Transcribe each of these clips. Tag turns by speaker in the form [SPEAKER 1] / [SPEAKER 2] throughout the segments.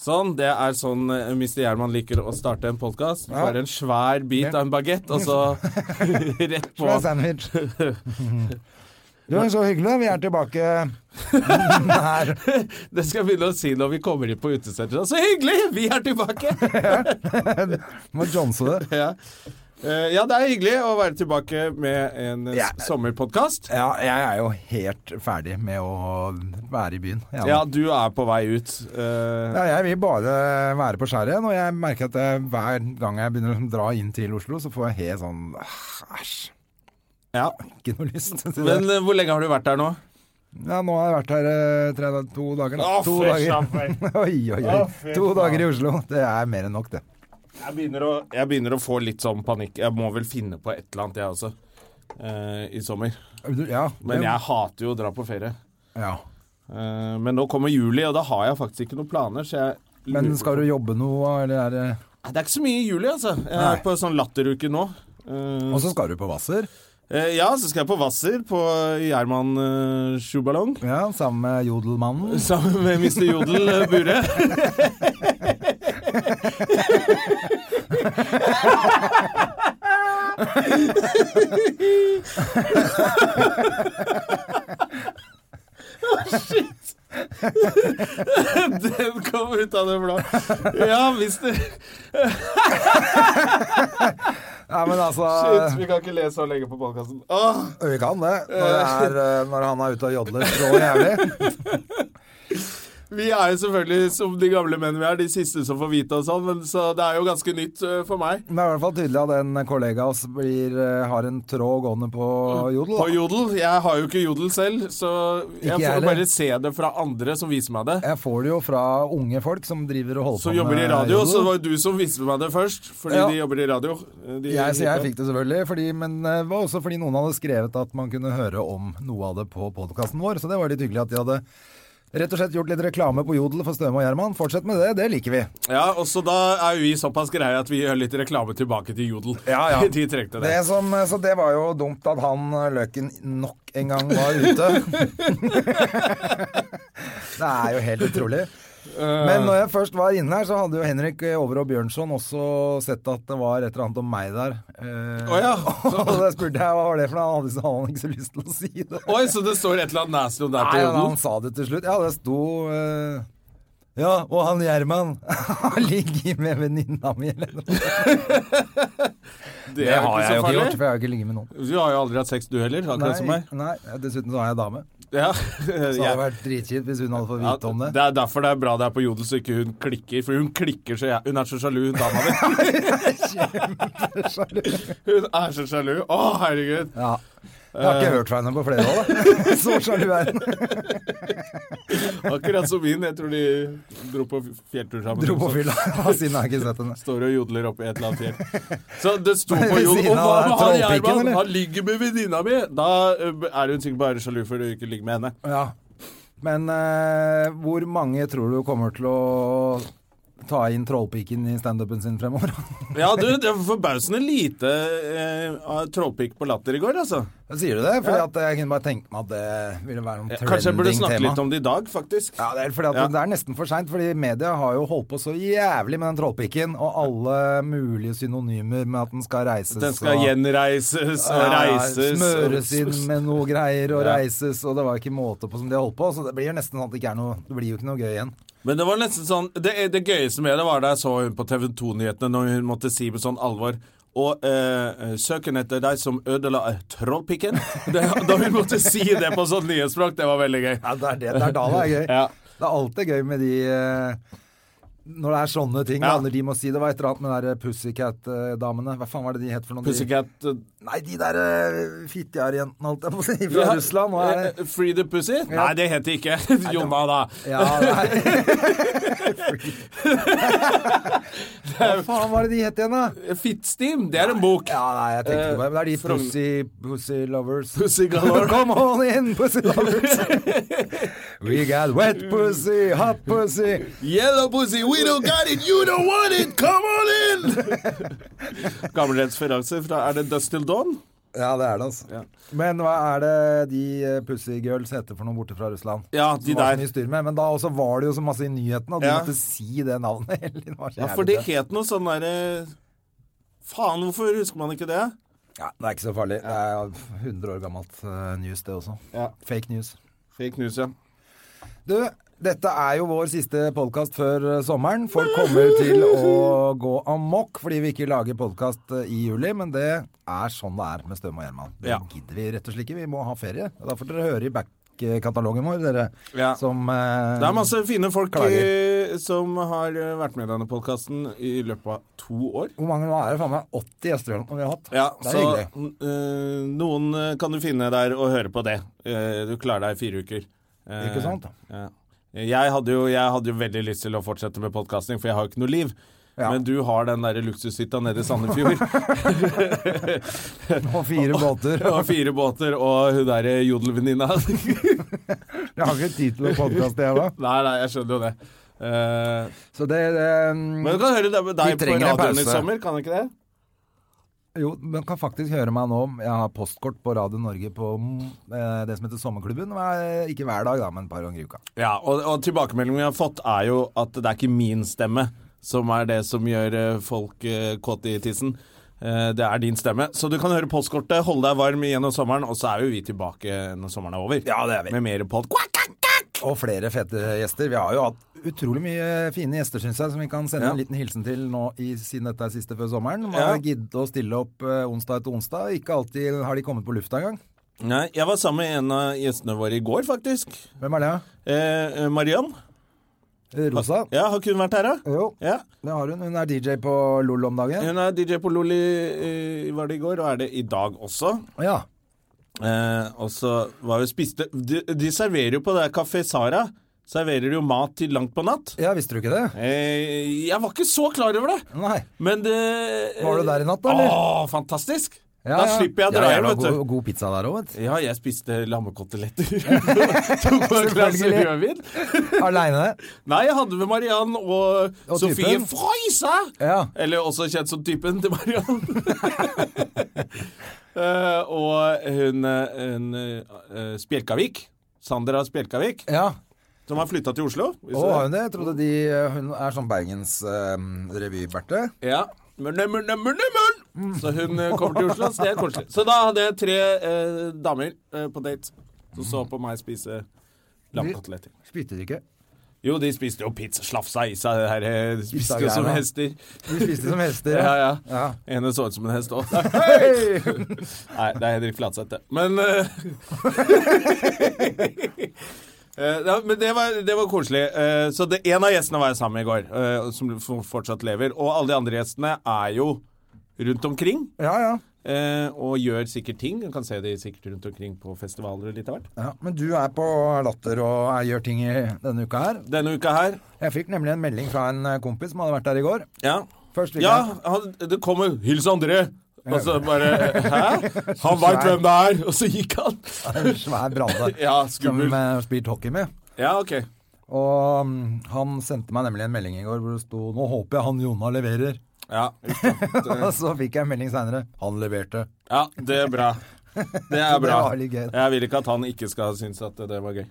[SPEAKER 1] Sånn, Det er sånn eh, Mr. Gjerman liker å starte en podkast. Bare en svær bit av en bagett, og så rett på.
[SPEAKER 2] Fra sandwich. Du, så hyggelig. Vi er tilbake her.
[SPEAKER 1] Det skal jeg begynne å si når vi kommer inn på utestedet. Så hyggelig! Vi er tilbake!
[SPEAKER 2] Må johnse det.
[SPEAKER 1] ja. Eh, ja, det er hyggelig å være tilbake med en eh,
[SPEAKER 2] Ja.
[SPEAKER 1] sommerpodkast.
[SPEAKER 2] Ja, jeg er jo helt ferdig med å være i byen. Jeg,
[SPEAKER 1] Ja, du er på vei ut. Eh,
[SPEAKER 2] Ja, jeg vil bare være på skjæret igjen, og jeg merker at jeg, hver gang jeg begynner å dra inn til Oslo, så får jeg helt sånn ah, Æsj,
[SPEAKER 1] ja.
[SPEAKER 2] ikke noe lyst til det.
[SPEAKER 1] Men eh, hvor lenge har du vært der nå?
[SPEAKER 2] Ja, nå har jeg vært her eh, tre, to dager. Da.
[SPEAKER 1] Å,
[SPEAKER 2] to
[SPEAKER 1] fy
[SPEAKER 2] dager.
[SPEAKER 1] søren.
[SPEAKER 2] oi, oi, oi.
[SPEAKER 1] Å, fy
[SPEAKER 2] to
[SPEAKER 1] faen.
[SPEAKER 2] dager i Oslo. Det er mer enn nok, det.
[SPEAKER 1] Jeg begynner, å, jeg begynner å få litt sånn panikk. Jeg må vel finne på et eller annet, jeg også, eh, i sommer.
[SPEAKER 2] Ja.
[SPEAKER 1] Men
[SPEAKER 2] det-
[SPEAKER 1] jeg hater jo å dra på ferie.
[SPEAKER 2] ja.
[SPEAKER 1] Eh, men nå kommer juli, og da har jeg faktisk ikke noen planer, så jeg lurer
[SPEAKER 2] Men skal
[SPEAKER 1] på-
[SPEAKER 2] du jobbe noe, eller er det
[SPEAKER 1] Nei, Det er ikke så mye i juli, altså. Jeg
[SPEAKER 2] Nei.
[SPEAKER 1] er på sånn latteruke nå. Eh,
[SPEAKER 2] Og så skal du på Hvasser.
[SPEAKER 1] eh, ja, så skal jeg på Hvasser, på Gjerman eh, Sjubalong.
[SPEAKER 2] Ja, sammen med Jodelmannen.
[SPEAKER 1] Sammen med Mr. Jodel eh, Bure. Å, shit! Den kom ut av det blå. Ja, mister
[SPEAKER 2] Ja, men altså
[SPEAKER 1] Shit, vi kan ikke le så lenge på podkasten.
[SPEAKER 2] Vi kan det. Når, det er, eh, når han er ute og jodler så jævlig.
[SPEAKER 1] Vi er jo selvfølgelig, som de gamle menn vi er, de siste som får vite og sånn, men så det er jo ganske nytt eh, for meg.
[SPEAKER 2] Men det er i hvert fall tydelig at en kollega av oss blir, eh, har en tråd gående på jodel.
[SPEAKER 1] Mm. På
[SPEAKER 2] da.
[SPEAKER 1] Jodel. Jeg har jo ikke Jodel selv, så jeg
[SPEAKER 2] jeg
[SPEAKER 1] får
[SPEAKER 2] heller.
[SPEAKER 1] bare se det fra andre som viser meg det.
[SPEAKER 2] Jeg får det jo fra unge folk som driver og holder
[SPEAKER 1] Som
[SPEAKER 2] på
[SPEAKER 1] jobber i radio,
[SPEAKER 2] jodel.
[SPEAKER 1] så det var jo du som viste meg det først, fordi
[SPEAKER 2] Ja.
[SPEAKER 1] de jobber i radio. Eh, De,
[SPEAKER 2] jeg, så jeg fikk det selvfølgelig, fordi, men eh, det var også fordi noen hadde skrevet at man kunne høre om noe av det på podkasten vår. Så det var litt hyggelig at de hadde rett og slett gjort litt reklame på Jodel for Støme og Gjerman. Fortsett med det, det liker vi.
[SPEAKER 1] Ja, og så da er jo vi såpass greie at vi gjør litt reklame tilbake til Jodel.
[SPEAKER 2] Ja, ja.
[SPEAKER 1] De trengte det.
[SPEAKER 2] Det som, eh, så det var jo dumt at han eh, Løken nok en gang var ute. det er jo helt utrolig. Men når jeg først var inne her, så hadde jo Henrik Over og Bjørnson også sett at det var et eller annet om meg der. Eh,
[SPEAKER 1] Å ja.
[SPEAKER 2] Og da spurte jeg hva var det for noe, han hadde- han hadde ikke så lyst til å si det.
[SPEAKER 1] Oi, så det står et eller annet nasty om deg på
[SPEAKER 2] Nei, han, han
[SPEAKER 1] Jodel?
[SPEAKER 2] sa det til slutt. Ja, det sto eh, Ja, og han Gjerman Han ligger med venninna mi, eller noe.
[SPEAKER 1] Det har jeg jo ikke
[SPEAKER 2] gjort,
[SPEAKER 1] gjort.
[SPEAKER 2] for jeg har jo ikke ligget med noen.
[SPEAKER 1] Du har jo aldri hatt sex du heller, akkurat som meg.
[SPEAKER 2] nei, dessuten så har jeg dame.
[SPEAKER 1] Ja.
[SPEAKER 2] Så det
[SPEAKER 1] Jeg-
[SPEAKER 2] hadde vært dritkjipt hvis hun hadde fått
[SPEAKER 1] Ja,
[SPEAKER 2] vite om det.
[SPEAKER 1] det er derfor det er bra det er på Jodel så ikke hun klikker, for hun klikker så jeg, Hun er så sjalu, hun dama di. hun er så sjalu. Å, herregud.
[SPEAKER 2] Ja. Jeg har
[SPEAKER 1] Eh.
[SPEAKER 2] ikke hørt fra henne på flere år, da. Så sjalu er hun.
[SPEAKER 1] Akkurat som min. Jeg tror de dro på fjelltur sammen.
[SPEAKER 2] Dro på
[SPEAKER 1] Så
[SPEAKER 2] fylla siden jeg har ikke sett henne.
[SPEAKER 1] Står og jodler oppe i et eller annet fjell. Så det sto på
[SPEAKER 2] Ved
[SPEAKER 1] Jodel
[SPEAKER 2] siden
[SPEAKER 1] Og hva
[SPEAKER 2] av
[SPEAKER 1] med han
[SPEAKER 2] trollpikken,
[SPEAKER 1] Gjerman?
[SPEAKER 2] eller?
[SPEAKER 1] Han ligger med venninna mi! Da ø, er hun sikkert bare sjalu for å ikke ligge med henne.
[SPEAKER 2] Ja. Men eh, hvor mange tror du kommer til å ta inn trollpiken i standupen sin fremover?
[SPEAKER 1] Ja, du, det var forbausende lite eh, trollpikk på latter i går, altså.
[SPEAKER 2] Sier du det? Fordi at jeg kunne bare tenke meg at det ville være noe trending-tema.
[SPEAKER 1] Kanskje jeg burde snakke litt om det i dag, faktisk.
[SPEAKER 2] Ja, det er, fordi at
[SPEAKER 1] Ja.
[SPEAKER 2] det er nesten for seint, fordi media har jo holdt på så jævlig med den trollpikken, og alle mulige synonymer med at den skal reises
[SPEAKER 1] Den skal
[SPEAKER 2] og-
[SPEAKER 1] gjenreises og
[SPEAKER 2] Ja,
[SPEAKER 1] reises.
[SPEAKER 2] Smøres inn med noe greier og
[SPEAKER 1] Ja.
[SPEAKER 2] reises, og det var ikke måte på som de har holdt på, så det blir nesten sånn at det ikke er noe Det blir jo ikke noe gøy igjen.
[SPEAKER 1] Men det var nesten sånn Det, det gøyeste med det var da jeg så hun på TV 2-nyhetene når hun måtte si med sånn alvor og eh, søken etter deg som ødela eh, trollpikken. Det, da hun måtte si det på sånn nyhetsspråk, det var veldig gøy.
[SPEAKER 2] Ja, det er, det, det er da det er gøy.
[SPEAKER 1] Ja.
[SPEAKER 2] Det er alltid gøy med de eh, Når det er sånne ting,
[SPEAKER 1] Ja.
[SPEAKER 2] da, når de må si det var et eller annet med de der Pussycat-damene Hva faen var det de het for noen?
[SPEAKER 1] Pussycat eh,
[SPEAKER 2] De... Nei, de der eh, fittejærjentene, holdt jeg på å si, fra
[SPEAKER 1] ja,
[SPEAKER 2] Russland. Hva er det?
[SPEAKER 1] eh, Free the Pussy? Nei, det heter ikke Jonna, da.
[SPEAKER 2] Ja,
[SPEAKER 1] eh,
[SPEAKER 2] nei. Hva faen var det de het igjen, da?
[SPEAKER 1] Fittstim, Eh, det er en bok.
[SPEAKER 2] Ja, nei, jeg tenkte
[SPEAKER 1] Eh,
[SPEAKER 2] på det. Men det er de
[SPEAKER 1] Frogn-
[SPEAKER 2] pussy, pussy lovers.
[SPEAKER 1] Pussy galore.
[SPEAKER 2] Come on in, pussy lovers. We got wet pussy, hot pussy.
[SPEAKER 1] Yellow pussy, we don't got it, you don't want it, come on in! Gammelrettsferanse fra Er det Dust Till Dawn?
[SPEAKER 2] Ja, det er det, altså.
[SPEAKER 1] Ja.
[SPEAKER 2] Men hva er det de eh, pussy girls heter for noe borte fra Russland?
[SPEAKER 1] Ja, de
[SPEAKER 2] Som var så
[SPEAKER 1] der.
[SPEAKER 2] mye styr med. Men da også var det jo så masse i nyhetene, og de
[SPEAKER 1] Ja.
[SPEAKER 2] måtte si det navnet hele tiden. Det var så
[SPEAKER 1] Ja, for det
[SPEAKER 2] jævlig.
[SPEAKER 1] het noe sånn derre Faen, hvorfor husker man ikke det?
[SPEAKER 2] Ja, det er ikke så farlig. Det er 100 år gammelt eh, news, det også.
[SPEAKER 1] Ja.
[SPEAKER 2] Fake news.
[SPEAKER 1] Fake news, ja.
[SPEAKER 2] Du, dette er jo vår siste podkast før eh, sommeren. Folk kommer til å gå amok fordi vi ikke lager podkast i juli, men det er sånn det er med Støm og Gjerman. Det
[SPEAKER 1] Ja.
[SPEAKER 2] gidder vi rett og slett ikke. Vi må ha ferie. Da får dere høre i back-katalogen vår, dere
[SPEAKER 1] Ja.
[SPEAKER 2] som eh,
[SPEAKER 1] Det er masse fine folk eh, som har eh, vært med i denne podkasten i løpet av to år.
[SPEAKER 2] Hvor mange nå er det? Faen meg 80 gjester eller noe vi har hatt.
[SPEAKER 1] Ja,
[SPEAKER 2] det er
[SPEAKER 1] så
[SPEAKER 2] hyggelig.
[SPEAKER 1] eh, noen eh, kan du finne der og høre på det. Eh, du klarer deg i fire uker. Eh,
[SPEAKER 2] Ikke sant?
[SPEAKER 1] Ja. Jeg hadde, jo, jeg hadde jo veldig lyst til å fortsette med podkasting, for jeg har jo ikke noe liv.
[SPEAKER 2] Ja.
[SPEAKER 1] Men du har den derre luksushytta nede i Sandefjord.
[SPEAKER 2] Og fire båter.
[SPEAKER 1] og fire båter og hun derre jodelvenninna. nei,
[SPEAKER 2] Jeg har ikke tid til å podkaste, jeg da.
[SPEAKER 1] nei, jeg skjønner jo det. Eh,
[SPEAKER 2] Så det, eh, det
[SPEAKER 1] men du kan høre det med deg på
[SPEAKER 2] trenger en
[SPEAKER 1] radioen i
[SPEAKER 2] pause.
[SPEAKER 1] sommer, kan du ikke det?
[SPEAKER 2] Jo, men kan faktisk høre meg nå. Jeg har postkort på Radio Norge på mm, eh, det som heter Sommerklubben. Hver- Ikke hver dag, da, men et par ganger i uka.
[SPEAKER 1] Ja, og, og tilbakemeldingen vi har fått er jo at det er ikke min stemme som er det som gjør eh, folk eh, kåte i tissen. Eh, Det er din stemme. Så du kan høre postkortet, holde deg varm gjennom sommeren, og så er jo vi tilbake når sommeren er over.
[SPEAKER 2] Ja, det er vi.
[SPEAKER 1] Med mer pod... Quack, quack, quack!
[SPEAKER 2] Og flere fete gjester. Vi har jo hatt utrolig mye fine gjester, syns jeg, som vi kan sende
[SPEAKER 1] Ja.
[SPEAKER 2] en liten hilsen til nå i, siden dette er siste før sommeren. Man
[SPEAKER 1] Ja.
[SPEAKER 2] har giddet å stille opp eh, onsdag etter onsdag. Ikke alltid har de kommet på lufta engang.
[SPEAKER 1] Nei, jeg var sammen med en av gjestene våre i går, faktisk.
[SPEAKER 2] Hvem er det?
[SPEAKER 1] Eh, eh, Mariann.
[SPEAKER 2] Eh, Rosa?
[SPEAKER 1] Ja, har ikke hun vært her, da?
[SPEAKER 2] Jo,
[SPEAKER 1] Ja.
[SPEAKER 2] det har hun. Hun er DJ på LOL om dagen.
[SPEAKER 1] Hun er DJ på Loli eh, var det i går, og er det i dag også.
[SPEAKER 2] Ja.
[SPEAKER 1] Eh, og så var vi og spiste de, de serverer jo på det Kafé Sara Serverer jo mat til langt på natt.
[SPEAKER 2] ja, visste du ikke det?
[SPEAKER 1] Eh, jeg var ikke så klar over det,
[SPEAKER 2] Nei.
[SPEAKER 1] men det
[SPEAKER 2] Var du der i natt, da, eller?
[SPEAKER 1] Å, fantastisk!
[SPEAKER 2] Ja,
[SPEAKER 1] da
[SPEAKER 2] ja.
[SPEAKER 1] slipper jeg å dra
[SPEAKER 2] Ja,
[SPEAKER 1] hjem,
[SPEAKER 2] jævla
[SPEAKER 1] vet
[SPEAKER 2] God,
[SPEAKER 1] du.
[SPEAKER 2] god pizza der òg, vet
[SPEAKER 1] Ja, jeg spiste lammekoteletter. Tok meg et glass
[SPEAKER 2] Selvfølgelig.
[SPEAKER 1] rødvin.
[SPEAKER 2] du. Aleine.
[SPEAKER 1] Nei, jeg hadde med Mariann og,
[SPEAKER 2] Og
[SPEAKER 1] Sofie
[SPEAKER 2] typen.
[SPEAKER 1] Freisa!
[SPEAKER 2] Ja.
[SPEAKER 1] Eller også kjent som typen til Mariann. Eh, og hun, eh, hun eh, Spjelkavik. Sandra Spjelkavik.
[SPEAKER 2] ja.
[SPEAKER 1] Som har flytta til Oslo. hvis
[SPEAKER 2] Å,
[SPEAKER 1] du-
[SPEAKER 2] har hun det? Jeg
[SPEAKER 1] Mm.
[SPEAKER 2] trodde de, hun er sånn Bergens um, revy, Berte.
[SPEAKER 1] Ja. Men, men, men, men, men. Så hun eh, kommer til Oslo, så det er koselig. Så da hadde jeg tre eh, damer eh, på date som så på meg spise lammekoteletter.
[SPEAKER 2] Spytte de ikke?
[SPEAKER 1] Jo, de spiste jo pizza, slafsa i seg det her. eh, De spiste jo som
[SPEAKER 2] Pizzagreiene.
[SPEAKER 1] hester.
[SPEAKER 2] De spiste som hester.
[SPEAKER 1] Ja, ja.
[SPEAKER 2] Ja.
[SPEAKER 1] Ene så ut som en hest òg.
[SPEAKER 2] Hei!
[SPEAKER 1] Nei, det er Henrik Flatseth, det. Men eh, eh, ja, men det var, det var koselig. Eh, så det, en av gjestene var jeg sammen med i går, eh, som f- fortsatt lever. Og alle de andre gjestene er jo rundt omkring
[SPEAKER 2] Ja, ja,
[SPEAKER 1] eh, og gjør sikkert ting. Du kan se de sikkert rundt omkring på festivaler og litt av hvert.
[SPEAKER 2] ja. Men du er på Latter og er- gjør ting i denne uka her.
[SPEAKER 1] Denne uka her
[SPEAKER 2] Jeg fikk nemlig en melding fra en eh, kompis som hadde vært der i går.
[SPEAKER 1] Ja,
[SPEAKER 2] Først fikk
[SPEAKER 1] ja
[SPEAKER 2] jeg
[SPEAKER 1] han, det kommer 'Hils André'. Og så bare Hæ? Han veit hvem det er! Og så gikk han.
[SPEAKER 2] en svær brande
[SPEAKER 1] Ja,
[SPEAKER 2] som
[SPEAKER 1] skummelt.
[SPEAKER 2] eh, spilte hockey med.
[SPEAKER 1] Ja, OK.
[SPEAKER 2] Og mm, han sendte meg nemlig en melding i går hvor det sto 'Nå håper jeg han Jonna leverer'.
[SPEAKER 1] Ja, uff da. Det-
[SPEAKER 2] Og så fikk jeg en melding seinere. Han leverte.
[SPEAKER 1] Ja, det er bra. Det er
[SPEAKER 2] det
[SPEAKER 1] bra.
[SPEAKER 2] var litt gøy.
[SPEAKER 1] Jeg vil ikke at han ikke skal synes at det var gøy.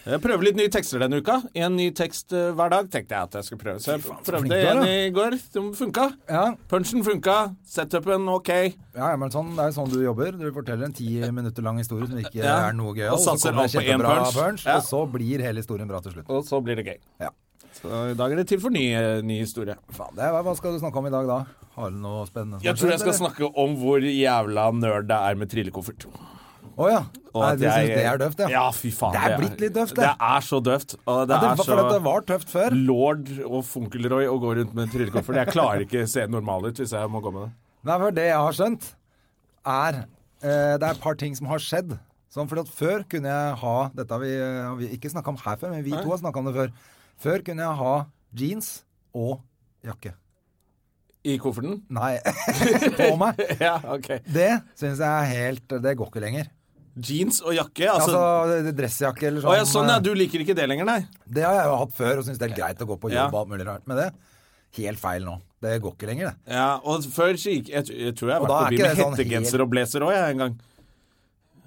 [SPEAKER 1] Jeg prøver litt nye tekster denne uka. En ny tekst eh, hver dag tenkte jeg at jeg skulle prøve. Så jeg
[SPEAKER 2] flink
[SPEAKER 1] prøvde
[SPEAKER 2] du er,
[SPEAKER 1] en
[SPEAKER 2] da.
[SPEAKER 1] i går som funka.
[SPEAKER 2] Ja.
[SPEAKER 1] Punchen funka, setupen ok.
[SPEAKER 2] Ja, ja, men sånn, Det er jo sånn du jobber. Du forteller en ti minutter lang historie som ikke
[SPEAKER 1] Ja.
[SPEAKER 2] er noe gøy.
[SPEAKER 1] Og satser
[SPEAKER 2] kommer
[SPEAKER 1] alt
[SPEAKER 2] en
[SPEAKER 1] på én
[SPEAKER 2] kjempebra
[SPEAKER 1] punch. Ja.
[SPEAKER 2] Og så blir hele historien bra til slutt.
[SPEAKER 1] Og så blir det gøy.
[SPEAKER 2] Ja.
[SPEAKER 1] Så i dag er det tid for ny, eh, ny historie.
[SPEAKER 2] Faen, det er, hva skal du snakke om i dag, da? Har du noe spennende? som
[SPEAKER 1] Jeg
[SPEAKER 2] har
[SPEAKER 1] tror jeg
[SPEAKER 2] skjedd,
[SPEAKER 1] skal snakke om hvor jævla nerd det er med trillekoffert.
[SPEAKER 2] eller? Å ja.
[SPEAKER 1] Og
[SPEAKER 2] Nei,
[SPEAKER 1] at
[SPEAKER 2] du syns
[SPEAKER 1] jeg-
[SPEAKER 2] det er døvt,
[SPEAKER 1] Ja, fy faen.
[SPEAKER 2] Det er blitt litt døvt, det.
[SPEAKER 1] Det er så døvt. Og det,
[SPEAKER 2] Ja, det var,
[SPEAKER 1] er så
[SPEAKER 2] for at det var tøft før.
[SPEAKER 1] Lord og Funkelroy og gå rundt med en tryllekoffert. Jeg klarer ikke å se normal ut hvis jeg må gå med det.
[SPEAKER 2] Nei, for det jeg har skjønt, er eh, Det er et par ting som har skjedd. Sånn, for at før kunne jeg ha Dette har vi, eh, har vi ikke snakka om her før, men vi to har snakka om det før. Før kunne jeg ha jeans og jakke.
[SPEAKER 1] I kofferten?
[SPEAKER 2] Nei, på meg.
[SPEAKER 1] Ja, ok.
[SPEAKER 2] Det syns jeg er helt Det går ikke lenger.
[SPEAKER 1] Jeans og jakke, altså.
[SPEAKER 2] Altså, dressjakke eller sånn.
[SPEAKER 1] Å ja, sånn ja,
[SPEAKER 2] eh,
[SPEAKER 1] du liker ikke det lenger, nei?
[SPEAKER 2] Det har jeg jo hatt før og syns det er greit å gå på jobb
[SPEAKER 1] Ja.
[SPEAKER 2] og alt mulig rart med det. Helt feil nå. Det går ikke lenger, det.
[SPEAKER 1] Ja, og før så gikk Jeg, jeg tror jeg har
[SPEAKER 2] Og
[SPEAKER 1] vært
[SPEAKER 2] da er
[SPEAKER 1] forbi
[SPEAKER 2] ikke
[SPEAKER 1] med
[SPEAKER 2] det sånn
[SPEAKER 1] hettegenser
[SPEAKER 2] helt-
[SPEAKER 1] og blazer òg, jeg, en gang.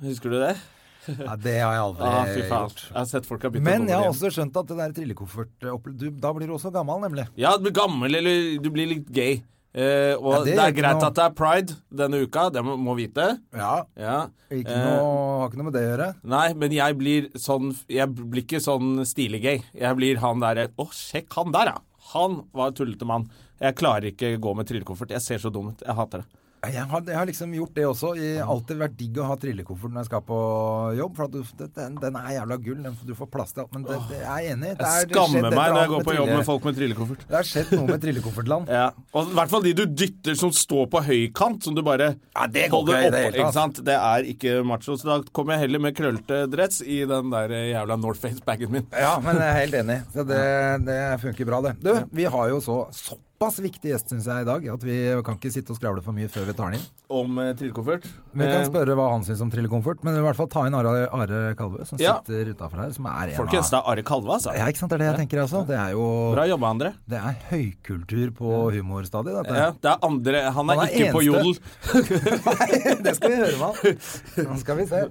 [SPEAKER 1] Husker du det?
[SPEAKER 2] Nei, det har jeg aldri
[SPEAKER 1] Ja, Ah, fy faen.
[SPEAKER 2] gjort.
[SPEAKER 1] Jeg har sett folk har bytta
[SPEAKER 2] Men jeg har
[SPEAKER 1] igjen.
[SPEAKER 2] også skjønt at det der trillekoffert opp- du- Da blir du også gammel, nemlig.
[SPEAKER 1] Ja, du blir gammel, eller du blir litt gay. Eh, og
[SPEAKER 2] Ja,
[SPEAKER 1] det,
[SPEAKER 2] det
[SPEAKER 1] er
[SPEAKER 2] gjør ikke
[SPEAKER 1] greit
[SPEAKER 2] noe.
[SPEAKER 1] at det er pride denne uka, det må, må vite.
[SPEAKER 2] Ja.
[SPEAKER 1] Ja.
[SPEAKER 2] Ikke
[SPEAKER 1] Eh,
[SPEAKER 2] noe, har ikke noe med det å gjøre.
[SPEAKER 1] Nei, men jeg blir sånn Jeg blir ikke sånn stilig-gay. Jeg blir han derre Å, sjekk han der, ja! Han var en tullete mann. Jeg klarer ikke gå med trillekoffert. Jeg ser så dum ut. Jeg hater det.
[SPEAKER 2] Jeg har, jeg har liksom gjort det også. Jeg har alltid vært digg å ha trillekoffert når jeg skal på jobb. For at du, det- den, den er jævla gull. Den, du får plass til alt. Men det, det er jeg enig i. Det er-
[SPEAKER 1] Jeg
[SPEAKER 2] det har skjedd et
[SPEAKER 1] skammer
[SPEAKER 2] eller
[SPEAKER 1] meg når jeg
[SPEAKER 2] annet
[SPEAKER 1] går på jobb
[SPEAKER 2] trille-
[SPEAKER 1] med folk med trillekoffert.
[SPEAKER 2] Det har skjedd noe med trillekoffertland.
[SPEAKER 1] Ja. Og i hvert fall de du dytter som står på høykant, som du bare
[SPEAKER 2] Ja, det går
[SPEAKER 1] holder
[SPEAKER 2] ikke i
[SPEAKER 1] opp.
[SPEAKER 2] det hele tatt.
[SPEAKER 1] Ikke sant? Det er ikke macho. Så da kommer jeg heller med krøllete dress i den der jævla Northface-bagen min.
[SPEAKER 2] Ja, men jeg er helt enig. Så det, det funker bra, det. Du, vi har jo så såpass viktig gjest, syns jeg, i dag, at vi kan ikke sitte og skravle for mye før vi tar den inn.
[SPEAKER 1] Om eh, trillekoffert.
[SPEAKER 2] Vi kan
[SPEAKER 1] Eh,
[SPEAKER 2] spørre hva han syns om trillekomfort, men i hvert fall ta inn Are, Are Kalvø, som
[SPEAKER 1] Ja.
[SPEAKER 2] sitter utafor her, som er en
[SPEAKER 1] Folkens, det
[SPEAKER 2] av
[SPEAKER 1] er Are Kalve, altså.
[SPEAKER 2] Ja, ikke sant, det er det jeg tenker jeg også. Det er jo
[SPEAKER 1] Bra jobba, André.
[SPEAKER 2] Det er høykultur på humorstadiet,
[SPEAKER 1] Ja,
[SPEAKER 2] dette.
[SPEAKER 1] det er andre Han er,
[SPEAKER 2] Han er
[SPEAKER 1] ikke på
[SPEAKER 2] eneste.
[SPEAKER 1] jodel.
[SPEAKER 2] det skal vi høre med han. Nå skal vi se.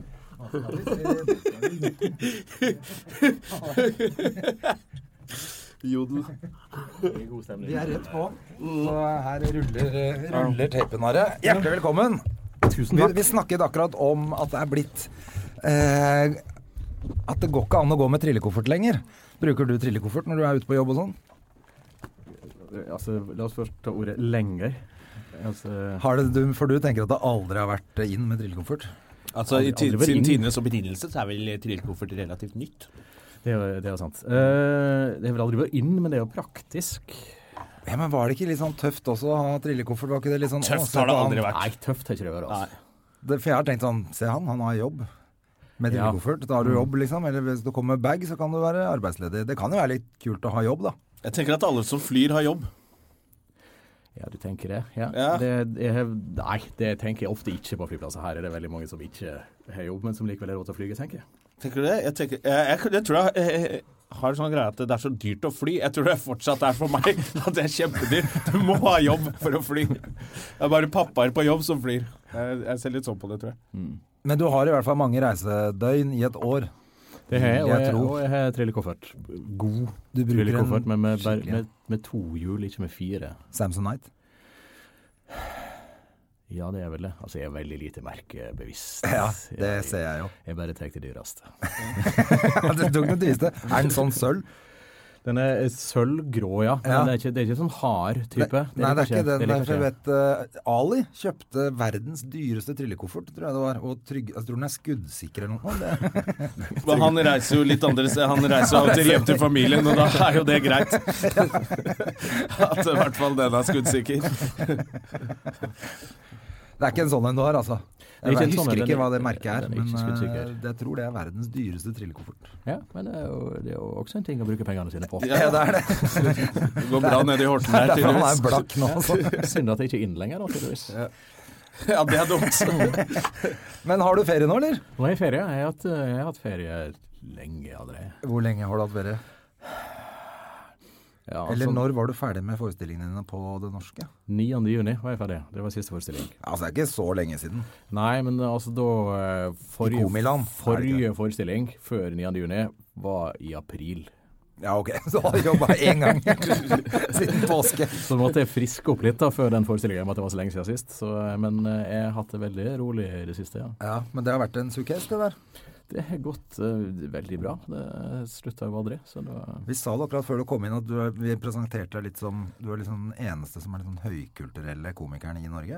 [SPEAKER 1] Jodel.
[SPEAKER 2] Vi er rett på. Så her ruller, ruller teipen, Are. Hjertelig velkommen. Tusen takk. Vi, vi snakket akkurat om at det er blitt eh, At det går ikke an å gå med trillekoffert lenger. Bruker du trillekoffert når du er ute på jobb og sånn?
[SPEAKER 3] Altså, la oss først ta ordet lenger. Altså,
[SPEAKER 2] Har det, du, for du tenker at det aldri har vært inn med trillekoffert?
[SPEAKER 1] Altså, i
[SPEAKER 3] Aldri
[SPEAKER 1] ti-
[SPEAKER 3] vært
[SPEAKER 1] Siden
[SPEAKER 3] inn.
[SPEAKER 1] tidenes opprinnelse så er vel trillekoffert relativt nytt.
[SPEAKER 3] det er jo det er jo sant. Eh, det er vel aldri vært inn, men det er jo praktisk.
[SPEAKER 2] Ja, men var det ikke litt sånn tøft også å ha trillekoffert? Var ikke det litt sånn å,
[SPEAKER 1] Tøft
[SPEAKER 2] se
[SPEAKER 1] har det
[SPEAKER 2] på han.
[SPEAKER 1] aldri vært.
[SPEAKER 3] Nei, tøft har ikke det vært. Altså.
[SPEAKER 2] Det, for jeg har tenkt sånn Se han, han har jobb. Med
[SPEAKER 3] Ja.
[SPEAKER 2] trillekoffert. Da har du jobb, liksom. Eller hvis du kommer med bag, så kan du være arbeidsledig. Det kan jo være litt kult å ha jobb, da.
[SPEAKER 1] Jeg tenker at alle som flyr, har jobb.
[SPEAKER 3] Ja, du tenker det? Ja.
[SPEAKER 1] Ja.
[SPEAKER 3] det jeg, har- nei, det tenker jeg ofte ikke på flyplasser. Her er det veldig mange som ikke har jobb, men som likevel har råd til å flyge, tenker jeg.
[SPEAKER 1] Tenker du det? Jeg, tenker, jeg, jeg, jeg tror jeg, jeg, jeg har en sånn greie at det er så dyrt å fly. Jeg tror det fortsatt er for meg at det er kjempedyrt. Du må ha jobb for å fly. Det er bare pappaer på jobb som flyr. Jeg, jeg ser litt sånn på det, tror jeg.
[SPEAKER 2] Men du har i hvert fall mange reisedøgn i et år.
[SPEAKER 3] Det har jeg, og
[SPEAKER 2] Jeg
[SPEAKER 3] jeg,
[SPEAKER 2] tror.
[SPEAKER 3] og jeg har trillekoffert. God
[SPEAKER 2] Du bruker
[SPEAKER 3] trillekoffert,
[SPEAKER 2] en
[SPEAKER 3] men med, bare-
[SPEAKER 2] skikkelig-
[SPEAKER 3] med, med to hjul, ikke med fire.
[SPEAKER 2] Samsonite.
[SPEAKER 3] Ja, det er vel det. Altså, jeg er veldig lite merkebevisst.
[SPEAKER 2] Ja, det
[SPEAKER 3] jeg,
[SPEAKER 2] ser jeg jo.
[SPEAKER 3] jeg bare tar det dyreste.
[SPEAKER 2] det tok den dyreste. Er den sånn sølv?
[SPEAKER 3] Den er sølvgrå, ja.
[SPEAKER 2] Ja.
[SPEAKER 3] Men det er ikke, det er ikke sånn hard type.
[SPEAKER 2] Nei, det er ikke den. der,
[SPEAKER 3] liker
[SPEAKER 2] for jeg
[SPEAKER 3] jeg.
[SPEAKER 2] vet, eh, Ali kjøpte verdens dyreste trillekoffert, tror jeg det var. Og trygg, jeg tror den er skuddsikker eller noe. Det,
[SPEAKER 1] Men han reiser jo litt andre steder. Han reiser av og til hjem til familien, og da er jo det greit. At i hvert fall den er skuddsikker.
[SPEAKER 2] det er ikke en sånn en du har, altså.
[SPEAKER 3] er
[SPEAKER 2] Jeg,
[SPEAKER 3] ikke en
[SPEAKER 2] husker
[SPEAKER 3] sånn en,
[SPEAKER 2] ikke
[SPEAKER 3] den-
[SPEAKER 2] hva det merket er,
[SPEAKER 3] den er
[SPEAKER 2] men
[SPEAKER 3] ikke skuddsikker.
[SPEAKER 2] eh, jeg tror det er verdens dyreste trillekoffert.
[SPEAKER 3] Ja, men det er, jo, det er jo også en ting å bruke pengene sine på.
[SPEAKER 1] Ja, det er det. Det går bra nede i Horten der,
[SPEAKER 2] Derfor han er
[SPEAKER 1] tydeligvis.
[SPEAKER 2] blakk nå, altså.
[SPEAKER 3] Synd at jeg ikke er inn lenger, da, tydeligvis.
[SPEAKER 1] Ja, det er dumt.
[SPEAKER 2] Men har du ferie nå, eller?
[SPEAKER 3] Nå er jeg i ferie. Jeg har hatt, eh, jeg har hatt ferie lenge allerede.
[SPEAKER 2] Hvor lenge har du hatt ferie?
[SPEAKER 3] Ja,
[SPEAKER 2] Eller
[SPEAKER 3] altså,
[SPEAKER 2] når var du ferdig med forestillingene dine på det norske?
[SPEAKER 3] 9. juni var jeg ferdig. Det var siste forestilling.
[SPEAKER 2] Altså, det er ikke så lenge siden.
[SPEAKER 3] Nei, men altså da eh,
[SPEAKER 2] I
[SPEAKER 3] Forrige,
[SPEAKER 2] Komiland, er det
[SPEAKER 3] forrige forestilling før 9. juni var i april.
[SPEAKER 2] Ja, ok. Så har du jobba én gang siden påske.
[SPEAKER 3] Så måtte jeg friske opp litt da før den forestillingen, i og med at det var så lenge siden sist. Så, eh, men eh, jeg har hatt det veldig rolig i det siste, ja.
[SPEAKER 2] Ja, Men det har vært en sukkes, det der.
[SPEAKER 3] Det har gått eh, veldig bra. Det slutta jo aldri. Så det var
[SPEAKER 2] Vi sa det akkurat før du kom inn at du, sånn er- vi presenterte deg litt som Du er liksom den eneste som er den høykulturelle komikeren i Norge.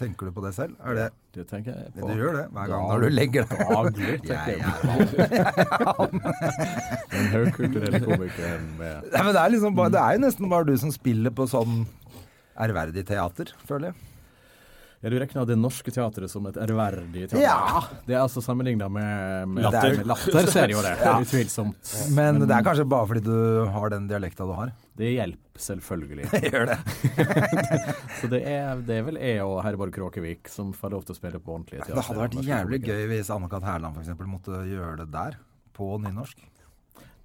[SPEAKER 2] Tenker du på det selv? Er det
[SPEAKER 3] Det tenker jeg på.
[SPEAKER 2] Du gjør det hver gang når du legger deg.
[SPEAKER 3] Daglig tenker jeg på Den høykulturelle komikeren med
[SPEAKER 2] Nei, men det, er liksom bare, det er jo nesten bare du som spiller på sånn ærverdig teater, føler jeg.
[SPEAKER 3] Ja, du regner det norske teatret som et ærverdig teater?
[SPEAKER 2] Ja.
[SPEAKER 3] Det er altså sammenligna med, med
[SPEAKER 2] Latter.
[SPEAKER 3] med Latter, så er det jo det. Utvilsomt.
[SPEAKER 2] Men det er kanskje bare fordi du har den dialekta du har.
[SPEAKER 3] Det hjelper selvfølgelig.
[SPEAKER 2] Gjør det.
[SPEAKER 3] Så det er, det er vel jeg og Herborg Kråkevik som får lov til å spille på ordentlig teater.
[SPEAKER 2] Det hadde vært
[SPEAKER 3] Norske
[SPEAKER 2] jævlig
[SPEAKER 3] komikere.
[SPEAKER 2] gøy hvis Anne-Kat. Hærland f.eks. måtte gjøre det der, på nynorsk.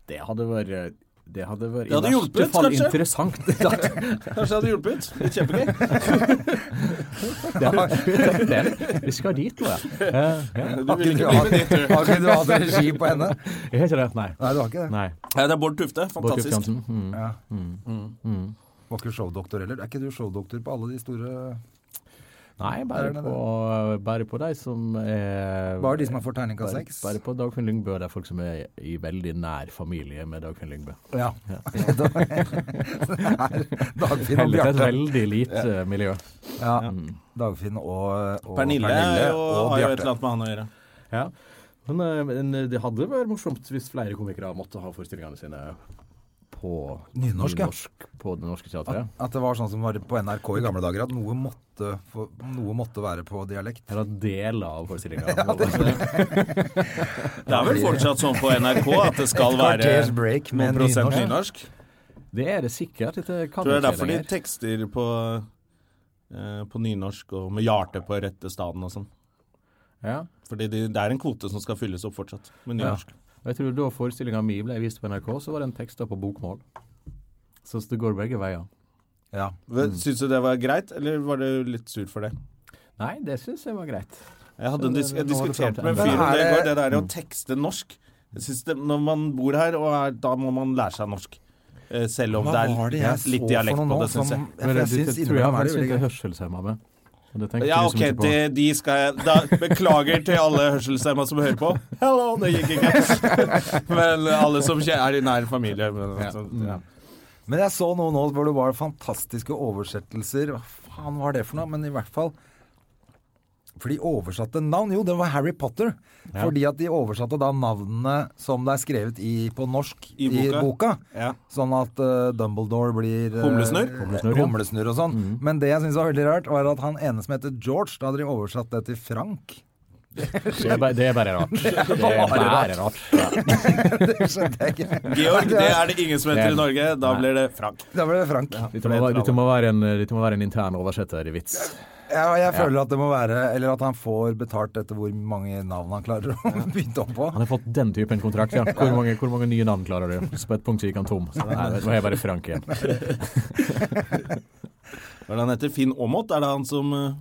[SPEAKER 3] Det hadde vært det hadde vært
[SPEAKER 1] Det hadde
[SPEAKER 3] i
[SPEAKER 1] hjulpet,
[SPEAKER 3] verste fall
[SPEAKER 1] kanskje?
[SPEAKER 3] interessant. Det
[SPEAKER 1] Kanskje det hadde hjulpet? Det er Kjempegøy.
[SPEAKER 3] hadde- det- Vi skal dit nå, ja. Eh,
[SPEAKER 1] Du
[SPEAKER 3] ja.
[SPEAKER 1] vil ikke bli med dit, du.
[SPEAKER 2] Har ikke du hatt regi på henne?
[SPEAKER 3] Jeg heter det. Nei.
[SPEAKER 2] Nei, du har ikke det.
[SPEAKER 3] Nei.
[SPEAKER 1] Ja, det er Bård Tufte.
[SPEAKER 3] Bård Tufte
[SPEAKER 1] Fantastisk.
[SPEAKER 3] Hansen. Mm.
[SPEAKER 2] Ja. Var ikke du showdoktor heller? Er ikke du showdoktor på alle de store
[SPEAKER 3] Nei, bare
[SPEAKER 2] det
[SPEAKER 3] på, bare på de som er
[SPEAKER 2] Bare de som har fått terningkast
[SPEAKER 3] Bare,
[SPEAKER 2] seks?
[SPEAKER 3] bare på Dagfinn Lyngbø, og det er folk som er i veldig nær familie med Dagfinn Lyngbø.
[SPEAKER 2] Ja. Det er Dagfinn og
[SPEAKER 3] Heldigvis et
[SPEAKER 2] Bjarte.
[SPEAKER 3] veldig lite miljø.
[SPEAKER 2] Ja. Dagfinn og, og
[SPEAKER 1] Pernille, er jo, har jo et eller annet med han å gjøre.
[SPEAKER 3] Ja. Men, eh, men det hadde vært morsomt hvis flere komikere måtte ha forestillingene sine på
[SPEAKER 2] Nynorsk, ja.
[SPEAKER 3] nynorsk på det norske teatret.
[SPEAKER 2] At det var sånn som var på NRK i gamle dager, at noe måtte, få- noe måtte være på dialekt.
[SPEAKER 3] Eller deler av Altså, forestillinga.
[SPEAKER 1] Det er vel fortsatt sånn på NRK at det skal være
[SPEAKER 2] kvarters break med
[SPEAKER 1] noen prosent
[SPEAKER 2] nynorsk.
[SPEAKER 1] nynorsk.
[SPEAKER 3] det er det sikkert. Dette kan
[SPEAKER 1] Tror det er
[SPEAKER 3] ikke
[SPEAKER 1] derfor de
[SPEAKER 3] lenger.
[SPEAKER 1] tekster på, eh, på nynorsk og med hjerte på rette staden og sånn.
[SPEAKER 3] ja.
[SPEAKER 1] Fordi de, det er en kvote som skal fylles opp fortsatt med
[SPEAKER 3] Ja.
[SPEAKER 1] nynorsk.
[SPEAKER 3] Og Jeg tror Da forestillinga mi ble vist på NRK, så var den teksta på bokmål. Så det går begge veier.
[SPEAKER 2] Ja.
[SPEAKER 1] Hva- Syns du det var greit, eller var du litt sur for det?
[SPEAKER 3] Nei, det syns jeg var greit.
[SPEAKER 1] Jeg, hadde en dis jeg
[SPEAKER 3] Nå har du
[SPEAKER 1] diskuterte
[SPEAKER 3] fram til
[SPEAKER 1] med en
[SPEAKER 2] enden.
[SPEAKER 1] fyr om
[SPEAKER 2] Men
[SPEAKER 1] det i
[SPEAKER 2] er
[SPEAKER 1] går,
[SPEAKER 2] det-
[SPEAKER 1] det der å tekste norsk. Jeg synes det, når man bor her, og er, da må man lære seg norsk. Eh, Selv om det er litt dialekt på det, syns jeg.
[SPEAKER 2] For jeg syns
[SPEAKER 3] tror jeg
[SPEAKER 2] innimellom er
[SPEAKER 3] han
[SPEAKER 2] det
[SPEAKER 3] sitter
[SPEAKER 2] veldig gøy.
[SPEAKER 3] hørselshemma med. Og det tenkte
[SPEAKER 1] Ja,
[SPEAKER 3] du
[SPEAKER 1] OK,
[SPEAKER 3] liksom ikke på.
[SPEAKER 1] det, de skal jeg da, Beklager til alle hørselshemma som hører på. Hello, det gikk ikke. Men alle som kje- er i nær familie. Men,
[SPEAKER 3] Ja.
[SPEAKER 1] så, ja. Mm.
[SPEAKER 2] Men jeg så noe nå hvor det var fantastiske oversettelser. Hva faen var det for noe? Men i hvert fall For de oversatte navn. Jo, det var Harry Potter. Fordi at de oversatte da navnene som det er skrevet i på norsk
[SPEAKER 1] I
[SPEAKER 2] i boka.
[SPEAKER 1] boka. Ja.
[SPEAKER 2] Sånn at eh, Dumbledore blir eh,
[SPEAKER 1] Humlesnurr?
[SPEAKER 2] Humlesnurr, ja. Humlesnurr og sånn. Men det jeg syns var veldig rart, var at han ene som heter George, da hadde de oversatt det til Frank.
[SPEAKER 3] Det er, bare, det er bare rart. Det er bare rart.
[SPEAKER 2] Det skjønte jeg ikke.
[SPEAKER 1] Georg, det er det ingen som heter i Norge. Da blir det Frank.
[SPEAKER 2] Da ble det Frank.
[SPEAKER 3] Dette må, være- dette må være en, dette må være en intern oversetter i vits.
[SPEAKER 2] Ja, jeg føler at det må være Eller at han får betalt etter hvor mange navn han klarer å bytte om på.
[SPEAKER 3] Han har fått den typen kontrakt, ja. Hvor mange, hvor mange nye navn klarer du? Så på et punkt så gikk han tom. Så nei, nå er jeg bare Frank igjen.
[SPEAKER 1] Hva er det han heter? Finn Aamodt? Er det han som eh,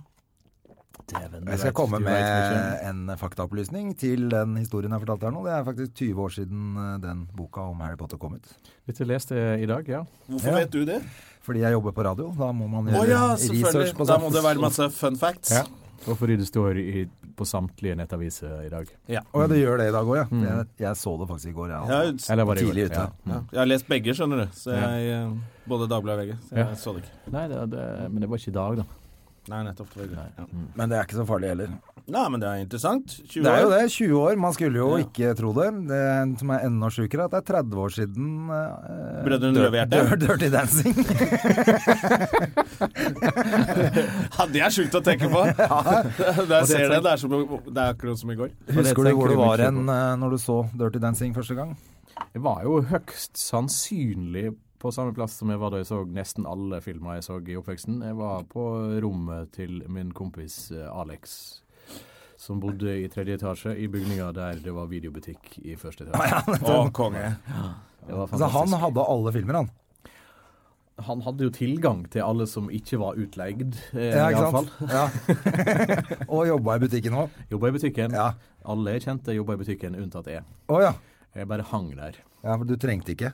[SPEAKER 2] Jeg skal komme med en eh, faktaopplysning til den historien jeg fortalte her nå. Det er faktisk 20 år siden eh, den boka om Harry Potter kom ut.
[SPEAKER 3] Dette leste jeg i dag, ja.
[SPEAKER 1] Hvorfor vet du det?
[SPEAKER 2] Fordi jeg jobber på radio. Da må man
[SPEAKER 1] Å
[SPEAKER 2] gjøre
[SPEAKER 1] ja,
[SPEAKER 2] research
[SPEAKER 1] selvfølgelig.
[SPEAKER 2] på
[SPEAKER 1] Da
[SPEAKER 2] sånt.
[SPEAKER 1] må det være masse fun facts.
[SPEAKER 3] ja. Og fordi det står i, på samtlige nettaviser i dag.
[SPEAKER 2] Å ja, det gjør det i dag òg,
[SPEAKER 1] Mm.
[SPEAKER 2] ja. Jeg, jeg så det faktisk i går, jeg.
[SPEAKER 1] Jeg, har,
[SPEAKER 2] Altså.
[SPEAKER 1] jo-
[SPEAKER 3] Eller var det i går?
[SPEAKER 2] Tidlig ute.
[SPEAKER 3] Ja.
[SPEAKER 1] ja, jeg har lest begge, skjønner du. Så jeg, eh, både Dagbladet og VG. Så jeg
[SPEAKER 3] Ja.
[SPEAKER 1] så det ikke.
[SPEAKER 3] Nei, det, det, men det var ikke i dag, da.
[SPEAKER 1] Nei, nettopp. Det var gøy. Ja.
[SPEAKER 2] Men det er ikke så farlig heller.
[SPEAKER 1] Nei, men det er interessant.
[SPEAKER 2] Mm.
[SPEAKER 1] 20
[SPEAKER 2] Det er jo
[SPEAKER 1] år.
[SPEAKER 2] det. 20 år. Man skulle jo ikke tro det. Det som er enda sjukere, er at det er 30 år siden eh,
[SPEAKER 1] Brødrene Rødhjerte.
[SPEAKER 2] Dirt- Dirty Dancing.
[SPEAKER 1] Ja, det er sjukt å tenke på! Der ser det. Det er, som, det er akkurat som i går.
[SPEAKER 2] sånn- Husker
[SPEAKER 3] det
[SPEAKER 2] du hvor
[SPEAKER 3] tenker
[SPEAKER 2] du
[SPEAKER 3] vi
[SPEAKER 2] var
[SPEAKER 3] mye
[SPEAKER 2] hen eh, når du så Dirty Dancing første gang?
[SPEAKER 3] Jeg var jo høgst sannsynlig på samme plass som jeg var da jeg så nesten alle filmer jeg så i oppveksten. Jeg var på rommet til min kompis eh, Alex, som bodde i tredje etasje i bygninga der det var videobutikk i første etasje.
[SPEAKER 1] Å, konge.
[SPEAKER 3] Det var
[SPEAKER 2] Altså, han
[SPEAKER 3] fantastisk.
[SPEAKER 2] hadde alle filmer, han.
[SPEAKER 3] Han hadde jo tilgang til alle som ikke var utleid, eh,
[SPEAKER 2] Ja,
[SPEAKER 3] i alle
[SPEAKER 2] ikke
[SPEAKER 3] fall.
[SPEAKER 2] sant? Ja. Og jobba i butikken òg.
[SPEAKER 3] Jobba i butikken.
[SPEAKER 2] Ja.
[SPEAKER 3] Alle jeg kjente jobba i butikken, unntatt jeg.
[SPEAKER 2] Å ja.
[SPEAKER 3] Jeg bare hang der.
[SPEAKER 2] ja. Men du trengte ikke.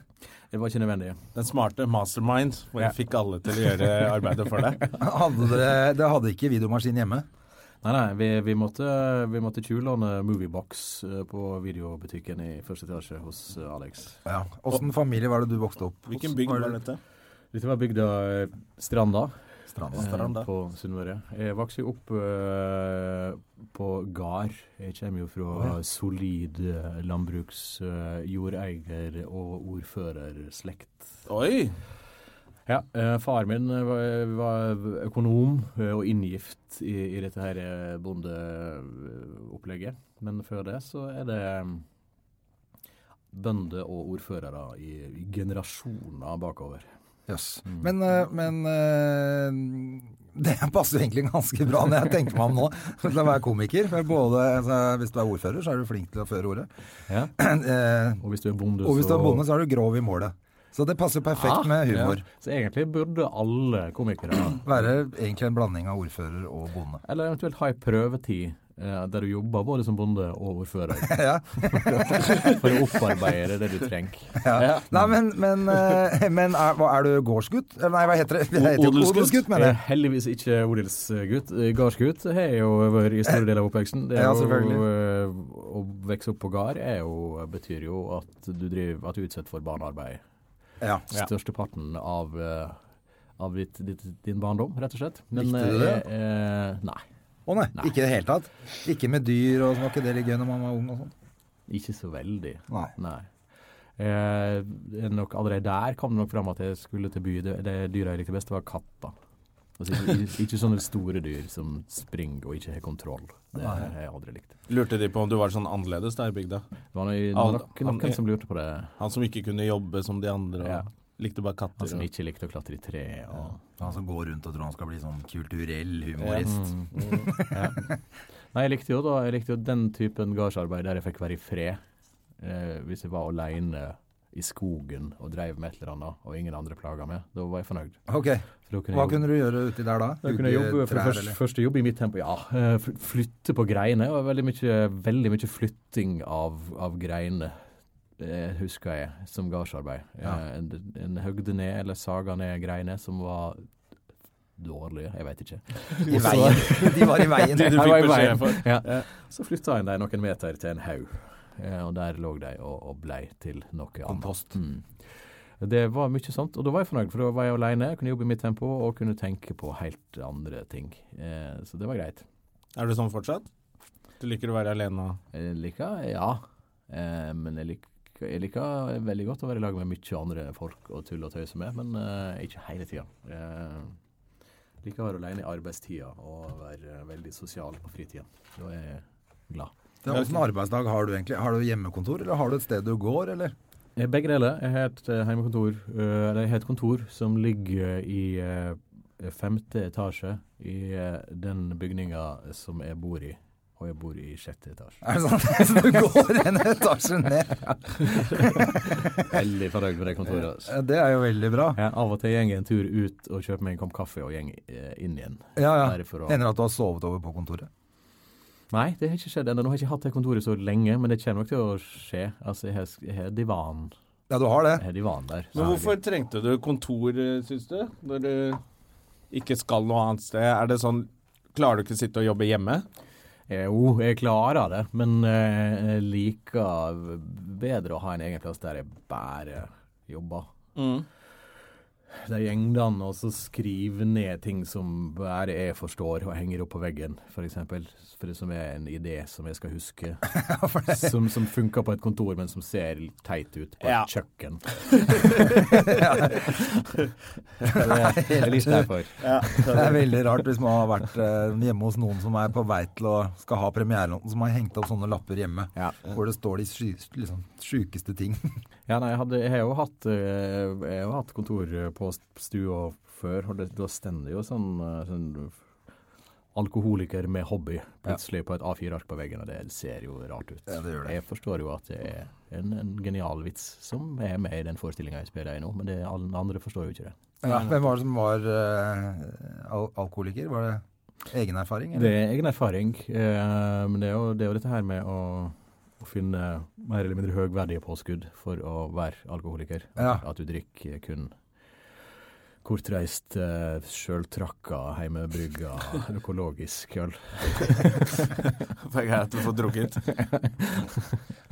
[SPEAKER 3] Det var ikke nødvendig.
[SPEAKER 1] Den smarte mastermind, hvor jeg fikk alle til å gjøre arbeidet for deg.
[SPEAKER 2] Hadde dere, dere hadde ikke videomaskin hjemme?
[SPEAKER 3] Nei, nei, vi, vi måtte, vi måtte tjuvlåne Moviebox eh, på videobutikken i første etasje hos eh, Alex.
[SPEAKER 2] Ja. Åssen familie var det du vokste opp hos?
[SPEAKER 1] Hvilken bygd var dette?
[SPEAKER 3] Dette var bygda eh, Stranda,
[SPEAKER 2] Stranda.
[SPEAKER 1] Stranda.
[SPEAKER 3] eh, på Sunnmøre. Jeg vokste jo opp eh, på gard. Jeg kommer jo fra solid eh, landbruks-, eh, jordeier- og ordførerslekt.
[SPEAKER 1] Eh, Oi!
[SPEAKER 3] Ja, eh, far min eh, var, var økonom eh, og inngift i, i dette her eh, bondeopplegget. Men før det så er det mm, bønder og ordførere i, i generasjoner bakover.
[SPEAKER 2] Jøss.
[SPEAKER 3] Mm.
[SPEAKER 2] Men, eh, men eh, det passer jo egentlig ganske bra når jeg tenker meg om nå, til å være komiker. For både, altså, hvis du er ordfører, så er du flink til å føre ordet.
[SPEAKER 3] Ja.
[SPEAKER 2] Eh,
[SPEAKER 3] Og hvis du er bonde,
[SPEAKER 2] og hvis du er
[SPEAKER 3] så-
[SPEAKER 2] bonde, så er du grov i målet. Så det passer perfekt med humor.
[SPEAKER 3] Ah, Ja. Så egentlig burde alle komikere
[SPEAKER 2] Være egentlig en blanding av ordfører og bonde.
[SPEAKER 3] Eller eventuelt ha ei prøvetid eh, der du jobber både som bonde og ordfører.
[SPEAKER 2] Ja.
[SPEAKER 3] For å opparbeide det du trenger.
[SPEAKER 2] Ja. Nei, men, men, eh, men er, hva, er du gårdsgutt? Eller Nei, hva heter det? det heter jo
[SPEAKER 1] Odelsgutt.
[SPEAKER 2] Odelsgutt,
[SPEAKER 3] Jeg
[SPEAKER 2] mener
[SPEAKER 3] er
[SPEAKER 2] jeg.
[SPEAKER 3] Eh, heldigvis ikke odelsgutt. Eh, Gardsgutt har jeg jo vært i store deler av oppveksten. Det
[SPEAKER 2] Eh,
[SPEAKER 3] er
[SPEAKER 2] Ja,
[SPEAKER 3] jo,
[SPEAKER 2] selvfølgelig.
[SPEAKER 3] eh, å vokse opp på gard er jo, betyr jo at du, driver, at du er utsatt for barnearbeid.
[SPEAKER 2] Ja.
[SPEAKER 3] Størsteparten av, eh, av ditt, ditt, din barndom, rett og slett. Men,
[SPEAKER 2] Likte du det?
[SPEAKER 3] eh, eh, nei.
[SPEAKER 2] Å nei,
[SPEAKER 3] Nei.
[SPEAKER 2] ikke i det hele tatt? Ikke med dyr, og så var ikke det litt gøy når man var ung og sånn?
[SPEAKER 3] Ikke så veldig.
[SPEAKER 2] Nei.
[SPEAKER 3] Nei. Eh, det er nok, allerede der kom det nok fram at jeg skulle til by. Det, det dyret jeg likte best, var katta. Altså, ikke, ikke sånne store dyr som springer og ikke har kontroll. Det har jeg aldri likt.
[SPEAKER 1] Lurte de på om du var sånn annerledes der i bygda?
[SPEAKER 3] Det var noe-
[SPEAKER 1] Al-
[SPEAKER 3] nok, noen
[SPEAKER 1] han-
[SPEAKER 3] som lurte på det.
[SPEAKER 1] Han som ikke kunne jobbe som de andre, og
[SPEAKER 3] Ja.
[SPEAKER 1] likte bare katter.
[SPEAKER 3] Han som
[SPEAKER 1] og-
[SPEAKER 3] ikke likte å klatre i tre. Og...
[SPEAKER 2] Han som går Altså, rundt og tror han skal bli sånn kulturell humorist.
[SPEAKER 3] Mm. Nei, jeg likte, jo da, jeg likte jo den typen gardsarbeid der jeg fikk være i fred. Eh, hvis jeg var aleine i skogen og dreiv med et eller annet og ingen andre plaga meg, da var jeg fornøyd.
[SPEAKER 2] Ok,
[SPEAKER 3] For da kunne jeg
[SPEAKER 2] hva
[SPEAKER 3] jobbe-
[SPEAKER 2] kunne du gjøre uti der da?
[SPEAKER 3] Da kunne jeg
[SPEAKER 2] Hugge
[SPEAKER 3] jobbe for
[SPEAKER 2] trær,
[SPEAKER 3] første,
[SPEAKER 2] eller?
[SPEAKER 3] første jobb i mitt tempo, ja. eh, fl- Flytte på greiene. og Veldig mye, veldig mye flytting av, av greiene, eh, husker jeg, som gardsarbeid. Eh,
[SPEAKER 2] Ja.
[SPEAKER 3] En, en høgde ned, eller saga ned greiene som var dårlige, jeg veit ikke.
[SPEAKER 2] I veien. De var i veien.
[SPEAKER 1] du
[SPEAKER 3] Her
[SPEAKER 1] fikk
[SPEAKER 3] var jeg i
[SPEAKER 1] beskjed
[SPEAKER 3] veien.
[SPEAKER 1] for.
[SPEAKER 3] Ja. Så flytta en de noen meter til en haug, eh, og der lå de og, og blei til noe annet.
[SPEAKER 2] Kompost.
[SPEAKER 3] Mm. Det var mye sånt, og da var jeg fornøyd, for da var jeg alene, kunne jobbe i mitt tempo og kunne tenke på helt andre ting. Eh, så det var greit.
[SPEAKER 1] Er du sånn fortsatt? Du liker å være alene?
[SPEAKER 3] Jeg liker, ja, eh, men jeg liker, jeg liker veldig godt å være i lag med mye andre folk og tulle og tøyse med, men eh, ikke hele tida. Eh, liker å være alene i arbeidstida og være eh, veldig sosial på fritida. Da er jeg glad.
[SPEAKER 2] Ja, Åssen arbeidsdag har du egentlig? Har du hjemmekontor, eller har du et sted du går, eller?
[SPEAKER 3] Eh, Begge deler. Jeg har et eh, hjemmekontor, eh, eller jeg har et kontor som ligger i eh, femte etasje i eh, den bygninga som jeg bor i. Og jeg bor i sjette etasje.
[SPEAKER 2] Er det sånn? Så du går en etasje ned?
[SPEAKER 3] Veldig fornøyd med det kontoret. altså.
[SPEAKER 2] Det er jo veldig bra.
[SPEAKER 3] Ja, av og til går jeg en tur ut og kjøper meg en kopp kaffe og gjeng eh, inn igjen.
[SPEAKER 2] Ja, ja.
[SPEAKER 3] Bare for å-
[SPEAKER 2] Hender det at du har sovet over på kontoret?
[SPEAKER 3] Nei, det har ikke skjedd ennå. Nå har jeg ikke hatt det kontoret så lenge, men det kommer nok til å skje. Altså, jeg har, jeg har divan,
[SPEAKER 2] Ja, du har det.
[SPEAKER 3] jeg har divan der.
[SPEAKER 1] Men hvorfor trengte du kontor, syns du? Når du ikke skal noe annet sted? Er det sånn Klarer du ikke å sitte og jobbe hjemme?
[SPEAKER 3] Eh, Jo, jeg klarer det, men eh, jeg liker bedre å ha en egen plass der jeg bare jobber. De gjengene og så skrive ned ting som bare jeg forstår, og henger opp på veggen, For eksempel, For det som er en idé som jeg skal huske. som som funker på et kontor, men som ser litt teit ut på et
[SPEAKER 1] Ja.
[SPEAKER 3] kjøkken. det er litt derfor.
[SPEAKER 2] Det er veldig rart hvis man har vært eh, hjemme hos noen som er på vei til å skal ha premiere, og som har hengt opp sånne lapper hjemme
[SPEAKER 3] Ja.
[SPEAKER 2] hvor det står de sky, liksom, sjukeste ting.
[SPEAKER 3] Ja, nei, jeg, hadde, jeg har jo hatt, eh, jeg har jo hatt kontor eh, på st- stua før, og det, da stender jo sånn, eh, sånn alkoholiker med hobby plutselig på et A4-ark på veggen, og det ser jo rart ut.
[SPEAKER 2] Ja, det gjør det.
[SPEAKER 3] Jeg forstår jo at det er en, en genial vits som er med i den forestillinga jeg spiller i nå, men det, alle andre forstår jo ikke det.
[SPEAKER 2] Ja, hvem var det som var eh, al alkoholiker? Var det egen erfaring?
[SPEAKER 3] Det
[SPEAKER 2] Eller?
[SPEAKER 3] er egen erfaring, eh, men det er, jo, det er jo dette her med å, å finne mer eller mindre høyverdige påskudd for å være alkoholiker.
[SPEAKER 2] Ja.
[SPEAKER 3] At du drikker kun kortreist, eh, sjøltrakka, heimebrygga, økologisk øl.
[SPEAKER 1] Det er greit å få drukket.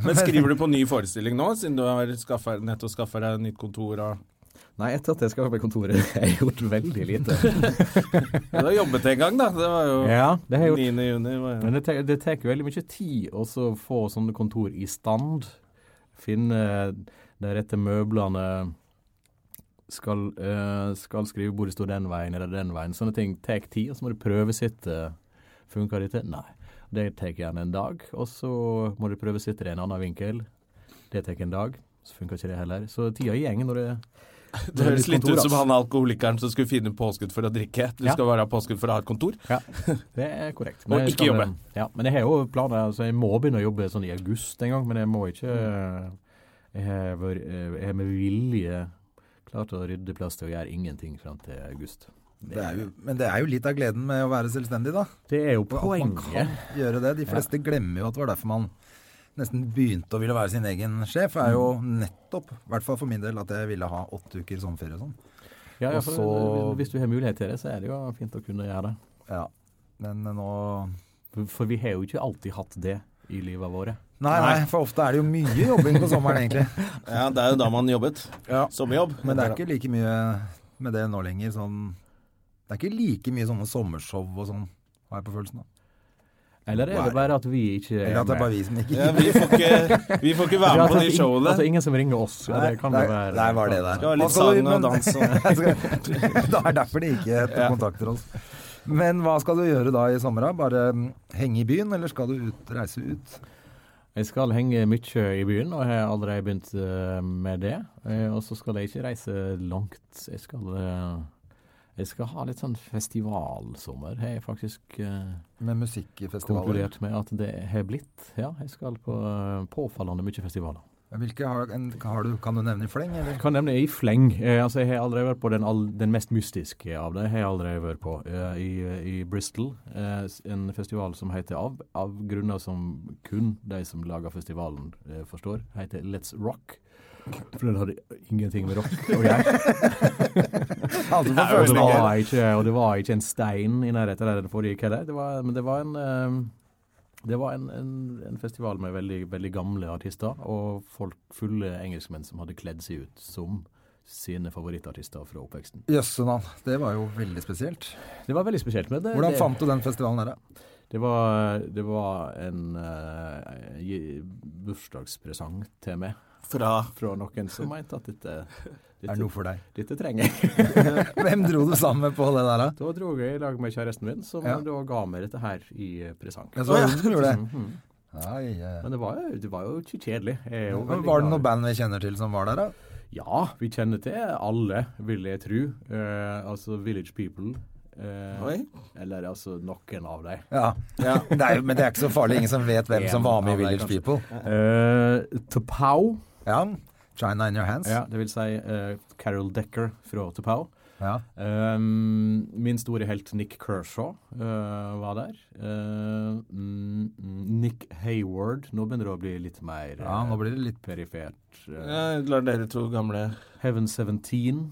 [SPEAKER 1] Men skriver du på ny forestilling nå, siden du har skaffa- nettopp skaffa deg nytt kontor? Og...
[SPEAKER 3] Nei, etter at jeg skaffa meg kontoret, jeg har jeg gjort veldig lite.
[SPEAKER 1] Du har jobbet en gang, da. Det var jo
[SPEAKER 3] ja, det har jeg gjort.
[SPEAKER 1] 9. juni. Var jo.
[SPEAKER 3] Men det tek- det tar veldig mye tid å så få sånne kontor i stand. Finne de rette møblene. Skal, eh, skal skrivebordet stå den veien eller den veien? Sånne ting tar tid. Og så må du prøvesitte. Funker dette? Nei. Det tar gjerne en dag. Og så må du prøvesitte i en annen vinkel. Det tar en dag. Så funker ikke det heller. Så tida går når det
[SPEAKER 1] Det høres litt
[SPEAKER 3] kontor,
[SPEAKER 1] ut som
[SPEAKER 3] ass.
[SPEAKER 1] han alkoholikeren som skulle finne påskudd for å drikke. Du
[SPEAKER 3] Ja.
[SPEAKER 1] skal bare ha påskudd for å ha et kontor.
[SPEAKER 3] Ja, det er korrekt.
[SPEAKER 1] Og
[SPEAKER 3] jeg
[SPEAKER 1] ikke
[SPEAKER 3] skal-
[SPEAKER 1] jobbe.
[SPEAKER 3] Ja, men jeg har jo planer. Altså, jeg må begynne å jobbe sånn i august en gang, men jeg må ikke eh, Jeg har vært- eh, jeg har med vilje klart å rydde plass til å gjøre ingenting fram til august.
[SPEAKER 2] Det er jo, men det er jo litt av gleden med å være selvstendig, da.
[SPEAKER 3] Det er jo
[SPEAKER 2] At man kan
[SPEAKER 3] poenget.
[SPEAKER 2] gjøre det. De fleste glemmer jo at det var derfor man nesten begynte å ville være sin egen sjef. er jo nettopp, i hvert fall for min del, at jeg ville ha åtte uker sommerferie og sånn.
[SPEAKER 3] Ja, ja,
[SPEAKER 2] Og
[SPEAKER 3] for,
[SPEAKER 2] så-
[SPEAKER 3] Hvis du har mulighet til det, så er det jo fint å kunne gjøre det.
[SPEAKER 2] Ja. Men nå
[SPEAKER 3] For- For vi har jo ikke alltid hatt det i livet våre.
[SPEAKER 2] Nei, nei, for ofte er det jo mye jobbing på sommeren, egentlig.
[SPEAKER 1] Ja, det er jo da man jobbet.
[SPEAKER 2] Ja.
[SPEAKER 1] Sommerjobb.
[SPEAKER 2] Men det er ikke like mye med det nå lenger. Sånn, det er ikke like mye sånne sommershow og sånn, har jeg på følelsen. da.
[SPEAKER 3] Eller er det bare at vi ikke
[SPEAKER 2] Eller
[SPEAKER 3] er
[SPEAKER 2] at det er bare
[SPEAKER 3] med?
[SPEAKER 2] vi som ikke
[SPEAKER 1] Ja, vi, får ikke, vi får ikke være med på
[SPEAKER 3] Altså,
[SPEAKER 1] de
[SPEAKER 3] ing-
[SPEAKER 1] showene.
[SPEAKER 3] Altså, ingen som ringer oss. Ja, det kan
[SPEAKER 2] Nei,
[SPEAKER 3] det være.
[SPEAKER 2] Der var det der.
[SPEAKER 1] Det var litt
[SPEAKER 2] Hva skal du-
[SPEAKER 1] sang og
[SPEAKER 2] men-
[SPEAKER 1] dans
[SPEAKER 2] Det er derfor de ikke kontakter oss. Men hva skal du gjøre da i sommer? da? Bare mm, henge i byen, eller skal du ut, reise ut?
[SPEAKER 3] Jeg skal henge mye i byen, og jeg har allerede begynt eh, med det. Eh, Og så skal jeg ikke reise langt. Jeg skal, eh, jeg skal ha litt sånn festivalsommer, har jeg faktisk eh,
[SPEAKER 2] Med musikkfestivaler.
[SPEAKER 3] konkludert med at det har blitt. Ja, jeg skal på eh, påfallende mye festivaler.
[SPEAKER 2] Hvilke har, en, har du, kan du nevne i fleng, eller?
[SPEAKER 3] Jeg kan nevne i fleng. Eh, altså, jeg har allerede vært på den, all, den mest mystiske av det. Jeg har allerede vært på eh, i, i Bristol. eh, s- en festival som heter av, av grunner som kun de som lager festivalen eh, forstår, heter Let's Rock. For den hadde ingenting med rock å gjøre.
[SPEAKER 2] Altså, for
[SPEAKER 3] Og det,
[SPEAKER 2] første gang.
[SPEAKER 3] var ikke, og det var ikke en stein i nærheten der det foregikk heller. Det var, men det var en eh, det var en, en, en festival med veldig, veldig gamle artister og folk fulle engelskmenn som hadde kledd seg ut som sine favorittartister fra oppveksten.
[SPEAKER 2] Jøsse navn. Det var jo veldig spesielt.
[SPEAKER 3] Det var veldig spesielt. Men det,
[SPEAKER 2] Hvordan
[SPEAKER 3] det,
[SPEAKER 2] fant du den festivalen der, da?
[SPEAKER 3] Det var, det var en eh, gi- bursdagspresang til meg
[SPEAKER 1] Fra
[SPEAKER 3] fra noen som mente at dette,
[SPEAKER 2] Er det noe
[SPEAKER 3] dette,
[SPEAKER 2] for deg?
[SPEAKER 3] dette trenger jeg.
[SPEAKER 2] Hvem dro du sammen med på det der, da?
[SPEAKER 3] Da dro jeg i lag med kjæresten min, som
[SPEAKER 2] Ja.
[SPEAKER 3] da ga meg dette her i eh, presang.
[SPEAKER 2] Jeg så hun som gjorde det.
[SPEAKER 3] Mhm.
[SPEAKER 2] Ai, eh.
[SPEAKER 3] Men det var, jo- det var jo ikke kjedelig. Jeg er jo
[SPEAKER 2] Men
[SPEAKER 3] veldig
[SPEAKER 2] Var det
[SPEAKER 3] glad i-
[SPEAKER 2] noe band vi kjenner til som var der, da?
[SPEAKER 3] Ja, vi kjenner til alle, vil jeg tro. Eh, altså Village People. eh,
[SPEAKER 1] Oi.
[SPEAKER 3] eller altså noen av dem.
[SPEAKER 2] Ja. Det er, jo- men det er ikke så farlig. Ingen som vet hvem som var med i
[SPEAKER 3] En av de,
[SPEAKER 2] Village
[SPEAKER 3] kanskje.
[SPEAKER 2] People.
[SPEAKER 3] Eh, Tapau,
[SPEAKER 2] Ja. China in your hands.
[SPEAKER 3] ja, det vil si eh, Carol Decker fra Tapau.
[SPEAKER 2] Ja.
[SPEAKER 3] Ehm, min store helt Nick Kershaw eh, var der. Eh, mm, mm, Nick Hayward. Nå begynner det å bli litt mer eh,
[SPEAKER 2] Ja, nå blir det litt
[SPEAKER 3] perifert. Eh,
[SPEAKER 1] ja, Lar dere to gamle
[SPEAKER 3] Heaven 17.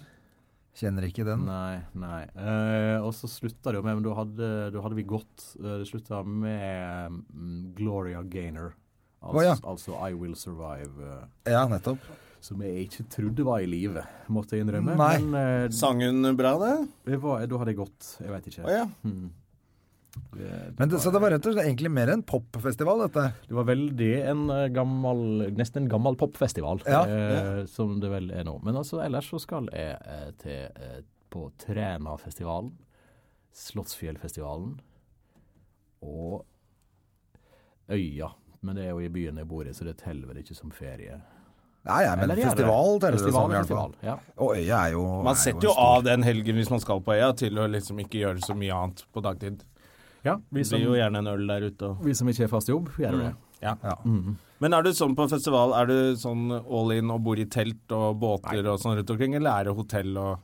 [SPEAKER 2] Kjenner ikke den.
[SPEAKER 3] Nei, nei. Eh, og så slutta det jo med Men da hadde, da hadde vi gått eh, Det slutta med mm, Gloria Gaynor. Altså,
[SPEAKER 2] Å, ja.
[SPEAKER 3] altså I Will Survive. eh,
[SPEAKER 2] Ja, nettopp.
[SPEAKER 3] som jeg ikke trodde var i live, måtte jeg innrømme.
[SPEAKER 2] Nei.
[SPEAKER 3] Men eh,
[SPEAKER 1] Sang hun bra, det?
[SPEAKER 3] det var, da hadde jeg gått. Jeg veit ikke.
[SPEAKER 1] Å ja.
[SPEAKER 3] Hmm. Det,
[SPEAKER 2] Men det, så det var rett og slett egentlig mer en popfestival, dette.
[SPEAKER 3] Det var veldig en eh, gammel, nesten en gammel popfestival,
[SPEAKER 2] Ja,
[SPEAKER 3] eh, som det vel er nå. Men altså, ellers så skal jeg eh, til, eh, på Trænafestivalen, Slottsfjellfestivalen og Øya. Men det er jo i byen jeg bor i, så det teller vel ikke som ferie.
[SPEAKER 2] Nei, ja, men
[SPEAKER 3] Eller gjør det?
[SPEAKER 2] festival teller det som,
[SPEAKER 3] Festival
[SPEAKER 2] i
[SPEAKER 3] er
[SPEAKER 2] hvert fall.
[SPEAKER 3] festival, ja.
[SPEAKER 2] Og øya er jo
[SPEAKER 1] Man
[SPEAKER 2] er
[SPEAKER 1] setter jo
[SPEAKER 2] en stor-
[SPEAKER 1] av den helgen hvis man skal på øya, til å liksom ikke gjøre så mye annet på dagtid.
[SPEAKER 3] ja vi,
[SPEAKER 1] Det
[SPEAKER 3] som,
[SPEAKER 1] blir jo gjerne en øl der ute og
[SPEAKER 3] vi som ikke har fast jobb, gjør jo
[SPEAKER 2] Mm.
[SPEAKER 3] det.
[SPEAKER 1] ja.
[SPEAKER 2] Ja.
[SPEAKER 1] Men er du sånn på festival, er du sånn all in og bor i telt og båter og sånn rundt omkring, eller er det hotell og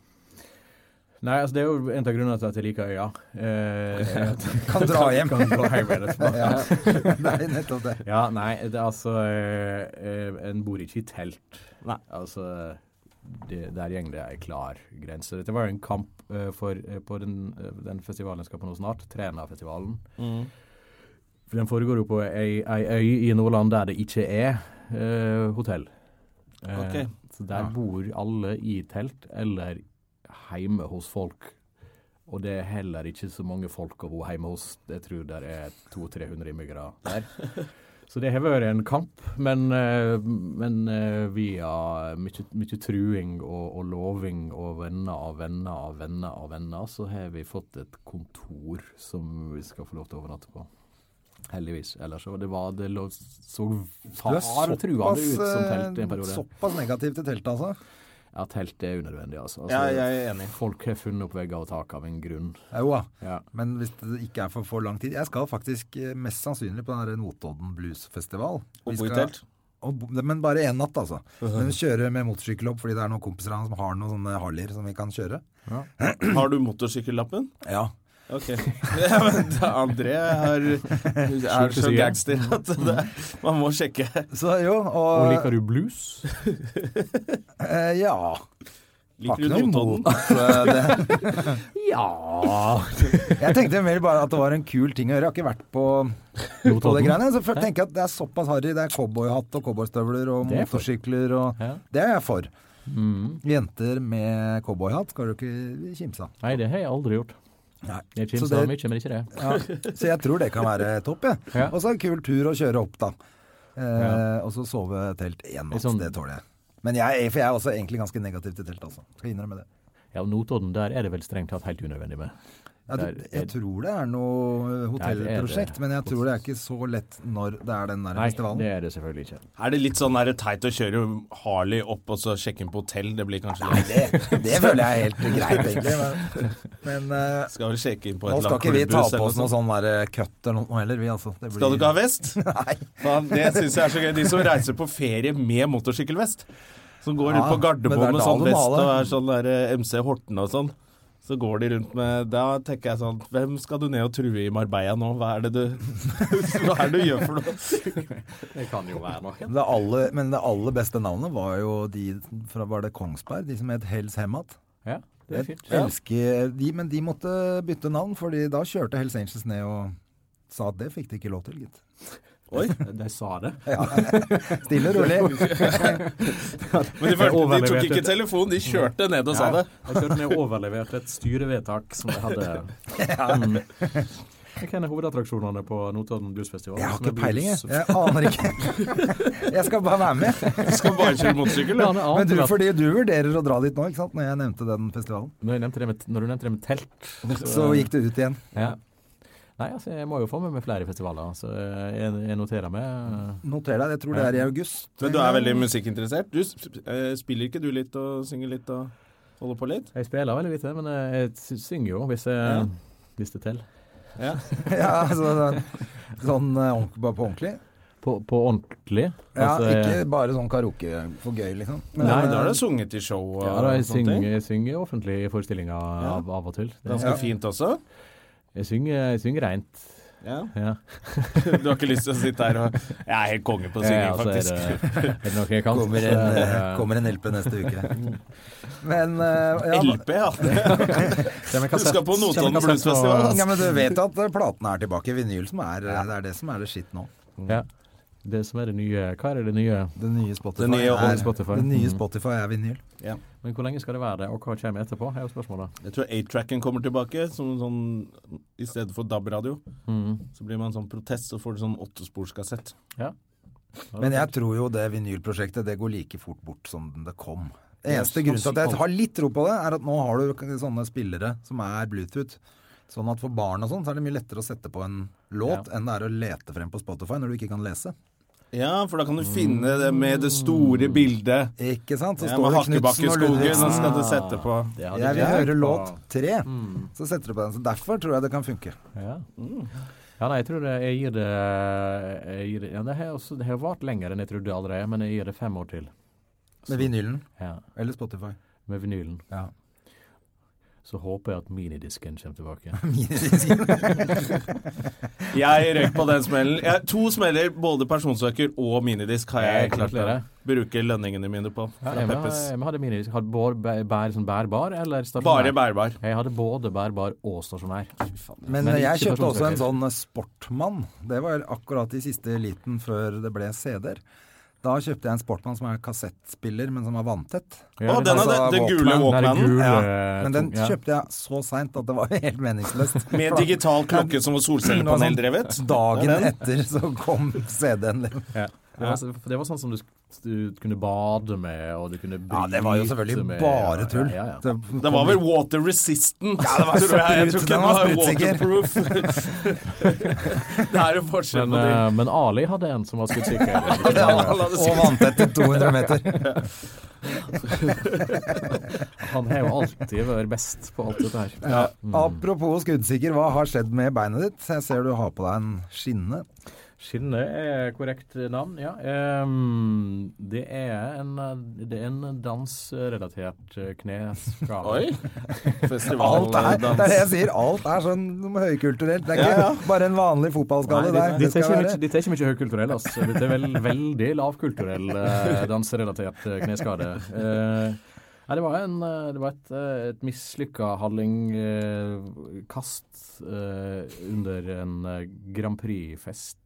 [SPEAKER 3] Nei, altså det er jo en av grunnene til at jeg liker øya. Eh, er at-
[SPEAKER 2] Kan dra hjem.
[SPEAKER 3] kan dra hjem igjen etterpå.
[SPEAKER 2] ja. Nei, nettopp det.
[SPEAKER 3] Ja, nei, det er altså eh, eh, En bor ikke i telt.
[SPEAKER 1] Nei.
[SPEAKER 3] Altså, det, der gjeng det er klar grense. Dette var jo en kamp eh, for, eh, på den, eh, den festivalen jeg skal på nå snart, Trænafestivalen.
[SPEAKER 1] Mm.
[SPEAKER 3] For den foregår jo på ei, ei øy i Nordland der det ikke er eh, hotell. Eh,
[SPEAKER 1] Ok.
[SPEAKER 3] telt. Der bor alle i telt eller hjemme hos folk. Og det er heller ikke så mange folk å bo hjemme hos. Jeg tror det er 200-300 innbyggere der. Så det har vært en kamp, men, eh, men eh, via mye, mye truing og, og loving og venner av venner av venner av venner, så har vi fått et kontor som vi skal få lov til å overnatte på. Heldigvis. Ellers så det var det lå, så
[SPEAKER 2] Du er
[SPEAKER 3] far truende ut som telt i en
[SPEAKER 2] eh,
[SPEAKER 3] periode.
[SPEAKER 2] såpass negativ til teltet, altså.
[SPEAKER 3] Ja, telt er unødvendig, altså. altså
[SPEAKER 1] Ja, jeg er enig.
[SPEAKER 3] Folk har funnet opp vegger og tak av en grunn.
[SPEAKER 2] Jo da.
[SPEAKER 3] Ja.
[SPEAKER 2] Men hvis det ikke er for, for lang tid Jeg skal faktisk eh, mest sannsynlig på den her Notodden bluesfestival. Vi
[SPEAKER 1] Og bo i
[SPEAKER 2] skal-
[SPEAKER 1] telt?
[SPEAKER 2] Og bo- Men bare én natt, altså. Men kjøre med motorsykkel opp fordi det er noen kompiser av han som har noen sånne Harleyer som vi kan kjøre.
[SPEAKER 1] Har du motorsykkellappen?
[SPEAKER 2] Ja.
[SPEAKER 1] Ok. Ja, men da, André er, er så
[SPEAKER 3] side.
[SPEAKER 1] gangster at det, man må sjekke.
[SPEAKER 2] Så jo,
[SPEAKER 3] Og
[SPEAKER 2] og
[SPEAKER 3] liker du blues?
[SPEAKER 2] eh, Ja. Har
[SPEAKER 1] Liker
[SPEAKER 2] ikke noe
[SPEAKER 1] du Notodden?
[SPEAKER 2] imot eh, det.
[SPEAKER 3] Ja!
[SPEAKER 2] Jeg tenkte mer bare at det var en kul ting å gjøre. Jeg har ikke vært på, på det greiene. Så for- tenker jeg at det er såpass harry. Det er cowboyhatt og cowboystøvler og
[SPEAKER 3] Det er jeg for.
[SPEAKER 2] motorsykler og
[SPEAKER 3] Ja. Mm.
[SPEAKER 2] Det er jeg for. Jenter med cowboyhatt skal du ikke kimse av.
[SPEAKER 3] Nei, det har jeg aldri gjort. Jeg
[SPEAKER 2] Så
[SPEAKER 3] kimser
[SPEAKER 2] det-
[SPEAKER 3] av mye, men ikke det.
[SPEAKER 2] Ja. Så jeg tror det kan være topp, jeg.
[SPEAKER 3] Ja.
[SPEAKER 2] Og så en kul tur å kjøre opp, da. Eh,
[SPEAKER 3] Ja.
[SPEAKER 2] Og så sove telt én natt.
[SPEAKER 3] Litt sånn-
[SPEAKER 2] Det tåler jeg. Men jeg, for jeg er også egentlig ganske negativ til telt, altså. Skal innrømme det.
[SPEAKER 3] Ja, Notodden, der er det vel strengt tatt helt unødvendig med.
[SPEAKER 2] Jeg,
[SPEAKER 3] Der
[SPEAKER 2] tr-
[SPEAKER 3] er-
[SPEAKER 2] jeg tror det er noe eh, hotellprosjekt, men jeg tror det er ikke så lett når det er den der
[SPEAKER 3] Nei,
[SPEAKER 2] festivalen.
[SPEAKER 3] det er det selvfølgelig ikke.
[SPEAKER 1] Er det litt sånn der teit å kjøre Harley opp og så sjekke inn på hotell? Det blir kanskje
[SPEAKER 2] Nei,
[SPEAKER 1] litt
[SPEAKER 2] det, det føler jeg er helt greit, egentlig. Men, men eh,
[SPEAKER 1] Skal vel sjekke inn på et
[SPEAKER 2] nå skal
[SPEAKER 1] eller annet
[SPEAKER 2] ikke vi ta
[SPEAKER 1] klubbhus
[SPEAKER 2] på
[SPEAKER 1] eller
[SPEAKER 2] oss
[SPEAKER 1] noe
[SPEAKER 2] noe
[SPEAKER 1] sånt.
[SPEAKER 2] sånn der cut eller noe heller, vi altså. Det blir-
[SPEAKER 1] Skal du ikke ha vest?
[SPEAKER 2] Nei.
[SPEAKER 1] Faen, det syns jeg er så gøy. De som reiser på ferie med motorsykkelvest. Som går rundt
[SPEAKER 2] Ja,
[SPEAKER 1] på
[SPEAKER 2] men det er
[SPEAKER 1] Gardermoen med
[SPEAKER 2] da
[SPEAKER 1] sånn
[SPEAKER 2] de må
[SPEAKER 1] vest
[SPEAKER 2] ha
[SPEAKER 1] og
[SPEAKER 2] det.
[SPEAKER 1] er sånn der eh, MC Horten og sånn. Så går de rundt med Da tenker jeg sånn Hvem skal du ned og true i Marbella nå? Hva er det du Hva er det du gjør for noe?
[SPEAKER 3] Det kan jo være noe.
[SPEAKER 2] Det aller, men det aller beste navnet var jo de fra var det Kongsberg, de som het Hells Hemat.
[SPEAKER 3] Ja, det er
[SPEAKER 2] Jeg
[SPEAKER 3] fint.
[SPEAKER 2] elsker de, men de måtte bytte navn, fordi da kjørte Hells Angels ned og sa at det fikk de ikke lov til, gitt.
[SPEAKER 1] Oi.
[SPEAKER 3] De sa det.
[SPEAKER 2] Stille og rolig.
[SPEAKER 1] Men de, følte, de tok
[SPEAKER 3] Overleverte
[SPEAKER 1] ikke
[SPEAKER 3] det.
[SPEAKER 1] telefon, de kjørte ned og sa det.
[SPEAKER 3] Jeg følte meg overlevert et styrevedtak som jeg hadde. Mm. Hva er hovedattraksjonene på Notodden Bluesfestival?
[SPEAKER 2] Jeg har
[SPEAKER 3] Som er
[SPEAKER 2] ikke peiling, jeg.
[SPEAKER 3] blues-
[SPEAKER 2] Jeg aner ikke. Jeg skal bare være med.
[SPEAKER 1] Skal bare kjøre motorsykkel.
[SPEAKER 3] Ja,
[SPEAKER 1] da.
[SPEAKER 3] det
[SPEAKER 2] Men
[SPEAKER 3] ante
[SPEAKER 2] du,
[SPEAKER 3] vel at-
[SPEAKER 2] fordi du vurderer å dra dit nå, ikke sant? Når jeg nevnte den festivalen.
[SPEAKER 3] Når, jeg nevnte det med, når du nevnte det med telt
[SPEAKER 2] Så gikk du ut igjen.
[SPEAKER 3] ja. Nei, altså, jeg må jo få med meg flere festivaler, så eh, jeg, jeg noterer meg.
[SPEAKER 2] Noter deg, jeg tror det er i august.
[SPEAKER 1] Men du er veldig musikkinteressert. Du sp- eh, spiller ikke du litt og synger litt og holder på litt?
[SPEAKER 3] Jeg spiller veldig lite, men eh, jeg sy- synger jo hvis, jeg,
[SPEAKER 1] Ja.
[SPEAKER 3] hvis det teller.
[SPEAKER 1] Ja.
[SPEAKER 2] Ja, altså, sånn eh, ordentlig- bare på ordentlig.
[SPEAKER 3] På, på ordentlig.
[SPEAKER 2] Ja,
[SPEAKER 3] Altså, jeg-
[SPEAKER 2] ikke bare sånn karaoke for gøy, liksom. Men,
[SPEAKER 1] Nei,
[SPEAKER 2] eh,
[SPEAKER 1] da har du sunget i show og
[SPEAKER 3] Ja, da, jeg,
[SPEAKER 1] sånne
[SPEAKER 3] synger,
[SPEAKER 1] ting.
[SPEAKER 3] jeg synger offentlig i forestillinga av, av og til. Det,
[SPEAKER 1] Ganske fint også.
[SPEAKER 3] jeg synger, jeg synger rent.
[SPEAKER 1] Ja.
[SPEAKER 3] Ja.
[SPEAKER 1] Du har ikke lyst til å sitte her og Jeg er helt konge på å synge,
[SPEAKER 3] Ja, så
[SPEAKER 1] faktisk.
[SPEAKER 3] Er det, er det noe jeg kan?
[SPEAKER 2] Kommer
[SPEAKER 3] så
[SPEAKER 2] en,
[SPEAKER 3] er det-
[SPEAKER 2] eh, kommer en LP neste uke. Men eh, ja,
[SPEAKER 1] LP, ja.
[SPEAKER 3] Kjem en
[SPEAKER 1] Du skal
[SPEAKER 3] kassett.
[SPEAKER 1] på
[SPEAKER 3] Kjem en
[SPEAKER 1] Notodden
[SPEAKER 3] kassett
[SPEAKER 1] Bluesfestival.
[SPEAKER 2] ja,
[SPEAKER 1] ass.
[SPEAKER 2] men du vet jo at eh, platene er tilbake. Vinyl som er eh, Det er det som er det shit nå.
[SPEAKER 3] og- Ja. Det som er det nye Hva er det nye?
[SPEAKER 2] Det nye Spotify,
[SPEAKER 1] Det nye
[SPEAKER 2] er,
[SPEAKER 3] Spotify.
[SPEAKER 2] Det nye
[SPEAKER 3] Mm.
[SPEAKER 2] Spotify er vinyl.
[SPEAKER 3] Men hvor lenge skal det være det, og hva kommer etterpå? er jo spørsmålet.
[SPEAKER 1] Jeg tror 8-tracken kommer tilbake som sånn I stedet for DAB-radio.
[SPEAKER 3] Mm.
[SPEAKER 1] Så blir man sånn protest, så får du sånn åttesporskassett.
[SPEAKER 3] Ja.
[SPEAKER 2] Men jeg tror jo det vinylprosjektet det går like fort bort som det kom. Eneste grunn til at jeg har litt tro på det, er at nå har du k- sånne spillere som er Bluetooth. Sånn at for barn og sånn, så er det mye lettere å sette på en låt enn det er å lete frem på Spotify når du ikke kan lese.
[SPEAKER 1] Ja, for da kan du finne det med det store bildet.
[SPEAKER 2] Ikke sant? Så
[SPEAKER 1] Ja,
[SPEAKER 2] står
[SPEAKER 1] med
[SPEAKER 2] det Knutsen og
[SPEAKER 1] Hakkebakkeskogen,
[SPEAKER 2] Ludvigsen.
[SPEAKER 1] så skal du sette på
[SPEAKER 3] Det hadde
[SPEAKER 2] Jeg vil
[SPEAKER 3] jeg
[SPEAKER 2] høre
[SPEAKER 3] tenkt
[SPEAKER 2] låt
[SPEAKER 3] på.
[SPEAKER 2] tre, så setter du på den. Så Derfor tror jeg det kan funke.
[SPEAKER 3] Ja. ja, nei, jeg tror det Jeg gir det, jeg gir det ja, Det har også- det har vart lenger enn jeg trodde allerede, men jeg gir det fem år til.
[SPEAKER 2] Med vinylen
[SPEAKER 3] Ja,
[SPEAKER 2] eller Spotify.
[SPEAKER 3] Med vinylen.
[SPEAKER 2] Ja.
[SPEAKER 3] Så håper jeg at minidisken kommer tilbake.
[SPEAKER 1] Jeg røyk på den smellen. Jeg, to smeller, både personsøker og minidisk, har jeg
[SPEAKER 3] Jeg
[SPEAKER 1] klart å
[SPEAKER 3] gratulerer.
[SPEAKER 1] bruke lønningene mine på.
[SPEAKER 3] Ja,
[SPEAKER 1] Fra
[SPEAKER 3] jeg,
[SPEAKER 1] Peppes.
[SPEAKER 3] jeg hadde minidisk. Hadde bår, bæ- bær, sånn bærbar eller stasjonær?
[SPEAKER 1] Bare bærbar.
[SPEAKER 3] Jeg hadde både bærbar og stasjonær.
[SPEAKER 2] Men,
[SPEAKER 3] Men
[SPEAKER 2] jeg
[SPEAKER 3] ikke
[SPEAKER 2] kjøpte også en
[SPEAKER 3] personlig.
[SPEAKER 2] sånn Sportmann. Det var akkurat i siste liten før det ble CD-er. Da kjøpte jeg en Sportman som er kassettspiller, men som er vanntett.
[SPEAKER 1] Å, den er det,
[SPEAKER 2] Altså,
[SPEAKER 1] det gule
[SPEAKER 2] Walkman.
[SPEAKER 3] Den er
[SPEAKER 1] Walkmanen.
[SPEAKER 3] gul,
[SPEAKER 2] Ja,
[SPEAKER 3] eh,
[SPEAKER 2] men den
[SPEAKER 3] tung, ja.
[SPEAKER 2] kjøpte jeg så seint at det var helt meningsløst.
[SPEAKER 1] Med digital klokke som
[SPEAKER 2] Det var
[SPEAKER 1] var
[SPEAKER 2] sånn
[SPEAKER 1] solcellepaneldrevet.
[SPEAKER 2] Dagen
[SPEAKER 1] Det er den.
[SPEAKER 2] etter så kom CD-en.
[SPEAKER 3] Ja. Det, var, så- for det var sånn som du, sk- du kunne bade med, og du kunne bryte
[SPEAKER 2] Ja, det var jo selvfølgelig
[SPEAKER 3] med,
[SPEAKER 2] bare
[SPEAKER 3] ja,
[SPEAKER 2] tull.
[SPEAKER 3] Ja, ja, ja.
[SPEAKER 1] Det var vel water resistant. Ja,
[SPEAKER 2] det var
[SPEAKER 1] tror jeg, jeg
[SPEAKER 2] sprut-
[SPEAKER 1] tror ikke
[SPEAKER 2] den
[SPEAKER 1] den
[SPEAKER 2] var
[SPEAKER 1] var
[SPEAKER 2] sprutsikker.
[SPEAKER 1] waterproof. det er jo forskjell
[SPEAKER 3] Men,
[SPEAKER 1] på det.
[SPEAKER 3] eh, men Ali hadde en som var skuddsikker.
[SPEAKER 2] Ja, og vanntett til 200 meter.
[SPEAKER 3] Han har jo alltid vært best på alt dette her.
[SPEAKER 2] Ja. Apropos skuddsikker, hva har skjedd med beinet ditt? Jeg ser du har på deg en skinne.
[SPEAKER 3] Skinne er korrekt navn, ja. Ehm, det, er en, eh, det er en dansrelatert eh, kneskade.
[SPEAKER 1] Oi! eh, Festival
[SPEAKER 2] Alt er, det er det jeg sier, alt er sånn høykulturelt. Det er ikke bare en vanlig fotballskade
[SPEAKER 3] Nei,
[SPEAKER 2] der. Det
[SPEAKER 3] dette
[SPEAKER 2] skal
[SPEAKER 3] er ikke
[SPEAKER 2] være
[SPEAKER 3] mye- dette er ikke mye høykulturell. Altså. Dette er vel, veldig lavkulturell eh, danserelatert eh, kneskade. Eh, nei, det var, en, eh, det var et, eh, et mislykka hallingkast eh, under en eh, Grand Prix-fest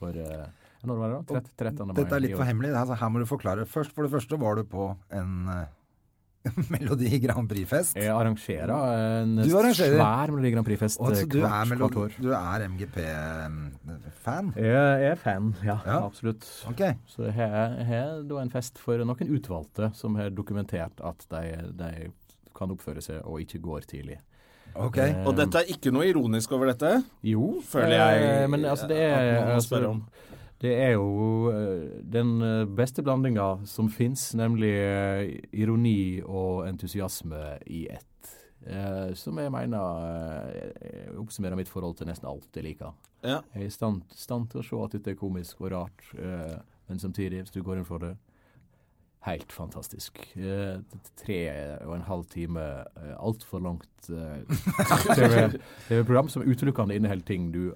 [SPEAKER 3] for eh, Når var det da? Trett- 13. mai.
[SPEAKER 2] Dette er
[SPEAKER 3] i
[SPEAKER 2] litt
[SPEAKER 3] år.
[SPEAKER 2] for hemmelig. Altså, her må du forklare. Først, for det første var du på en eh, Melodi Grand Prix-fest.
[SPEAKER 3] Jeg Eh, arrangerer eh, en
[SPEAKER 2] Du arrangerer?
[SPEAKER 3] svær Melodi Grand Prix-fest
[SPEAKER 2] Og altså, du,
[SPEAKER 3] hvert-
[SPEAKER 2] er
[SPEAKER 3] hvert
[SPEAKER 2] Melo-
[SPEAKER 3] år.
[SPEAKER 2] du er MGP-fan?
[SPEAKER 3] Jeg er fan, ja.
[SPEAKER 2] Ja.
[SPEAKER 3] Absolutt.
[SPEAKER 2] Ok.
[SPEAKER 3] Så her er- her er da en fest for noen utvalgte som har dokumentert at de, de kan oppføre seg og ikke går tidlig.
[SPEAKER 2] ok.
[SPEAKER 1] Og dette er ikke noe ironisk over dette.
[SPEAKER 3] Jo,
[SPEAKER 1] Føler jeg
[SPEAKER 3] eh, Men altså, det
[SPEAKER 1] at
[SPEAKER 3] er
[SPEAKER 1] noen må spørre
[SPEAKER 3] altså,
[SPEAKER 1] om.
[SPEAKER 3] Det er jo eh, den eh, beste blandinga som fins, nemlig eh, ironi og entusiasme i ett. Eh, som jeg mener eh, oppsummerer mitt forhold til nesten alt jeg liker.
[SPEAKER 1] Ja.
[SPEAKER 3] Jeg er i stand, stand til å se at dette er komisk og rart, eh, men samtidig, hvis du går inn for det Helt fantastisk. Eh, t- tre og en halv time eh, altfor langt eh, TV TV-program som utelukkende inneholder ting du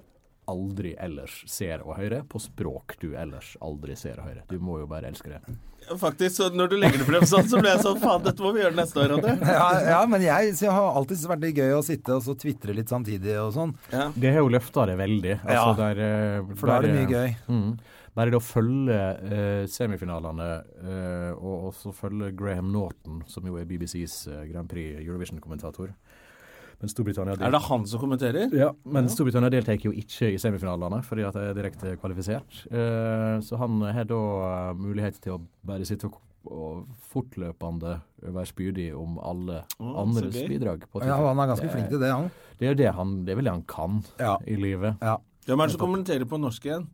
[SPEAKER 3] aldri ellers ser og hører, på språk du ellers aldri ser og hører. Du må jo bare elske det.
[SPEAKER 1] Faktisk, så når du legger det frem sånn, så ble jeg sånn Faen, dette må vi gjøre neste år, André.
[SPEAKER 2] Ja, ja, men jeg, så jeg har alltid syntes det har vært litt gøy å sitte og så tvitre litt samtidig og sånn.
[SPEAKER 3] Det har jo løfta det veldig. Altså,
[SPEAKER 2] Ja,
[SPEAKER 3] der, eh,
[SPEAKER 2] For da er det
[SPEAKER 3] der, eh,
[SPEAKER 2] mye gøy.
[SPEAKER 3] Mm. Bare det å følge eh, semifinalene eh, og også følge Graham Norton, som jo er BBCs eh, Grand Prix Eurovision-kommentator. Men Storbritannia
[SPEAKER 1] Er det han som kommenterer?
[SPEAKER 3] ja, men Storbritannia deltar jo ikke i semifinalene fordi at de er direkte kvalifisert. Eh, så han har da eh, mulighet til å bare sitte og, og fortløpende være spydig om alle
[SPEAKER 1] så
[SPEAKER 3] andres
[SPEAKER 1] gøy.
[SPEAKER 3] bidrag. På
[SPEAKER 2] Ja,
[SPEAKER 3] Twitter.
[SPEAKER 2] han er ganske flink til det, han.
[SPEAKER 3] det er jo det han, det er vel det han kan
[SPEAKER 2] Ja.
[SPEAKER 3] i livet.
[SPEAKER 2] Ja.
[SPEAKER 1] Hvem er det som kommenterer på norsk igjen?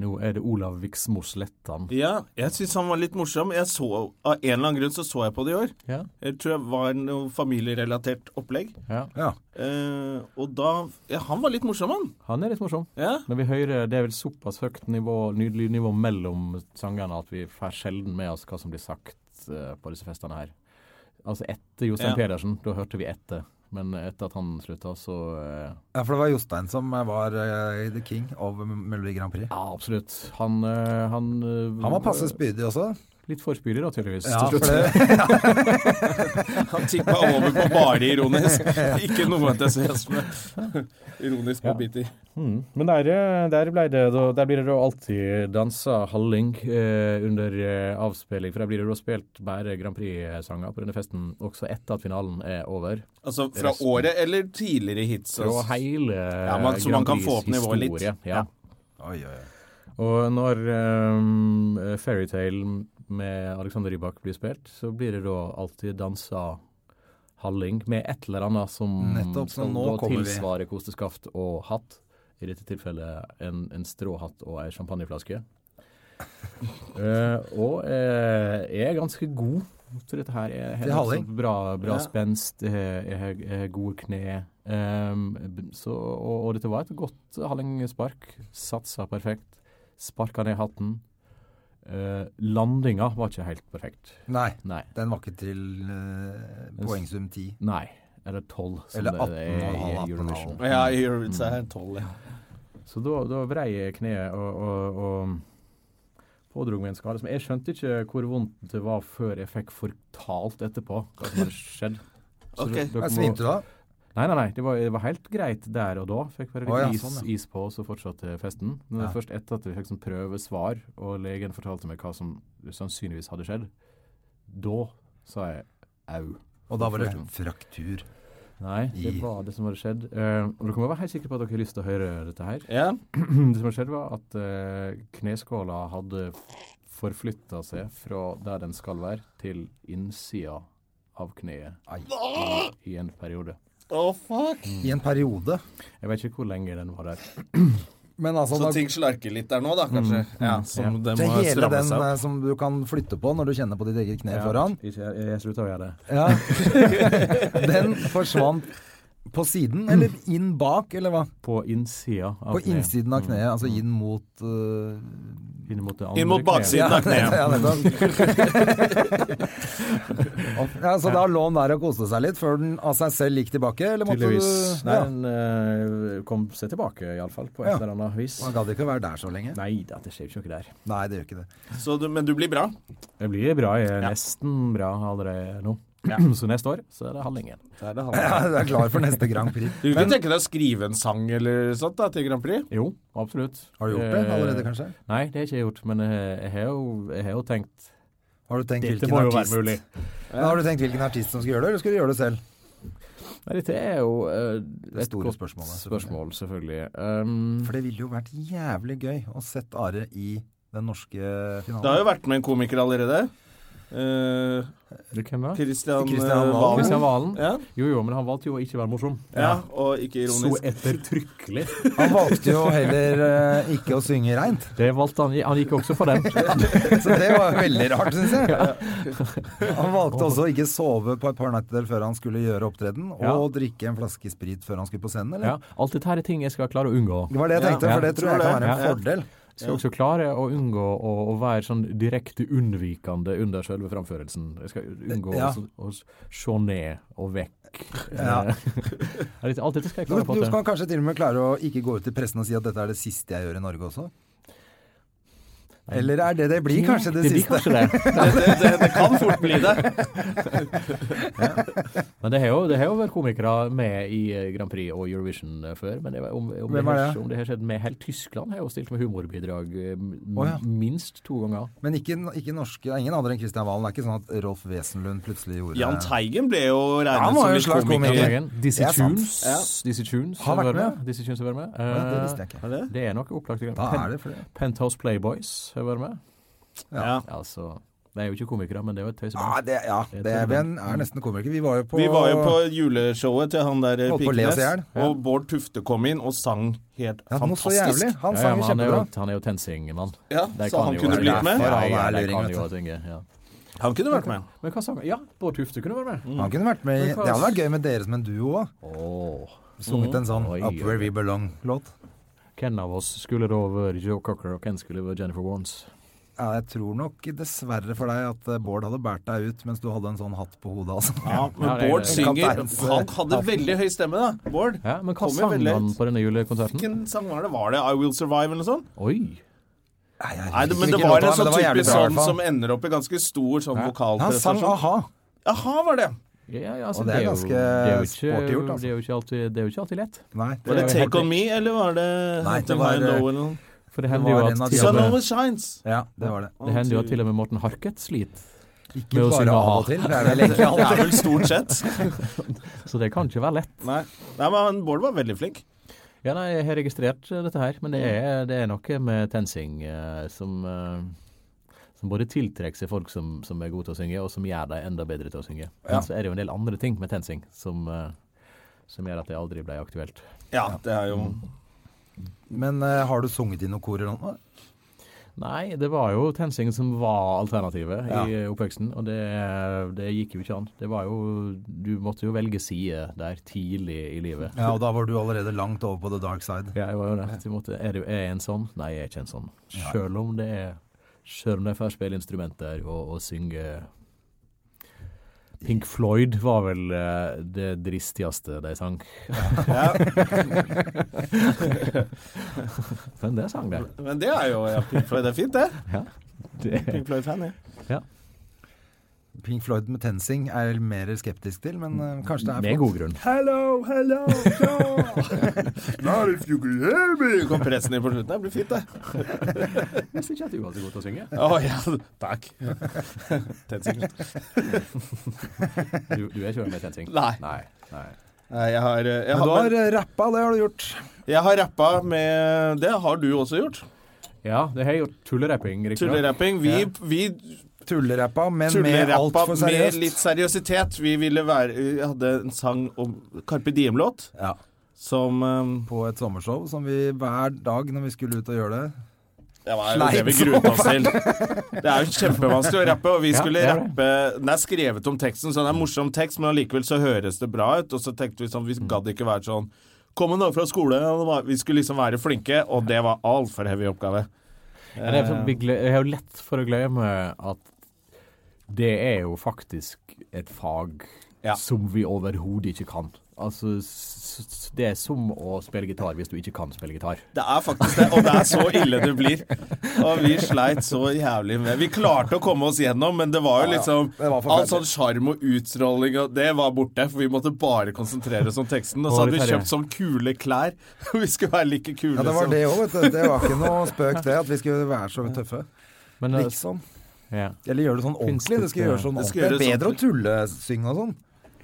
[SPEAKER 3] Nå er det Olav Viksmo Slettan.
[SPEAKER 1] Ja, jeg syns han var litt morsom. Jeg så, av en eller annen grunn så så jeg på det i år.
[SPEAKER 3] Ja.
[SPEAKER 1] Jeg tror jeg var noe familierelatert opplegg.
[SPEAKER 3] Ja.
[SPEAKER 2] ja.
[SPEAKER 1] Eh, og da ja, Han var litt morsom, han.
[SPEAKER 3] Han er litt morsom.
[SPEAKER 1] Ja.
[SPEAKER 3] Men vi hører det er vel såpass høyt nivå, ny- lydnivå mellom sangerne at vi får sjelden med oss hva som blir sagt eh, på disse festene her. Altså etter Jostein
[SPEAKER 1] Ja.
[SPEAKER 3] Pedersen, da hørte vi etter. Men etter at han slutta, så eh,
[SPEAKER 2] ja, for det var Jostein som var eh, the king of Melodi Grand Prix.
[SPEAKER 3] Ja, absolutt. Han, eh, han eh,
[SPEAKER 2] Han var passe spydig også.
[SPEAKER 3] Litt for spydig, da, tydeligvis.
[SPEAKER 2] Ja,
[SPEAKER 3] til
[SPEAKER 2] for
[SPEAKER 3] slutt.
[SPEAKER 2] det,
[SPEAKER 1] Han tippa over på bare ironisk. Ikke noe entusiasme. Ironisk på biter.
[SPEAKER 3] Mm. Men der, eh, der, ble det, da- der blir det da alltid dansa halling eh, under eh, avspilling. For der blir det da spilt bare Grand Prix-sanger på denne festen, også etter at finalen er over.
[SPEAKER 1] Altså fra året eller tidligere hits?
[SPEAKER 3] Fra
[SPEAKER 1] altså.
[SPEAKER 3] hele ja,
[SPEAKER 1] men så man kan få opp nivået litt.
[SPEAKER 3] Ja.
[SPEAKER 2] oi, oi, oi.
[SPEAKER 3] Og når um, Fairytale med Alexander Rybak blir spilt, så blir det da alltid dansa halling med et eller annet som
[SPEAKER 2] Nettopp, så
[SPEAKER 3] skal
[SPEAKER 2] nå
[SPEAKER 3] da
[SPEAKER 2] kommer vi.
[SPEAKER 3] tilsvare kosteskaft og hatt. I dette tilfellet en, en stråhatt og ei champagneflaske. Eh, og eh, jeg er ganske god til dette her. Jeg har
[SPEAKER 2] Til halling?
[SPEAKER 3] også Bra, bra
[SPEAKER 1] Ja.
[SPEAKER 3] spenst, jeg har- jeg har jeg har gode kne. Ehm, b- så, og, og dette var et godt hallingspark. Satsa perfekt. Sparka ned hatten. Eh, landinga var ikke helt perfekt.
[SPEAKER 2] Nei,
[SPEAKER 3] Nei.
[SPEAKER 2] den var ikke til eh, poengsum 10.
[SPEAKER 3] Nei. Eller 12, som
[SPEAKER 2] Eller
[SPEAKER 3] det er
[SPEAKER 2] 18,5,
[SPEAKER 3] i Eurovision.
[SPEAKER 1] Ja, i Eurovision så er det tolv, ja.
[SPEAKER 3] Så da, da vrei jeg kneet og, og, og pådro meg en skade. som Jeg skjønte ikke hvor vondt det var før jeg fikk fortalt etterpå hva som hadde skjedd. Så
[SPEAKER 1] Ok.
[SPEAKER 3] dere- dere
[SPEAKER 2] Ja,
[SPEAKER 3] må-
[SPEAKER 2] svimte du da?
[SPEAKER 3] Nei, nei, nei. Det var, det var helt greit der og da. Fikk bare litt
[SPEAKER 2] Å, ja,
[SPEAKER 3] is,
[SPEAKER 2] sånn,
[SPEAKER 3] is på, så fortsatte festen. Men først etter at vi fikk sånn prøvesvar, og legen fortalte meg hva som sannsynligvis hadde skjedd, da sa jeg au.
[SPEAKER 2] Og da var det fraktur.
[SPEAKER 3] Nei, det var det som hadde skjedd. Eh, og dere må være helt sikre på at dere har lyst til å høre dette her.
[SPEAKER 1] Ja.
[SPEAKER 3] Det som hadde skjedd, var at eh, kneskåla hadde forflytta seg fra der den skal være, til innsida av kneet i en periode.
[SPEAKER 1] Oh, fuck.
[SPEAKER 2] I en periode.
[SPEAKER 3] Jeg vet ikke hvor lenge den var der.
[SPEAKER 2] Men altså,
[SPEAKER 1] Så
[SPEAKER 2] da,
[SPEAKER 1] ting slarker litt der nå, da, kanskje. Mm, Ja, som det
[SPEAKER 2] det
[SPEAKER 1] må
[SPEAKER 2] er hele
[SPEAKER 1] stramme
[SPEAKER 2] den
[SPEAKER 1] seg opp.
[SPEAKER 2] eh, som du kan flytte på når du kjenner på ditt eget kne foran.
[SPEAKER 3] Ikke- Jeg, jeg slutta å gjøre det.
[SPEAKER 2] Ja. Den forsvant på siden, eller inn bak, eller hva?
[SPEAKER 3] På innsida av
[SPEAKER 2] På
[SPEAKER 3] kneet.
[SPEAKER 2] innsiden av kneet, altså inn mot eh,
[SPEAKER 3] Inn mot det andre
[SPEAKER 1] Inn mot
[SPEAKER 3] kneet.
[SPEAKER 1] baksiden av kneet.
[SPEAKER 2] Ja, nettopp. ja, så da lå den der og koste seg litt før den av seg selv gikk tilbake, eller måtte
[SPEAKER 3] Tydeligvis.
[SPEAKER 2] du
[SPEAKER 3] Nei,
[SPEAKER 2] ja.
[SPEAKER 3] den eh, kom seg tilbake, iallfall, på et
[SPEAKER 2] Ja.
[SPEAKER 3] eller annet vis.
[SPEAKER 2] Man gadd ikke å være der så lenge. Nei,
[SPEAKER 3] Nei da, det skjer jo ikke noe der.
[SPEAKER 2] det gjør ikke det.
[SPEAKER 1] Så du, men du blir bra.
[SPEAKER 3] Det blir bra. Jeg er nesten bra allerede nå. Så neste år så er det halv lenge igjen.
[SPEAKER 2] Ja, du er klar for neste Grand Prix.
[SPEAKER 1] Du kan tenke deg å skrive en sang eller sånt da, til Grand Prix?
[SPEAKER 3] Jo, absolutt.
[SPEAKER 2] Har du gjort det
[SPEAKER 3] Eh,
[SPEAKER 2] allerede, kanskje?
[SPEAKER 3] Nei, det har jeg ikke gjort. Men eh, jeg har jo, jeg har jo tenkt
[SPEAKER 2] Har du tenkt
[SPEAKER 3] Dette
[SPEAKER 2] hvilken
[SPEAKER 3] må jo være
[SPEAKER 2] artist?
[SPEAKER 3] mulig.
[SPEAKER 2] Men har du tenkt hvilken artist som skulle gjøre det, eller skulle du gjøre det selv?
[SPEAKER 3] Nei, dette er jo eh, et
[SPEAKER 2] store
[SPEAKER 3] godt
[SPEAKER 2] spørsmålet,
[SPEAKER 3] spørsmål, selvfølgelig. Um,
[SPEAKER 2] For det ville jo vært jævlig gøy å sett Are i den norske finalen.
[SPEAKER 1] Det har jo vært med en komiker allerede. Eh,
[SPEAKER 3] hvem da?
[SPEAKER 1] Christian,
[SPEAKER 2] Christian
[SPEAKER 1] eh,
[SPEAKER 2] Valen.
[SPEAKER 1] Valen.
[SPEAKER 3] Kristian Valen?
[SPEAKER 1] Ja.
[SPEAKER 3] Jo jo, men han valgte jo å ikke være morsom.
[SPEAKER 1] ja, og ikke
[SPEAKER 3] Så
[SPEAKER 1] ironisk.
[SPEAKER 3] ettertrykkelig.
[SPEAKER 2] Han valgte jo heller eh, ikke å synge reint,
[SPEAKER 3] Det valgte han. Han gikk også for den.
[SPEAKER 2] så det var veldig rart, syns jeg. Han valgte også å ikke sove på et par netter før han skulle gjøre opptreden, og
[SPEAKER 3] Ja.
[SPEAKER 2] drikke en flaske sprit før han skulle på scenen, eller?
[SPEAKER 3] Ja, alt dette her er ting jeg skal klare å unngå.
[SPEAKER 2] Det var det jeg tenkte, for
[SPEAKER 3] Ja,
[SPEAKER 2] det
[SPEAKER 3] jeg
[SPEAKER 2] tror jeg kan
[SPEAKER 1] tror det.
[SPEAKER 2] være en
[SPEAKER 3] Ja.
[SPEAKER 2] fordel.
[SPEAKER 3] Skal også klare å unngå å, å være sånn direkte unnvikende under selve framførelsen. Jeg skal unngå
[SPEAKER 2] Ja.
[SPEAKER 3] å, å se ned og vekk.
[SPEAKER 2] Ja.
[SPEAKER 3] Eh, Alt dette skal jeg
[SPEAKER 2] Du,
[SPEAKER 3] klare å få
[SPEAKER 2] du
[SPEAKER 3] til.
[SPEAKER 2] kan kanskje til og med klare å ikke gå ut til pressen og si at dette er det siste jeg gjør i Norge også? Eller er det det blir kanskje det,
[SPEAKER 3] Mm, det blir
[SPEAKER 2] siste?
[SPEAKER 3] kanskje det.
[SPEAKER 1] Det, det, det, det kan fort bli det.
[SPEAKER 3] Men det har jo, det har jo vært komikere med i eh, Grand Prix og Eurovision eh, før. Men det, var- om, om, det
[SPEAKER 2] Hvem er
[SPEAKER 3] har,
[SPEAKER 2] det?
[SPEAKER 3] om det har skjedd med helt Tyskland, har jo stilt med humorbidrag eh, m-
[SPEAKER 2] Å, ja.
[SPEAKER 3] minst to ganger.
[SPEAKER 2] Men ikke, ikke norske, ingen andre enn Kristian Valen. Det er ikke sånn at Rolf Wesenlund plutselig gjorde
[SPEAKER 1] Jan Teigen ble jo
[SPEAKER 2] Han
[SPEAKER 1] regnet
[SPEAKER 2] var
[SPEAKER 1] som
[SPEAKER 2] jo
[SPEAKER 1] litt
[SPEAKER 2] slags
[SPEAKER 1] komiker.
[SPEAKER 2] komiker.
[SPEAKER 3] Dagen. Dizzie
[SPEAKER 2] Det er sant.
[SPEAKER 3] Tunes. Dizzie Tunes
[SPEAKER 2] Har
[SPEAKER 3] har
[SPEAKER 2] vært
[SPEAKER 3] vært med.
[SPEAKER 2] med.
[SPEAKER 3] Dizzie Tunes har vært med.
[SPEAKER 2] ja, det visste jeg
[SPEAKER 3] Eh,
[SPEAKER 2] ikke.
[SPEAKER 1] Er det?
[SPEAKER 3] Det er nok opplagt.
[SPEAKER 2] Hva er det for det?
[SPEAKER 3] Penthouse Playboys har vært med.
[SPEAKER 1] Ja.
[SPEAKER 3] Altså, det er jo ikke komikere, men det er jo et
[SPEAKER 2] Ja,
[SPEAKER 3] tøyseband.
[SPEAKER 2] Ah, det, ja, det er, vi er nesten komiker. Vi var jo på,
[SPEAKER 1] Vi var jo på juleshowet til han der eh,
[SPEAKER 2] Holdt på å le oss i
[SPEAKER 1] Piknes,
[SPEAKER 2] hjel.
[SPEAKER 1] og Bård Tufte kom inn og sang helt
[SPEAKER 2] ja, noe så
[SPEAKER 1] fantastisk.
[SPEAKER 2] jævlig. Han sang jo
[SPEAKER 3] men han er jo,
[SPEAKER 2] kjempebra.
[SPEAKER 3] han er jo TenSing-mann.
[SPEAKER 1] Ja,
[SPEAKER 3] Det
[SPEAKER 1] så
[SPEAKER 3] kan
[SPEAKER 1] han
[SPEAKER 3] jo
[SPEAKER 1] kunne
[SPEAKER 3] være
[SPEAKER 1] blitt med.
[SPEAKER 3] derfor.
[SPEAKER 2] Ja, han
[SPEAKER 3] Ja,
[SPEAKER 2] er
[SPEAKER 3] det
[SPEAKER 2] luring,
[SPEAKER 3] kan
[SPEAKER 2] vet
[SPEAKER 3] jo tinge, ja.
[SPEAKER 1] Han kunne vært med.
[SPEAKER 3] Men hva sang Ja, Bård Tufte kunne vært
[SPEAKER 1] Mm.
[SPEAKER 3] med.
[SPEAKER 2] Han kunne vært med i
[SPEAKER 3] Men
[SPEAKER 2] Det hadde vært gøy med dere som en duo òg.
[SPEAKER 3] Mm. Åh.
[SPEAKER 2] Sunget en sånn
[SPEAKER 3] Mm. Oi,
[SPEAKER 2] Up
[SPEAKER 3] oi.
[SPEAKER 2] Where We Belong-låt.
[SPEAKER 3] Hvem av oss skulle da vært Joe Cocker, og hvem skulle vært Jennifer Warnes?
[SPEAKER 2] Ja, jeg tror nok dessverre for deg at eh, Bård hadde båret deg ut mens du hadde en sånn hatt på hodet. Altså.
[SPEAKER 1] Ja,
[SPEAKER 3] Ja,
[SPEAKER 1] men
[SPEAKER 3] det er-
[SPEAKER 1] Bård synger
[SPEAKER 2] Kapteins, eh,
[SPEAKER 1] Han hadde veldig høy stemme, da. Bård.
[SPEAKER 3] Ja, men hva
[SPEAKER 1] Kommer
[SPEAKER 3] sang
[SPEAKER 1] veldig
[SPEAKER 3] han
[SPEAKER 1] høyt.
[SPEAKER 3] på denne julekonserten?
[SPEAKER 1] Hvilken sang var det? Var det I Will Survive eller noe sånt?
[SPEAKER 3] Oi.
[SPEAKER 2] Nei, jeg
[SPEAKER 1] Nei, det,
[SPEAKER 2] husker
[SPEAKER 1] men det
[SPEAKER 2] ikke
[SPEAKER 1] var
[SPEAKER 2] låta,
[SPEAKER 1] en sånn
[SPEAKER 2] men det var jævlig bra i
[SPEAKER 1] typisk sånn
[SPEAKER 2] hvert fall.
[SPEAKER 1] som ender opp i ganske stor sånn
[SPEAKER 2] Han sang
[SPEAKER 1] vokalprestasjon.
[SPEAKER 2] a-ha.
[SPEAKER 1] Jaha, var det.
[SPEAKER 3] Ja, ja, altså,
[SPEAKER 2] Og det er
[SPEAKER 3] jo-
[SPEAKER 2] ganske
[SPEAKER 3] det er jo ikke-
[SPEAKER 2] sporty gjort, altså.
[SPEAKER 3] Det er jo ikke alltid, det er jo ikke alltid lett.
[SPEAKER 2] Nei,
[SPEAKER 1] Var det
[SPEAKER 3] jo helt
[SPEAKER 1] Take On Me, eller var det
[SPEAKER 2] Nei, det
[SPEAKER 1] Something
[SPEAKER 2] var,
[SPEAKER 1] I Know
[SPEAKER 2] eh,
[SPEAKER 1] eller noe?
[SPEAKER 3] For det
[SPEAKER 2] Det
[SPEAKER 3] hender jo
[SPEAKER 2] var
[SPEAKER 3] at
[SPEAKER 2] en av de
[SPEAKER 3] til og
[SPEAKER 1] Sun
[SPEAKER 2] andre-
[SPEAKER 3] med,
[SPEAKER 1] Always Shines.
[SPEAKER 2] ja, det var det.
[SPEAKER 3] det hender jo at til og med Morten Harket sliter.
[SPEAKER 2] Ikke
[SPEAKER 3] Med å synge
[SPEAKER 2] bare av
[SPEAKER 3] a-ha.
[SPEAKER 2] og til. Det er vel egentlig
[SPEAKER 1] Det
[SPEAKER 2] alltid.
[SPEAKER 1] er vel stort sett.
[SPEAKER 3] Så det kan ikke være lett.
[SPEAKER 1] Nei, Nei men han- Bård var veldig flink.
[SPEAKER 3] Ja, nei, jeg har registrert eh, dette her, men det er, det er noe med TenSing eh, som, eh, som både tiltrekker seg folk som, som er gode til å synge, og som gjør dem enda bedre til å synge. Men så er det jo en del andre ting med TenSing som, eh, som gjør at det aldri ble aktuelt.
[SPEAKER 1] Ja, det er jo
[SPEAKER 2] Men eh, har du sunget i noen kor eller noe?
[SPEAKER 3] Nei, det var jo TenSing som var alternativet i eh, oppveksten, og det, det gikk jo ikke an. Det var jo Du måtte jo velge side der tidlig i livet.
[SPEAKER 2] Ja, og da var du allerede langt over på the dark side.
[SPEAKER 3] Ja, jeg var jo det. Så jeg måtte, er, du, er jeg en sånn? Nei, jeg er ikke en sånn. Sjøl om det er Sjøl om det er for å spille instrumenter og, og synge Pink Floyd var vel eh, det dristigste de sang. Men det sang de.
[SPEAKER 1] Men det er jo ja, Pink Floyd. Det er fint, det.
[SPEAKER 3] Ja. Det,
[SPEAKER 1] Pink Floyd-fan, jeg.
[SPEAKER 3] ja.
[SPEAKER 2] Pink Floyd med 'Tensing' er jeg mer skeptisk til, men eh, kanskje det er
[SPEAKER 3] Med god grunn.
[SPEAKER 2] Hello, hello, Joe!
[SPEAKER 1] Not if you could hear me! Kom pressen inn på slutten. Det blir fint, det.
[SPEAKER 3] Jeg syns ikke at du var så god til å synge.
[SPEAKER 1] Å ja, takk. Tensing.
[SPEAKER 3] Du, du er ikke med i Tensing?
[SPEAKER 1] Nei.
[SPEAKER 3] Nei. Nei.
[SPEAKER 1] Nei, jeg har, eh, jeg,
[SPEAKER 2] Men du
[SPEAKER 1] har,
[SPEAKER 2] har eh, rappa, det har du gjort.
[SPEAKER 1] jeg har rappa med Det har du også gjort.
[SPEAKER 3] Ja, det har jeg gjort tullerapping. riktig nok.
[SPEAKER 1] Tullerapping. Vi, vi
[SPEAKER 2] Tullerappa, men med
[SPEAKER 1] tullerappa
[SPEAKER 2] altfor
[SPEAKER 1] med
[SPEAKER 2] seriøst.
[SPEAKER 1] litt seriøsitet. Vi ville være Vi hadde en sang om Carpe Diem-låt
[SPEAKER 2] Ja.
[SPEAKER 1] som eh,
[SPEAKER 2] På et sommershow som vi hver dag når vi skulle ut og gjøre det
[SPEAKER 1] Det var jo det vi gruet oss til. Det er jo kjempevanskelig å rappe, og vi
[SPEAKER 3] Ja,
[SPEAKER 1] skulle
[SPEAKER 3] det er det.
[SPEAKER 1] rappe Den er skrevet om teksten, så den er morsom tekst, men allikevel så høres det bra ut. Og så tenkte vi sånn, vi gadd ikke være sånn Kom en dag fra skole. og det var- Vi skulle liksom være flinke, og det var altfor heavy oppgave.
[SPEAKER 3] Ja, det er sånn, vi gle- jeg har jo lett for å glemme at det er jo faktisk et fag
[SPEAKER 1] Ja.
[SPEAKER 3] som vi overhodet ikke kan. Altså, s- s- det er som å spille gitar hvis du ikke kan spille gitar.
[SPEAKER 1] Det er faktisk det, og det er så ille det blir. Og vi sleit så jævlig med Vi klarte å komme oss gjennom, men det var jo liksom
[SPEAKER 2] det var forferdelig.
[SPEAKER 1] All sånn sjarm og utstråling og det var borte, for vi måtte bare konsentrere oss om teksten. Og så hadde vi kjøpt sånn kule klær. Vi skulle være like kule
[SPEAKER 2] Ja, det var
[SPEAKER 1] som-
[SPEAKER 2] det òg, vet du. Det var ikke noe spøk, det. At vi skulle være så tøffe.
[SPEAKER 3] Men, eh,
[SPEAKER 2] Liksom.
[SPEAKER 3] ja.
[SPEAKER 2] Eller gjøre det sånn ordentlig. Det skulle gjøre sånn
[SPEAKER 1] Det
[SPEAKER 2] ordentlig.
[SPEAKER 1] skulle
[SPEAKER 2] Det er
[SPEAKER 1] gjøre
[SPEAKER 2] bedre å tullesynge og sånn.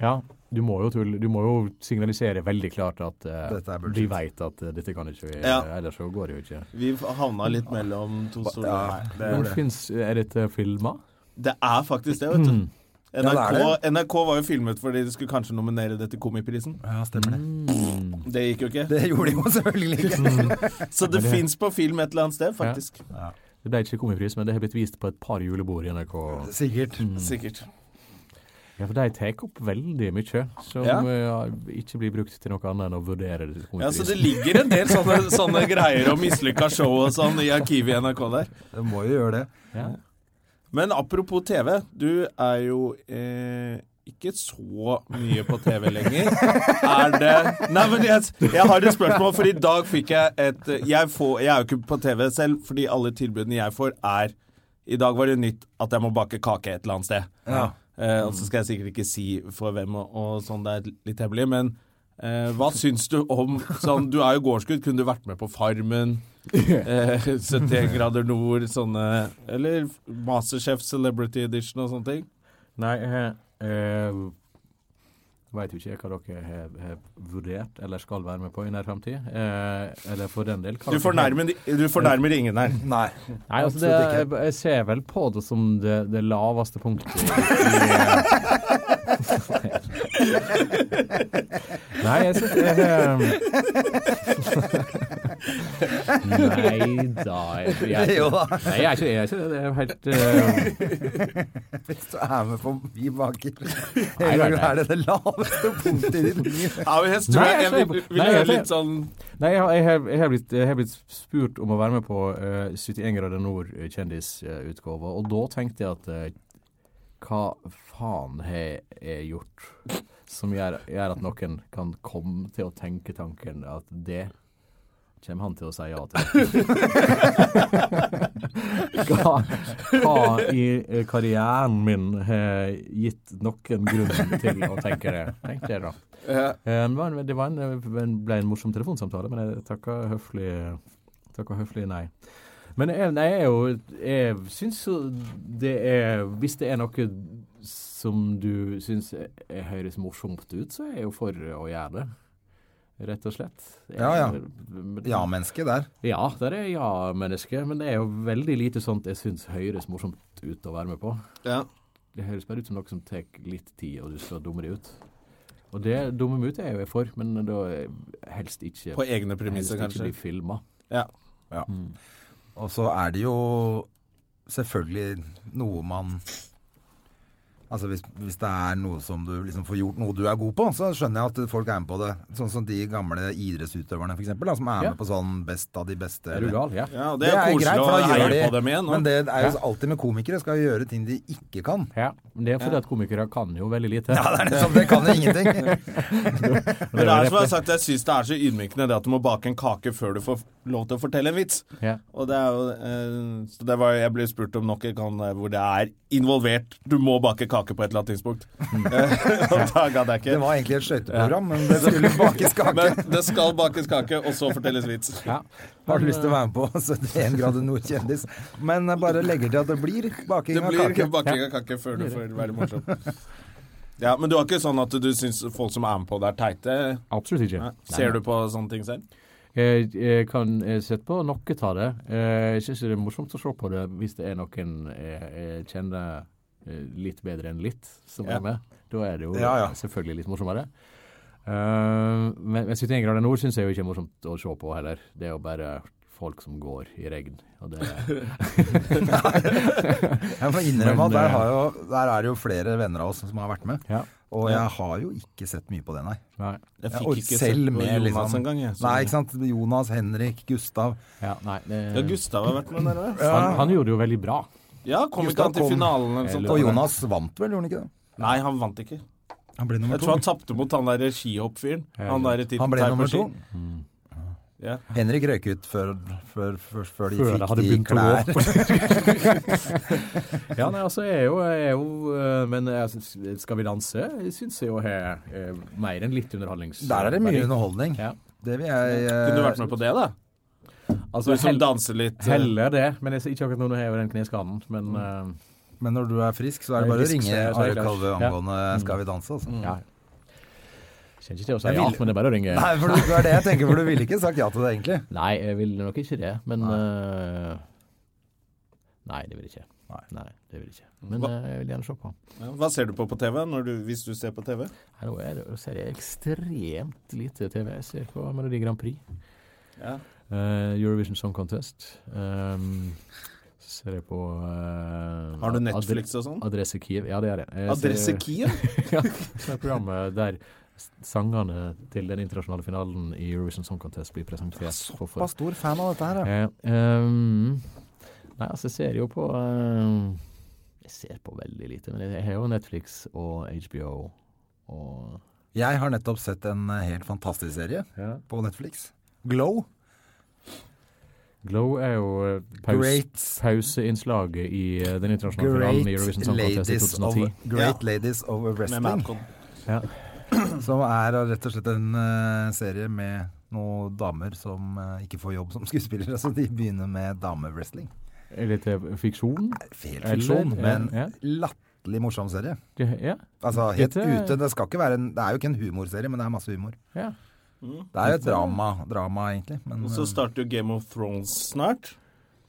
[SPEAKER 3] ja, du må jo tulle. Du må jo signalisere veldig klart at eh,
[SPEAKER 2] Dette er bullshit.
[SPEAKER 3] de veit at eh, dette kan ikke vi,
[SPEAKER 1] Ja.
[SPEAKER 3] eh, ellers så går det jo ikke.
[SPEAKER 1] Vi havna litt mellom to stoler.
[SPEAKER 2] Ja,
[SPEAKER 1] her.
[SPEAKER 2] det
[SPEAKER 1] det,
[SPEAKER 2] var
[SPEAKER 3] Men
[SPEAKER 2] det.
[SPEAKER 3] finnes- er dette filma?
[SPEAKER 1] det er faktisk det, vet du.
[SPEAKER 2] Ja, det er
[SPEAKER 1] NRK, NRK var jo filmet fordi de skulle kanskje nominere det til Komiprisen.
[SPEAKER 2] Ja, stemmer det.
[SPEAKER 1] Det gikk jo ikke.
[SPEAKER 2] Det gjorde de jo selvfølgelig ikke.
[SPEAKER 1] Så det
[SPEAKER 3] det-
[SPEAKER 1] fins på film et eller annet sted, faktisk.
[SPEAKER 3] Det ble ikke komipris, men det har blitt vist på et par julebord i NRK.
[SPEAKER 2] Sikkert.
[SPEAKER 1] Mm. Sikkert.
[SPEAKER 3] Ja, for de tar opp veldig mye som
[SPEAKER 1] Ja.
[SPEAKER 3] eh, ikke blir brukt til noe annet enn å vurdere det. til
[SPEAKER 1] Ja, så
[SPEAKER 3] komipris.
[SPEAKER 1] det ligger en del sånne, sånne greier om mislykka show og sånn i arkivet i NRK der.
[SPEAKER 2] Det må jo gjøre det.
[SPEAKER 3] Ja.
[SPEAKER 1] Men apropos TV, du er jo eh, ikke så mye på TV lenger. Er det Nei, men jeg, jeg har et spørsmål, for i dag fikk jeg et jeg, får, jeg er jo ikke på TV selv, fordi alle tilbudene jeg får, er I dag var det nytt at jeg må bake kake et eller annet sted.
[SPEAKER 2] Ja.
[SPEAKER 1] Eh, og så skal jeg sikkert ikke si for hvem og, og sånn, det er litt hemmelig, men eh, hva syns du om sånn, Du er jo gårdsgutt, kunne du vært med på Farmen? Eh, 71 grader nord, sånne Eller Masterchef Celebrity Edition og sånne ting.
[SPEAKER 3] Nei, jeg eh, veit jo ikke hva dere har, har vurdert eller skal være med på i nær framtid. Eh, eller for den del hva
[SPEAKER 1] Du
[SPEAKER 3] dere har-
[SPEAKER 1] fornærmer, du fornærmer ingen her.
[SPEAKER 2] Nei.
[SPEAKER 3] Nei, altså det,
[SPEAKER 2] absolutt
[SPEAKER 3] jeg, jeg ser vel på det som det, det laveste punktet. i- Nei, jeg syns jeg eh, Nei da. Jeg, jeg,
[SPEAKER 2] Jo da.
[SPEAKER 3] nei, jeg er ikke jeg er ikke det. Det er helt eh,
[SPEAKER 2] Hvis du er med på Vi baker,
[SPEAKER 3] Nei, nei, nei.
[SPEAKER 2] er det det laveste punktet i ditt liv.
[SPEAKER 1] Ja, men jeg tror
[SPEAKER 3] Nei,
[SPEAKER 1] jeg,
[SPEAKER 3] jeg
[SPEAKER 1] jeg
[SPEAKER 3] ser-
[SPEAKER 1] vil, vil
[SPEAKER 3] nei,
[SPEAKER 1] høre
[SPEAKER 3] jeg ser-
[SPEAKER 1] litt sånn
[SPEAKER 3] Nei, jeg har, jeg, har, jeg, har blitt, jeg har blitt spurt om å være med på eh, 71 grader nord-kjendisutgave, og da tenkte jeg at eh, hva faen har jeg gjort som gjør, gjør at noen kan komme til å tenke tanken at det kommer han til å si ja til? hva, hva i eh, karrieren min har gitt noen grunn til å tenke det, tenkte jeg da.
[SPEAKER 1] eh,
[SPEAKER 3] Eh, Det, var en, det var en, en- ble en morsom telefonsamtale, men jeg takka høflig, takka høflig nei. Men jeg, nei, jeg er jo Jeg syns jo det er Hvis det er noe som du syns er- er høres morsomt ut, så er jeg jo for å gjøre det. Rett og slett. Jeg-
[SPEAKER 2] Ja, ja.
[SPEAKER 3] men-
[SPEAKER 2] Ja-menneske der.
[SPEAKER 3] Ja, der er ja-menneske. Men det er jo veldig lite sånt jeg syns høres morsomt ut å være med på.
[SPEAKER 1] ja.
[SPEAKER 3] Det høres bare ut som noe som tar litt tid, og du skal dumme deg ut. Og det dumme meg ut er jo jeg for, men da helst ikke,
[SPEAKER 1] På egne
[SPEAKER 3] helst
[SPEAKER 1] premisser,
[SPEAKER 3] ikke
[SPEAKER 1] kanskje.
[SPEAKER 3] bli filma.
[SPEAKER 1] Ja.
[SPEAKER 2] Og så er det jo selvfølgelig noe man Altså hvis, hvis det er noe som du liksom får gjort noe du er god på, så skjønner jeg at folk er med på det. Sånn som de gamle idrettsutøverne for eksempel, da, som er
[SPEAKER 3] Ja.
[SPEAKER 2] med på sånn best av de beste.
[SPEAKER 3] Er du
[SPEAKER 2] eller-
[SPEAKER 3] gal? Ja.
[SPEAKER 1] ja, og det er koselig
[SPEAKER 2] greit,
[SPEAKER 1] å
[SPEAKER 2] for da gjør
[SPEAKER 1] heie
[SPEAKER 2] de-
[SPEAKER 1] på dem igjen. nå.
[SPEAKER 2] Men det er jo alltid med komikere, skal jo gjøre ting de ikke kan.
[SPEAKER 3] ja. Men det er fordi at komikere kan jo veldig
[SPEAKER 2] Ja,
[SPEAKER 3] lite.
[SPEAKER 2] det er liksom, det kan jo ingenting.
[SPEAKER 1] Men det er som jeg har sagt, jeg syns det er så ydmykende det at du må bake en kake før du får lov til å fortelle en vits.
[SPEAKER 3] Ja.
[SPEAKER 1] Og det eh, er jo eh, Så det var jeg ble spurt om nok en gang der hvor det er involvert. Du må bake kake på et eller annet tidspunkt. Eh, og da gadd jeg ikke.
[SPEAKER 2] Det var egentlig et skøyteprogram, men det skulle bakes kake.
[SPEAKER 1] Men det skal bakes kake, og så fortelles vits.
[SPEAKER 2] Har du lyst til å være med på 71 grader nord-kjendis? Men jeg bare legger til at det blir baking
[SPEAKER 1] Det
[SPEAKER 2] av
[SPEAKER 1] blir ikke
[SPEAKER 2] kake.
[SPEAKER 1] baking av kake før du får være morsom. Ja, Men du har ikke sånn at du syns folk som er med på det, er teite?
[SPEAKER 3] Absolutt ikke.
[SPEAKER 1] Nei. Ser du på sånne ting selv?
[SPEAKER 3] Jeg, jeg kan eh, sette på noe av det. Eh, Jeg syns det er morsomt å se på det hvis det er noen jeg, jeg kjenner eh, litt bedre enn litt, som
[SPEAKER 1] Ja.
[SPEAKER 3] er med. Da er det jo
[SPEAKER 1] Ja, ja.
[SPEAKER 3] selvfølgelig litt morsommere. Eh, men, men 71 grader nord syns jeg jo ikke er morsomt å se på heller. Det er jo bare folk som går i regn. Og det,
[SPEAKER 2] Jeg må innrømme
[SPEAKER 3] Men,
[SPEAKER 2] at der,
[SPEAKER 3] eh,
[SPEAKER 2] har jo, der er det jo flere venner av oss som har vært med.
[SPEAKER 3] ja.
[SPEAKER 2] Og jeg har jo ikke sett mye på det, nei.
[SPEAKER 3] Nei.
[SPEAKER 1] Jeg
[SPEAKER 2] Jeg orker selv med liksom
[SPEAKER 1] engang. jeg, så-
[SPEAKER 2] Nei, ikke sant. Jonas, Henrik, Gustav.
[SPEAKER 3] Ja, nei det,
[SPEAKER 1] Ja, Gustav har vært med der òg.
[SPEAKER 3] han, han gjorde det jo veldig bra.
[SPEAKER 1] Ja, kom ikke
[SPEAKER 2] Gustav
[SPEAKER 1] han til
[SPEAKER 2] kom.
[SPEAKER 1] finalen eller sånt?
[SPEAKER 2] Og Jonas vant vel, gjorde han ikke det?
[SPEAKER 1] Nei, han vant ikke.
[SPEAKER 2] Han ble
[SPEAKER 1] Jeg
[SPEAKER 2] nummer
[SPEAKER 1] tror
[SPEAKER 2] to.
[SPEAKER 1] han tapte mot han der skihoppfyren. Han der i titten
[SPEAKER 2] Han ble
[SPEAKER 1] tar på
[SPEAKER 2] nummer
[SPEAKER 1] ski.
[SPEAKER 2] to.
[SPEAKER 1] Mm. Ja.
[SPEAKER 2] Henrik røyk ut før, før, før, før de
[SPEAKER 3] Før jeg
[SPEAKER 2] fikk
[SPEAKER 3] hadde
[SPEAKER 2] de
[SPEAKER 3] begynt
[SPEAKER 2] klær.
[SPEAKER 3] å gå Ja, nei, altså, jeg er jo, jeg er jo eh, Men jeg syns- Skal vi danse? Jeg syns jeg jo har eh, mer enn litt underholdnings...
[SPEAKER 2] Der er det mye underholdning.
[SPEAKER 3] Ja.
[SPEAKER 2] Det vil jeg
[SPEAKER 1] Kunne du vært
[SPEAKER 2] eh,
[SPEAKER 1] med på det, da?
[SPEAKER 3] Altså,
[SPEAKER 1] Du som
[SPEAKER 3] hell,
[SPEAKER 1] danser litt. eh,
[SPEAKER 3] heller det, men jeg ser ikke akkurat nå når jeg har den kneskaden.
[SPEAKER 2] Mm.
[SPEAKER 3] Men eh,
[SPEAKER 2] Men når du er frisk, så er det
[SPEAKER 3] Jeg er
[SPEAKER 2] bare å
[SPEAKER 3] frisk, så
[SPEAKER 2] ringe
[SPEAKER 3] er jeg- så er jeg
[SPEAKER 2] Are
[SPEAKER 3] klar.
[SPEAKER 2] Kalve
[SPEAKER 3] Ja.
[SPEAKER 2] angående Skal vi danse, altså.
[SPEAKER 3] ja. Kjenner ikke til å si
[SPEAKER 2] Jeg
[SPEAKER 3] ja,
[SPEAKER 2] vil-
[SPEAKER 3] men det er bare å ringe.
[SPEAKER 2] Nei, for det er det jeg tenker, for du ville ikke sagt ja til det, egentlig.
[SPEAKER 3] Nei, jeg vil nok ikke det, men eh, Nei, det vil jeg ikke.
[SPEAKER 2] Nei.
[SPEAKER 3] det vil jeg ikke. Men
[SPEAKER 1] Hva-
[SPEAKER 3] eh, jeg vil gjerne se på.
[SPEAKER 1] ja. Hva ser du på på TV når du, hvis du ser på TV?
[SPEAKER 3] Nei, Nå er det, nå ser jeg ekstremt lite TV. Jeg ser på Melodi Grand Prix.
[SPEAKER 1] Ja.
[SPEAKER 3] Eh, Eurovision Song Contest. Ehm, så ser jeg på eh,
[SPEAKER 1] Har du Netflix og sånn?
[SPEAKER 3] Adre- Adresse Kiev. Ja, det er det. Jeg ser-
[SPEAKER 1] Adresse Kiev?
[SPEAKER 3] ja, så er det programmet der s- sangene til den internasjonale finalen i Eurovision Song Contest blir presentert. for- for-
[SPEAKER 2] Såpass stor fan av dette her, ja.
[SPEAKER 3] Eh, ehm, nei, altså, jeg ser jo på ehm, Jeg ser på veldig lite, men jeg har jo Netflix og HBO og
[SPEAKER 2] Jeg har nettopp sett en eh, helt fantastisk serie
[SPEAKER 3] Ja.
[SPEAKER 2] på Netflix. Glow.
[SPEAKER 3] Glow er jo eh, paus,
[SPEAKER 2] Great-
[SPEAKER 3] pauseinnslaget i eh, den internasjonale finalen i Eurovision
[SPEAKER 2] Great
[SPEAKER 3] Song Contest
[SPEAKER 2] Ladies
[SPEAKER 3] i
[SPEAKER 2] of,
[SPEAKER 3] 2010.
[SPEAKER 2] Great
[SPEAKER 1] Ja.
[SPEAKER 2] Ladies of
[SPEAKER 1] Med
[SPEAKER 2] Wrestling.
[SPEAKER 1] Madcon.
[SPEAKER 3] Ja.
[SPEAKER 2] Som er eh, rett og slett en eh, serie med noen damer som eh, ikke får jobb som skuespillere, så de begynner med damewrestling.
[SPEAKER 3] Litt eh, fiksjon?
[SPEAKER 2] Fel
[SPEAKER 3] Eller-
[SPEAKER 2] fiksjon,
[SPEAKER 3] ja,
[SPEAKER 2] men
[SPEAKER 3] ja.
[SPEAKER 2] latterlig morsom serie.
[SPEAKER 3] Det, ja.
[SPEAKER 2] Altså, helt
[SPEAKER 3] Dette er-
[SPEAKER 2] ute, det skal ikke være en, Det er jo ikke en humorserie, men det er masse humor.
[SPEAKER 3] ja.
[SPEAKER 2] Det er jo et drama, drama egentlig. Men,
[SPEAKER 1] Og så
[SPEAKER 2] eh,
[SPEAKER 1] starter jo Game of Thrones snart.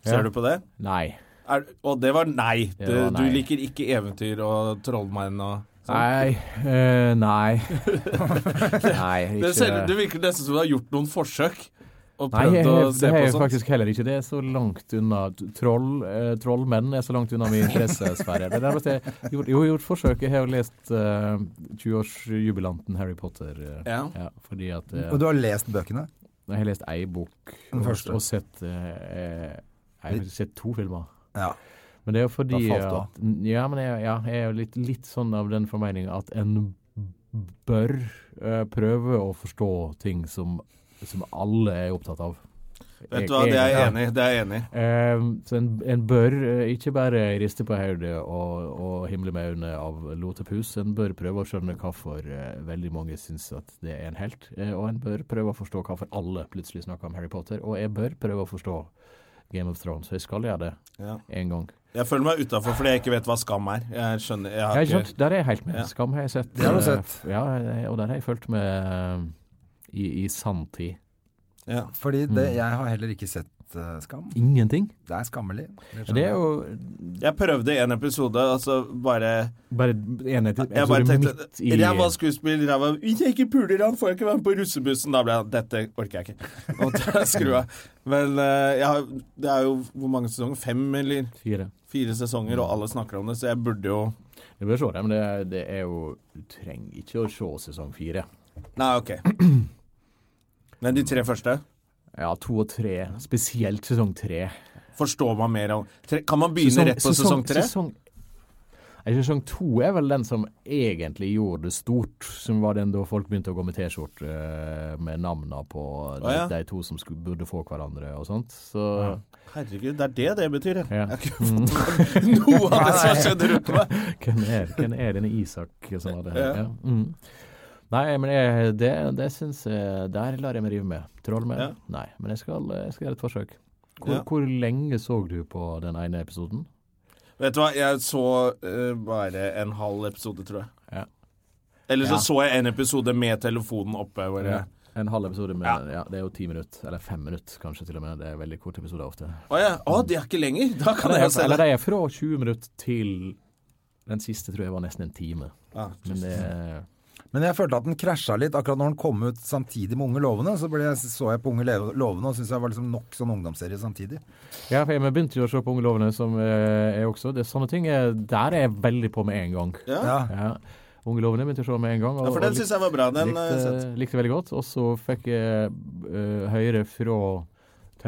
[SPEAKER 3] Ja.
[SPEAKER 1] Ser du på det?
[SPEAKER 3] Nei.
[SPEAKER 1] Er, og det var nei.
[SPEAKER 3] Det
[SPEAKER 1] Du,
[SPEAKER 3] var
[SPEAKER 1] du
[SPEAKER 3] nei.
[SPEAKER 1] liker ikke eventyr og trollmenn og sånn.
[SPEAKER 3] Nei. eh, nei. nei ikke.
[SPEAKER 1] Det, ser, det virker nesten som du har gjort noen forsøk og
[SPEAKER 3] Nei, jeg,
[SPEAKER 1] prøvd å
[SPEAKER 3] jeg,
[SPEAKER 1] se
[SPEAKER 3] det er
[SPEAKER 1] på
[SPEAKER 3] jo
[SPEAKER 1] sånt.
[SPEAKER 3] faktisk heller ikke. Det er så langt unna Troll, eh, Trollmenn er så langt unna min interessesfære. Det er nærmest jeg har gjort, jo, gjort forsøk. Jeg har jo lest eh, 20-årsjubilanten Harry Potter. eh,
[SPEAKER 1] Ja.
[SPEAKER 3] ja, fordi at eh,
[SPEAKER 2] Og du har lest bøkene?
[SPEAKER 3] Jeg har lest ei bok
[SPEAKER 2] Den
[SPEAKER 3] og,
[SPEAKER 2] første.
[SPEAKER 3] og sett eh, eh, Jeg har sett to filmer.
[SPEAKER 2] Ja.
[SPEAKER 3] Men det er jo fordi
[SPEAKER 2] Da falt du av.
[SPEAKER 3] at, Ja, men jeg, ja, jeg er jo litt, litt sånn av den formening at en bør eh, prøve å forstå ting som, som alle er opptatt av.
[SPEAKER 1] Vet du hva, det er jeg enig i. Det er jeg enig i.
[SPEAKER 3] Ehm, så en, en bør eh, ikke bare riste på hodet og, og himle med øynene av lotepus, en bør prøve å skjønne hvorfor eh, veldig mange syns at det er en helt, eh, og en bør prøve å forstå hvorfor alle plutselig snakker om Harry Potter, og jeg bør prøve å forstå Game of Thrones, så jeg skal gjøre det
[SPEAKER 1] Ja.
[SPEAKER 3] en gang.
[SPEAKER 1] Jeg føler meg utafor fordi jeg ikke vet hva skam er. Jeg skjønner Jeg har
[SPEAKER 3] Ja, ikke
[SPEAKER 1] ikke
[SPEAKER 3] sant? Der er jeg helt med.
[SPEAKER 1] Ja.
[SPEAKER 3] Skam har jeg sett.
[SPEAKER 2] Det har du
[SPEAKER 3] eh,
[SPEAKER 2] sett.
[SPEAKER 3] f- Ja, eh, og der har jeg fulgt med eh, i, i sanntid.
[SPEAKER 1] ja.
[SPEAKER 2] Fordi det,
[SPEAKER 3] Mm.
[SPEAKER 2] jeg har heller ikke sett eh, Skam.
[SPEAKER 3] Ingenting.
[SPEAKER 2] Det er skammelig.
[SPEAKER 3] Det er jo
[SPEAKER 1] Jeg prøvde en episode, altså bare
[SPEAKER 3] bare enhet i
[SPEAKER 1] Jeg bare
[SPEAKER 3] episode
[SPEAKER 1] tenkte
[SPEAKER 3] midt i
[SPEAKER 1] Jeg var skuespiller, jeg var Hvis jeg ikke puler han, får jeg ikke være med på russebussen. Da ble jeg Dette orker jeg ikke. Og da skrur jeg. Men eh, jeg har, det er jo hvor mange sesonger? Fem eller
[SPEAKER 3] fire.
[SPEAKER 1] fire sesonger, og alle snakker om det, så jeg burde jo
[SPEAKER 3] Du bør se det, men det, er- det er jo Du trenger ikke å se sesong fire.
[SPEAKER 1] Nei, OK. Men de tre første?
[SPEAKER 3] Ja, to og tre. Spesielt sesong tre.
[SPEAKER 1] Forstår man mer om tre, Kan man begynne rett på sesong tre?
[SPEAKER 3] Sesong, Nei, Sesong to er vel den som egentlig gjorde det stort, som var den da folk begynte å gå med T-skjorte eh, med navna på de,
[SPEAKER 1] Å, ja.
[SPEAKER 3] de to som skulle, burde få hverandre og sånt. Så
[SPEAKER 1] Herregud, det er det det betyr, ja.
[SPEAKER 3] Ja.
[SPEAKER 1] Jeg har ikke fått med meg noe av det som har skjedd rundt meg.
[SPEAKER 3] hvem, er, hvem er denne Isak som var det?
[SPEAKER 1] Ja.
[SPEAKER 3] Ja. Mm. Nei, men jeg, det, det syns jeg Der lar jeg meg rive med. Troll med?
[SPEAKER 1] Ja.
[SPEAKER 3] Nei, men jeg skal, jeg skal gjøre et forsøk. Hvor,
[SPEAKER 1] Ja.
[SPEAKER 3] hvor lenge så du på den ene episoden?
[SPEAKER 1] Vet du hva, jeg så eh, bare en halv episode, tror jeg.
[SPEAKER 3] Ja.
[SPEAKER 1] Eller så
[SPEAKER 3] Ja.
[SPEAKER 1] så jeg en episode med telefonen oppe. Hvor jeg,
[SPEAKER 3] En halv episode med
[SPEAKER 1] Ja.
[SPEAKER 3] ja. Det er jo ti minutter, eller fem minutter kanskje til og med. Det er veldig korte episoder ofte.
[SPEAKER 1] Å ja, å, det er ikke lenger! Da kan
[SPEAKER 3] Eller,
[SPEAKER 1] jeg se det.
[SPEAKER 3] det er fra 20 minutter til Den siste tror jeg var nesten en time.
[SPEAKER 1] Ah,
[SPEAKER 3] Men det er
[SPEAKER 2] Men jeg følte at den krasja litt akkurat når den kom ut samtidig med Unge lovende. Så ble jeg, så jeg på Unge Leve- lovende og syntes jeg var liksom nok sånn ungdomsserie samtidig.
[SPEAKER 3] Ja, for jeg men begynte jo å se på Unge lovende, som eh, jeg også. Det er sånne ting eh, der er jeg veldig på med en gang.
[SPEAKER 1] Ja.
[SPEAKER 2] Ja.
[SPEAKER 3] Ja. Unge lovende begynte jeg å se med en gang. og-
[SPEAKER 1] Ja, for den
[SPEAKER 3] og
[SPEAKER 1] syns jeg var bra. Den eh, har jeg
[SPEAKER 3] likte,
[SPEAKER 1] sett.
[SPEAKER 3] likte veldig godt. Og så fikk jeg eh, høre fra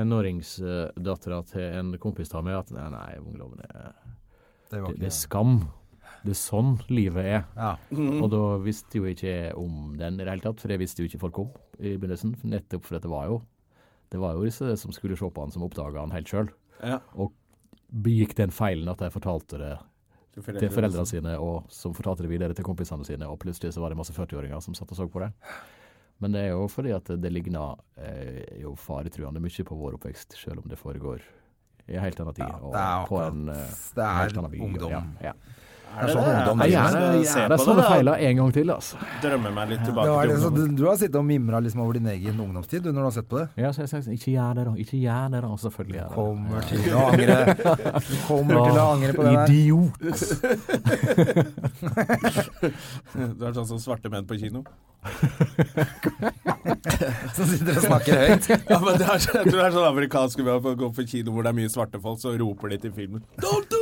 [SPEAKER 3] tenåringsdattera til en kompis av meg at nei, nei ungdommen er,
[SPEAKER 2] Det var
[SPEAKER 3] det, det
[SPEAKER 2] ikke
[SPEAKER 3] er skam. Det er sånn livet er.
[SPEAKER 2] ja.
[SPEAKER 1] Mhm.
[SPEAKER 3] Og da visste jo ikke jeg om den i det hele tatt, for det visste jo ikke folk om i begynnelsen. Nettopp fordi det var jo Det var jo disse som skulle se på han, som oppdaga han helt sjøl.
[SPEAKER 1] Ja.
[SPEAKER 3] Og begikk den feilen at de fortalte det til foreldrene sine, og som fortalte det videre til kompisene sine, og plutselig så var det masse 40-åringer som satt og så på det. Men det er jo fordi at det ligner eh, jo faretruende mye på vår oppvekst, selv om det foregår i en helt annen tid. og
[SPEAKER 2] det er
[SPEAKER 3] på
[SPEAKER 2] akkurat-
[SPEAKER 3] en eh,
[SPEAKER 2] det er
[SPEAKER 3] helt annen by, og-
[SPEAKER 2] ungdom.
[SPEAKER 3] Ja, ja.
[SPEAKER 2] Det er sånn ungdom
[SPEAKER 3] Nei,
[SPEAKER 2] driver.
[SPEAKER 3] gjerne,
[SPEAKER 1] skal se
[SPEAKER 3] gjerne
[SPEAKER 1] på
[SPEAKER 3] sånne
[SPEAKER 1] det, da.
[SPEAKER 3] feiler en gang til, altså.
[SPEAKER 1] Drømmer meg litt
[SPEAKER 2] Det
[SPEAKER 1] tilbake
[SPEAKER 2] var
[SPEAKER 1] til
[SPEAKER 2] det, så du,
[SPEAKER 1] ungdommen.
[SPEAKER 2] du har sittet og mimra liksom over din egen ungdomstid du, når du har sett på det?
[SPEAKER 3] Ja, så jeg sa ikke gjør det, da. Ikke gjør det, da. Og selvfølgelig gjør jeg det.
[SPEAKER 2] Kommer til å angre. Du Kommer til å angre på det der.
[SPEAKER 3] Idiot!
[SPEAKER 1] Du er sånn som svarte menn på kino.
[SPEAKER 2] Som sitter og snakker høyt.
[SPEAKER 1] Ja, men det er, så- Jeg tror det er sånn amerikansk vi har på å gå på kino hvor det er mye svarte folk, så roper de til filmen 'Don't do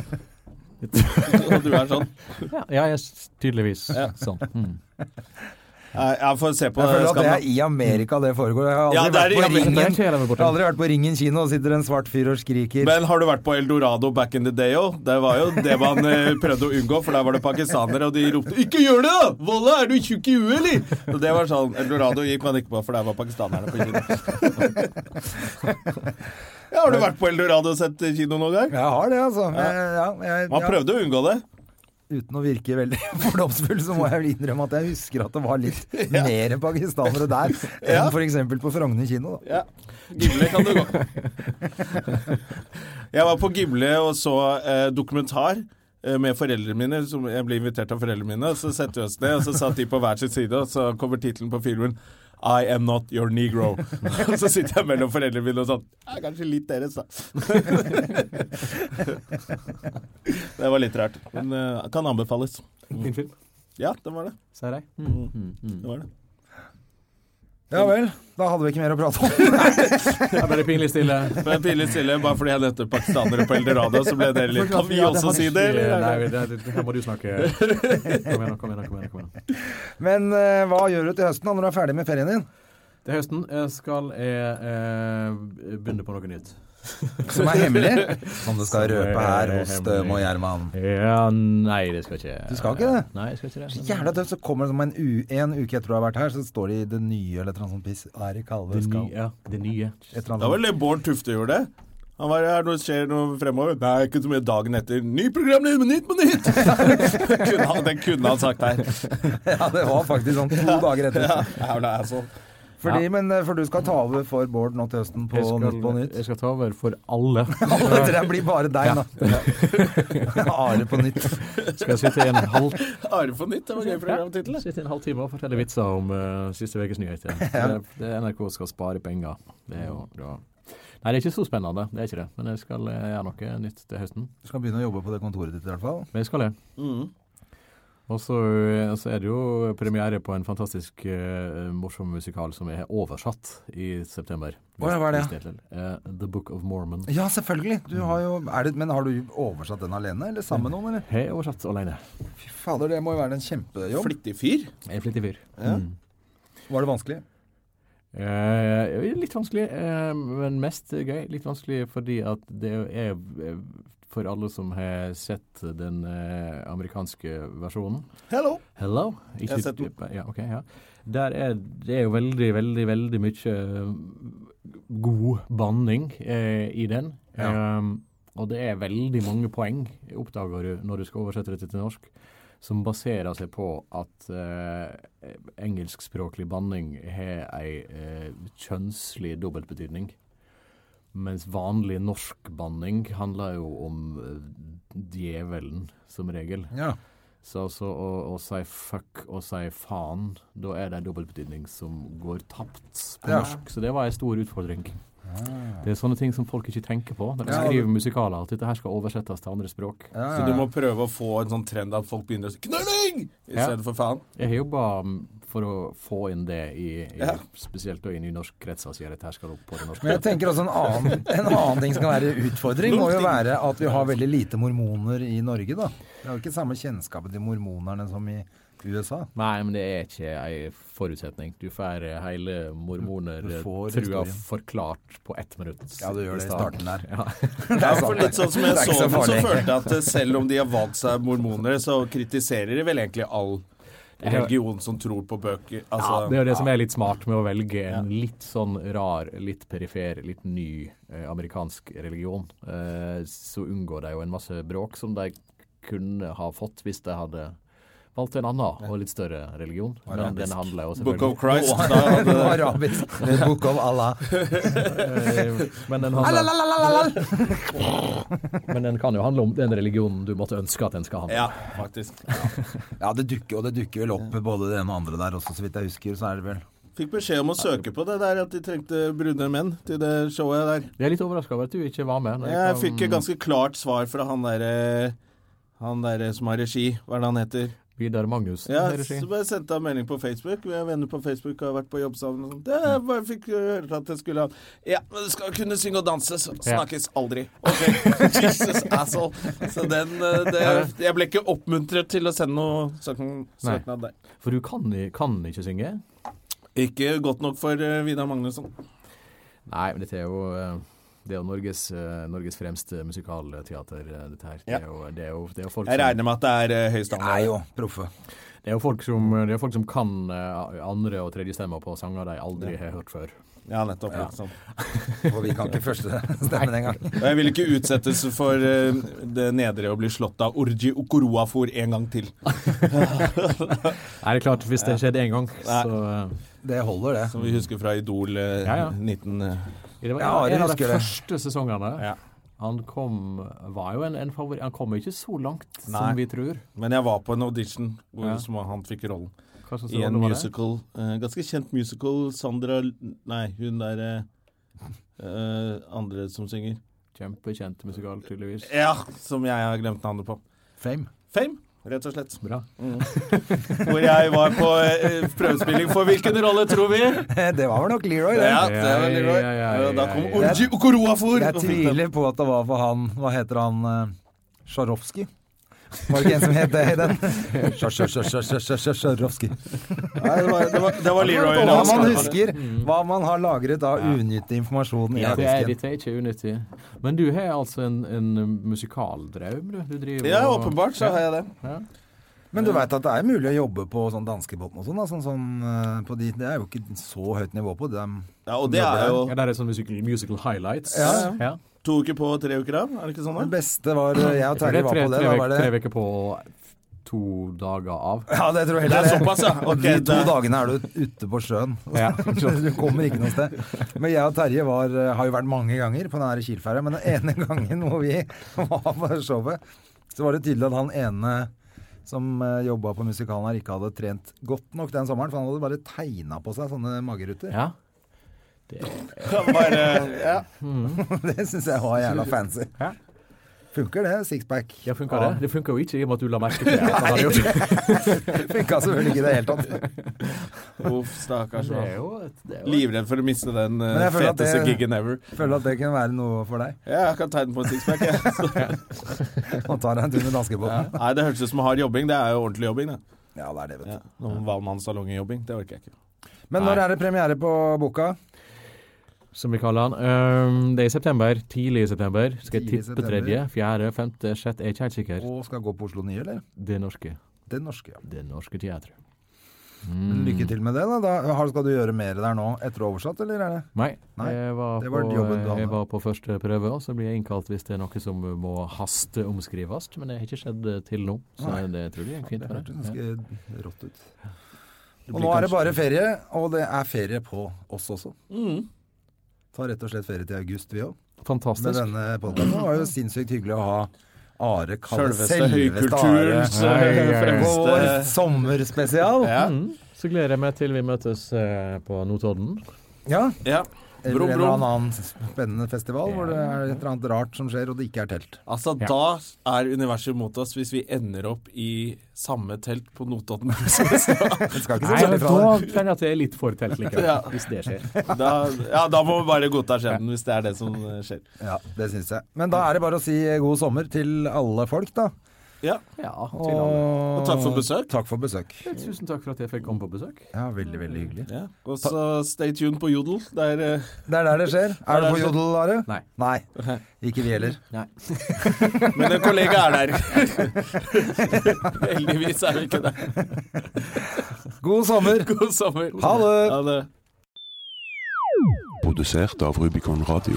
[SPEAKER 1] it!' Og du er sånn.
[SPEAKER 3] Ja, ja jeg, s- tydeligvis sånn. Mm.
[SPEAKER 1] Nei, Jeg får se på
[SPEAKER 2] Jeg føler at det
[SPEAKER 1] Skam, da.
[SPEAKER 2] er i Amerika det foregår. Jeg har
[SPEAKER 1] Ja,
[SPEAKER 2] aldri,
[SPEAKER 1] det er i
[SPEAKER 2] vært, på
[SPEAKER 1] Amerika.
[SPEAKER 2] ringen,
[SPEAKER 3] Det er hele
[SPEAKER 2] jeg
[SPEAKER 3] borte.
[SPEAKER 2] har aldri vært på Ringen kino, og sitter en svart fyr og skriker
[SPEAKER 1] Men har du vært på Eldorado back in the day òg? Det var jo det man eh, prøvde å unngå, for der var det pakistanere, og de ropte 'Ikke gjør det, da! Volla, er du tjukk i huet, eller?' Så det var sånn Eldorado gikk man ikke på, for der var pakistanerne på kino. ja, har du vært på Eldorado og sett kino noen gang?
[SPEAKER 2] Jeg har det, altså. Men, ja, jeg,
[SPEAKER 1] Man
[SPEAKER 2] ja.
[SPEAKER 1] prøvde å unngå det.
[SPEAKER 2] Uten å virke veldig fordomsfull, så må jeg vel innrømme at jeg husker at det var litt mer pakistanere der enn
[SPEAKER 1] Ja.
[SPEAKER 2] f.eks. på Frogner kino. Da.
[SPEAKER 1] Ja. Gimle kan du gå. Jeg var på Gimle og så eh, dokumentar eh, med foreldrene mine. Som jeg ble invitert av foreldrene mine. og Så setter vi oss ned, og så satt de på hver sin side, og så kommer tittelen på filmen I am not your negro. Og så sitter jeg mellom foreldrene mine og sånn ja, Kanskje litt deres, da. det var litt rart. Men eh, kan anbefales.
[SPEAKER 3] Fin film,
[SPEAKER 1] Ja, det var det.
[SPEAKER 3] sier jeg. Mm,
[SPEAKER 1] det, var det.
[SPEAKER 2] Ja vel. Da hadde vi ikke mer å prate om.
[SPEAKER 3] Det er bare pinlig stille.
[SPEAKER 1] Men pinlig stille, bare fordi jeg nevnte pakistanere på Eldorado, så ble dere litt Kan vi også si det? eller?
[SPEAKER 3] Eh, Nei, det, det, det her må du snakke. Kom igjen, nå, kom igjen. nå, kom igjen, nå, kom igjen.
[SPEAKER 2] Men eh, hva gjør du til høsten da, når du er ferdig med ferien din?
[SPEAKER 3] Til høsten eh, skal jeg eh, begynne på noe nytt.
[SPEAKER 2] Som er hemmelig? Som du skal
[SPEAKER 3] røpe her hos
[SPEAKER 2] eh,
[SPEAKER 3] Støm og
[SPEAKER 2] Gjerman.
[SPEAKER 3] Ja, nei, det skal ikke
[SPEAKER 2] Du skal ikke det?
[SPEAKER 3] Nei, jeg skal ikke det.
[SPEAKER 2] Jævla tøft. Så kommer det som en, u en uke etter du har vært her, så står det i det nye eller et eller annet sånt piss. Ari Kalve
[SPEAKER 3] Det
[SPEAKER 2] skal
[SPEAKER 3] nye. Ja, det nye.
[SPEAKER 2] Et eller
[SPEAKER 1] Da
[SPEAKER 2] annet
[SPEAKER 1] var det Bård Tufte gjorde det. Han var her, nå skjer noe fremover. Nei, ikke så mye dagen etter. Ny programleder med Nytt på Nytt! kunne han, den kunne han sagt her.
[SPEAKER 2] Ja, det var faktisk sånn to dager etter.
[SPEAKER 1] Jævla asshole.
[SPEAKER 2] Fordi, men, eh, for du skal ta over for Bård nå til høsten på
[SPEAKER 3] Jeg skal,
[SPEAKER 2] Nytt på Nytt.
[SPEAKER 3] jeg skal ta over for alle.
[SPEAKER 2] Alle tre blir bare deg, da. Are på nytt.
[SPEAKER 3] Skal jeg sitte i en halv
[SPEAKER 1] Are på nytt, det var gøy programtittel.
[SPEAKER 3] Sitte i en halv time og fortelle vitser om eh, siste ukes nyheter. Det, det er NRK skal spare penger. Det er jo, det var- Nei, det er ikke så spennende, det er ikke det. Men jeg skal eh, gjøre noe nytt til høsten.
[SPEAKER 2] Du skal begynne å jobbe på det kontoret ditt i hvert fall.
[SPEAKER 3] Men jeg skal det.
[SPEAKER 1] Mm.
[SPEAKER 3] Og så, eh, så er det jo premiere på en fantastisk eh, morsom musikal som jeg har oversatt i september.
[SPEAKER 2] Å, ja, hva er det?
[SPEAKER 3] Hvis til. Eh, The Book of Mormon.
[SPEAKER 2] Ja, selvfølgelig. Du har jo, er det, men har du oversatt den alene, eller sammen med noen? Eller?
[SPEAKER 3] Har jeg oversatt alene.
[SPEAKER 2] Fy fader, det må jo være en kjempejobb.
[SPEAKER 1] Flittig fyr.
[SPEAKER 3] Jeg er flittig fyr. Mm.
[SPEAKER 2] Var det vanskelig?
[SPEAKER 3] Eh, litt vanskelig, eh, men mest gøy. Litt vanskelig fordi at det er eh, for alle som har sett den eh, amerikanske versjonen.
[SPEAKER 2] Hello!
[SPEAKER 3] Hello? Ikke,
[SPEAKER 1] har sett den.
[SPEAKER 3] Ja, ok, ja. Der er det er jo veldig, veldig, veldig mye eh, god banning eh, i den. Ehm, og det er veldig mange poeng, oppdager du når du skal oversette dette til norsk, som baserer seg på at eh, engelskspråklig banning har ei eh, kjønnslig dobbeltbetydning. Mens vanlig norsk banning handler jo om eh, djevelen, som regel.
[SPEAKER 2] Ja.
[SPEAKER 3] Så altså å, å si fuck og si faen, da er det en dobbeltbetydning som går tapt på
[SPEAKER 2] Ja. Ah.
[SPEAKER 3] norsk. Så det var en stor utfordring. Det er sånne ting som folk ikke tenker på når de
[SPEAKER 2] Ja,
[SPEAKER 3] skriver musikaler, at dette her skal oversettes til andre språk.
[SPEAKER 2] Ja,
[SPEAKER 1] Så du må prøve å få en sånn trend at folk begynner å si 'knulling' i
[SPEAKER 3] Ja.
[SPEAKER 1] stedet for 'faen'.
[SPEAKER 3] Jeg har jobba for å få inn det i, i
[SPEAKER 1] Ja.
[SPEAKER 3] spesielt da i nynorsk krets, og sier at dette her skal opp på det norske.
[SPEAKER 2] Men jeg tenker også en annen, en annen ting som kan være utfordring, må jo være at vi har veldig lite mormoner i Norge, da. Vi har jo ikke samme kjennskapet til mormonerne som i USA.
[SPEAKER 3] Nei, men det er ikke ei forutsetning. Du får eh, hele
[SPEAKER 2] Du får
[SPEAKER 3] mormoner-trua
[SPEAKER 2] historien.
[SPEAKER 3] forklart på ett minutt.
[SPEAKER 2] Ja, du gjør det i starten der.
[SPEAKER 3] Ja.
[SPEAKER 2] Det er
[SPEAKER 1] For litt sånn som jeg
[SPEAKER 2] Det er
[SPEAKER 1] så
[SPEAKER 2] ikke så
[SPEAKER 1] den, så
[SPEAKER 2] farlig.
[SPEAKER 1] følte jeg at eh, selv om de har valgt seg mormonere, så kritiserer de vel egentlig all religion som tror på bøker. Altså,
[SPEAKER 3] Ja, det er jo det som er litt smart med å velge en litt sånn rar, litt perifer, litt ny eh, amerikansk religion. Eh, så unngår de jo en masse bråk som de kunne ha fått hvis de hadde valgt en annen og litt større religion. Men den handler jo
[SPEAKER 1] Book of
[SPEAKER 3] selvfølgelig
[SPEAKER 1] Christ. Da
[SPEAKER 2] Det
[SPEAKER 1] hadde
[SPEAKER 2] var arabisk. The Book of Allah.
[SPEAKER 3] Eh, Men den, handler,
[SPEAKER 2] Alalalalal.
[SPEAKER 3] men den kan jo handle om den religionen du måtte ønske at den skal handle om.
[SPEAKER 1] ja, faktisk.
[SPEAKER 2] Ja, det dukker, og det dukker vel opp både det ene og andre der også, så vidt jeg husker. Så er det vel
[SPEAKER 1] Fikk beskjed om å søke på det der, at de trengte brune menn til det showet der.
[SPEAKER 3] Jeg er litt overraska over at du ikke var med. når
[SPEAKER 1] Jeg
[SPEAKER 3] kom-
[SPEAKER 1] fikk et ganske klart svar fra han derre han der eh, som har regi, hva er det han heter?
[SPEAKER 3] Vidar Magnus.
[SPEAKER 1] Ja,
[SPEAKER 3] i regi.
[SPEAKER 1] så bare sendte han melding på Facebook. Vi er venner på Facebook og har vært på jobb sammen og sånn. Jeg bare fikk høre at jeg skulle ha Ja, men du skal kunne synge og danse, så snakkes aldri. Ok, Jesus asshole. Så den eh, det, Jeg ble ikke oppmuntret til å sende noe sånn
[SPEAKER 3] Nei.
[SPEAKER 1] søknad der.
[SPEAKER 3] For du kan, i- kan ikke synge?
[SPEAKER 1] Ikke godt nok for eh, Vidar Magnusson.
[SPEAKER 3] Nei, men dette er jo eh, det er jo Norges, eh, Norges fremste musikalteater, eh, dette her.
[SPEAKER 1] Ja.
[SPEAKER 3] Det, er jo, det, er jo, det, er jo folk
[SPEAKER 1] Jeg
[SPEAKER 3] som,
[SPEAKER 1] regner med at det er eh,
[SPEAKER 2] De
[SPEAKER 1] høy
[SPEAKER 2] er
[SPEAKER 1] standard.
[SPEAKER 2] jo proffe.
[SPEAKER 3] det er jo folk som, det er folk som kan eh, andre- og tredjestemmer på sanger de aldri har hørt før.
[SPEAKER 1] Ja, nettopp. ikke sant.
[SPEAKER 2] Og vi kan ikke første stemmen engang.
[SPEAKER 1] Og jeg vil ikke utsettes for eh, det nedre å bli slått av Orji Okoroafor en gang til.
[SPEAKER 3] Nei, det er klart, hvis det skjedde én gang, så eh,
[SPEAKER 2] Det holder, det.
[SPEAKER 1] Som vi husker fra Idol eh,
[SPEAKER 3] Ja, ja.
[SPEAKER 1] 19... eh,
[SPEAKER 3] Det var
[SPEAKER 2] Ja,
[SPEAKER 3] en,
[SPEAKER 2] jeg
[SPEAKER 3] en av de
[SPEAKER 2] husker det.
[SPEAKER 3] første sesongene.
[SPEAKER 1] Ja.
[SPEAKER 3] Han kom var jo en, en favori... Han kom jo ikke så langt
[SPEAKER 1] Nei.
[SPEAKER 3] som vi tror.
[SPEAKER 1] Men jeg var på en audition hvor
[SPEAKER 3] Ja.
[SPEAKER 1] som han fikk rollen.
[SPEAKER 3] Hva slags
[SPEAKER 1] I en
[SPEAKER 3] rolle var det?
[SPEAKER 1] musical. eh, ganske kjent musical. Sandra L- Nei, hun der eh, eh, andre som synger.
[SPEAKER 3] Kjempekjent musikal, tydeligvis.
[SPEAKER 1] Ja, som jeg har glemt navnet på.
[SPEAKER 2] Fame.
[SPEAKER 1] Fame, rett og slett.
[SPEAKER 3] Bra.
[SPEAKER 1] Hvor jeg var på eh, prøvespilling for hvilken rolle, tror vi?
[SPEAKER 2] Det var vel nok Leroy, det.
[SPEAKER 1] Ja, det var veldig bra.
[SPEAKER 3] Ja, ja, ja, ja,
[SPEAKER 1] Eh, Da kom
[SPEAKER 3] ja,
[SPEAKER 2] ja.
[SPEAKER 1] Orji Okoroafor!
[SPEAKER 2] Jeg
[SPEAKER 1] og fikk den.
[SPEAKER 2] tviler på at det var for han Hva heter han? eh, Sjarovskij? Var det ikke en som het det i den? Sja- sja- sja- sja- sja- sja- sja- Sjarovskij.
[SPEAKER 1] Nei, det var, det var, det var Leroy.
[SPEAKER 2] Hva
[SPEAKER 1] Lance.
[SPEAKER 2] man husker, hva man har lagret av unyttig informasjon i
[SPEAKER 3] Mm. Ja, det er,
[SPEAKER 2] artisken.
[SPEAKER 3] dette er ikke unyttig. Men du har altså en, en musikaldraum, du? du driver
[SPEAKER 1] Ja,
[SPEAKER 3] og-
[SPEAKER 1] åpenbart så har jeg det.
[SPEAKER 2] Men du veit at det er mulig å jobbe på sånn danskebåten og sånn? da, Sånn, sånn, eh, på de, det er jo ikke så høyt nivå på dem.
[SPEAKER 1] Ja, og det er jo
[SPEAKER 3] Ja, der er sånn musical, musical highlights.
[SPEAKER 2] Ja.
[SPEAKER 3] ja.
[SPEAKER 1] to uker på og tre uker av, er det ikke sånn?
[SPEAKER 2] Det
[SPEAKER 1] da?
[SPEAKER 2] beste var eh, Jeg og
[SPEAKER 3] Det
[SPEAKER 2] Terje
[SPEAKER 3] er
[SPEAKER 2] var
[SPEAKER 3] tre,
[SPEAKER 2] på det.
[SPEAKER 3] tre,
[SPEAKER 2] Da
[SPEAKER 3] vek-
[SPEAKER 2] var
[SPEAKER 3] tre
[SPEAKER 2] det
[SPEAKER 3] uker på og to dager av.
[SPEAKER 2] ja, det tror jeg
[SPEAKER 1] Det
[SPEAKER 2] heller
[SPEAKER 1] er såpass, ja. Ok,
[SPEAKER 2] de to
[SPEAKER 1] det-
[SPEAKER 2] dagene er du ute på sjøen.
[SPEAKER 3] Ja.
[SPEAKER 2] Du kommer ikke noe sted. Men jeg og Terje var, eh, har jo vært mange ganger på den her Kielferja, men den ene gangen hvor vi var på showet, så var det tydelig at han ene som jobba på musikalen her, ikke hadde trent godt nok den sommeren. For han hadde bare tegna på seg sånne mageruter.
[SPEAKER 3] Ja.
[SPEAKER 1] Bare, ja.
[SPEAKER 2] Det syns jeg var jævla fancy.
[SPEAKER 3] Ja.
[SPEAKER 2] Funker det, sixpack?
[SPEAKER 3] ja, funka det? Det funka jo ikke i og med at du la merke til det. at han hadde gjort det.
[SPEAKER 2] Funka selvfølgelig ikke i det hele tatt.
[SPEAKER 1] Uff, stakkars.
[SPEAKER 3] Det er
[SPEAKER 1] mann.
[SPEAKER 3] jo et- det er jo-
[SPEAKER 1] Livredd for å miste den eh,
[SPEAKER 2] Men jeg føler at
[SPEAKER 1] feteste
[SPEAKER 2] det-
[SPEAKER 1] giggen ever.
[SPEAKER 2] Føler at det kunne være noe for deg.
[SPEAKER 1] Ja, jeg kan tegne på en sixpack. jeg.
[SPEAKER 2] Nå tar jeg en tur med danskebåten.
[SPEAKER 1] Nei, det høres ut som hard jobbing. Det er jo ordentlig jobbing, det.
[SPEAKER 2] Ja, det er det, vet du.
[SPEAKER 1] Ja. Noen Valmannssalongjobbing, det orker jeg ikke.
[SPEAKER 2] Men når er det premiere på boka?
[SPEAKER 3] som vi kaller han. Ehm, det er i september. Tidlig i september. Skal
[SPEAKER 2] Tidlig
[SPEAKER 3] jeg
[SPEAKER 2] i
[SPEAKER 3] tippe
[SPEAKER 2] september.
[SPEAKER 3] tredje, fjerde, femte, sjette? Jeg er ikke helt sikker.
[SPEAKER 2] Og skal gå på Oslo Nye, eller?
[SPEAKER 3] Det norske.
[SPEAKER 2] Det norske, ja.
[SPEAKER 3] Det norske teatret. Mm.
[SPEAKER 2] Lykke til med det, da. da. har- Skal du gjøre mer der nå etter oversatt, eller er det?
[SPEAKER 3] Nei,
[SPEAKER 2] Nei,
[SPEAKER 3] jeg, var
[SPEAKER 2] det var
[SPEAKER 3] på,
[SPEAKER 2] jobben du hadde.
[SPEAKER 3] jeg var på første prøve, og så blir jeg innkalt hvis det er noe som må hasteomskrives. Men det har ikke skjedd eh, til nå, så
[SPEAKER 2] Nei.
[SPEAKER 3] det tror jeg er fint.
[SPEAKER 2] Det
[SPEAKER 3] for
[SPEAKER 2] hørtes
[SPEAKER 3] det. Ja.
[SPEAKER 2] ganske rått ut. Og
[SPEAKER 1] blir
[SPEAKER 2] nå er det
[SPEAKER 1] kanskje-
[SPEAKER 2] bare ferie, og det er ferie på oss også.
[SPEAKER 3] Mm.
[SPEAKER 2] Tar rett og slett ferie til august, vi òg. Med
[SPEAKER 3] Fantastisk.
[SPEAKER 2] denne podkasten var jo sinnssykt hyggelig å ha Are Kalle
[SPEAKER 1] Selveste
[SPEAKER 2] Are
[SPEAKER 1] høykulturens eh,
[SPEAKER 2] på vår
[SPEAKER 1] fremste
[SPEAKER 2] sommerspesial.
[SPEAKER 1] Ja.
[SPEAKER 3] Så gleder jeg meg til vi møtes eh, på Notodden.
[SPEAKER 2] Ja.
[SPEAKER 1] ja.
[SPEAKER 2] Eller
[SPEAKER 1] Brum,
[SPEAKER 2] en
[SPEAKER 1] brum.
[SPEAKER 2] eller annen spennende festival hvor det er et eller annet rart som skjer, og det ikke er telt.
[SPEAKER 1] Altså, da er universet mot oss hvis vi ender opp i samme telt på Notodden.
[SPEAKER 2] Det skal ikke
[SPEAKER 3] Nei,
[SPEAKER 2] se
[SPEAKER 3] da
[SPEAKER 2] bort ifra det.
[SPEAKER 3] kjenner jeg at jeg er litt for telt likevel,
[SPEAKER 1] Ja.
[SPEAKER 3] hvis det skjer.
[SPEAKER 1] da, ja, da må vi bare godta skjebnen hvis det er det som eh, skjer.
[SPEAKER 2] Ja, det syns jeg. Men da er det bare å si eh, god sommer til alle folk, da.
[SPEAKER 1] Ja.
[SPEAKER 3] Ja, til alle.
[SPEAKER 2] Og,
[SPEAKER 1] Og takk for besøk.
[SPEAKER 2] Takk for besøk.
[SPEAKER 3] Tusen takk for at jeg fikk komme på besøk.
[SPEAKER 2] Ja, veldig, veldig hyggelig.
[SPEAKER 1] Ja. Og så stay tuned på Jodel. Der, eh,
[SPEAKER 2] Det er der det skjer. Er du
[SPEAKER 1] der
[SPEAKER 2] på
[SPEAKER 1] det skjer.
[SPEAKER 2] Jodel, Are?
[SPEAKER 3] Nei.
[SPEAKER 2] Nei. Ikke vi heller.
[SPEAKER 1] mine kollegaer er der. Heldigvis er vi ikke der.
[SPEAKER 2] God sommer!
[SPEAKER 1] God sommer.
[SPEAKER 2] Ha det!
[SPEAKER 1] Ha det.
[SPEAKER 4] Produsert av Rubicon Radio.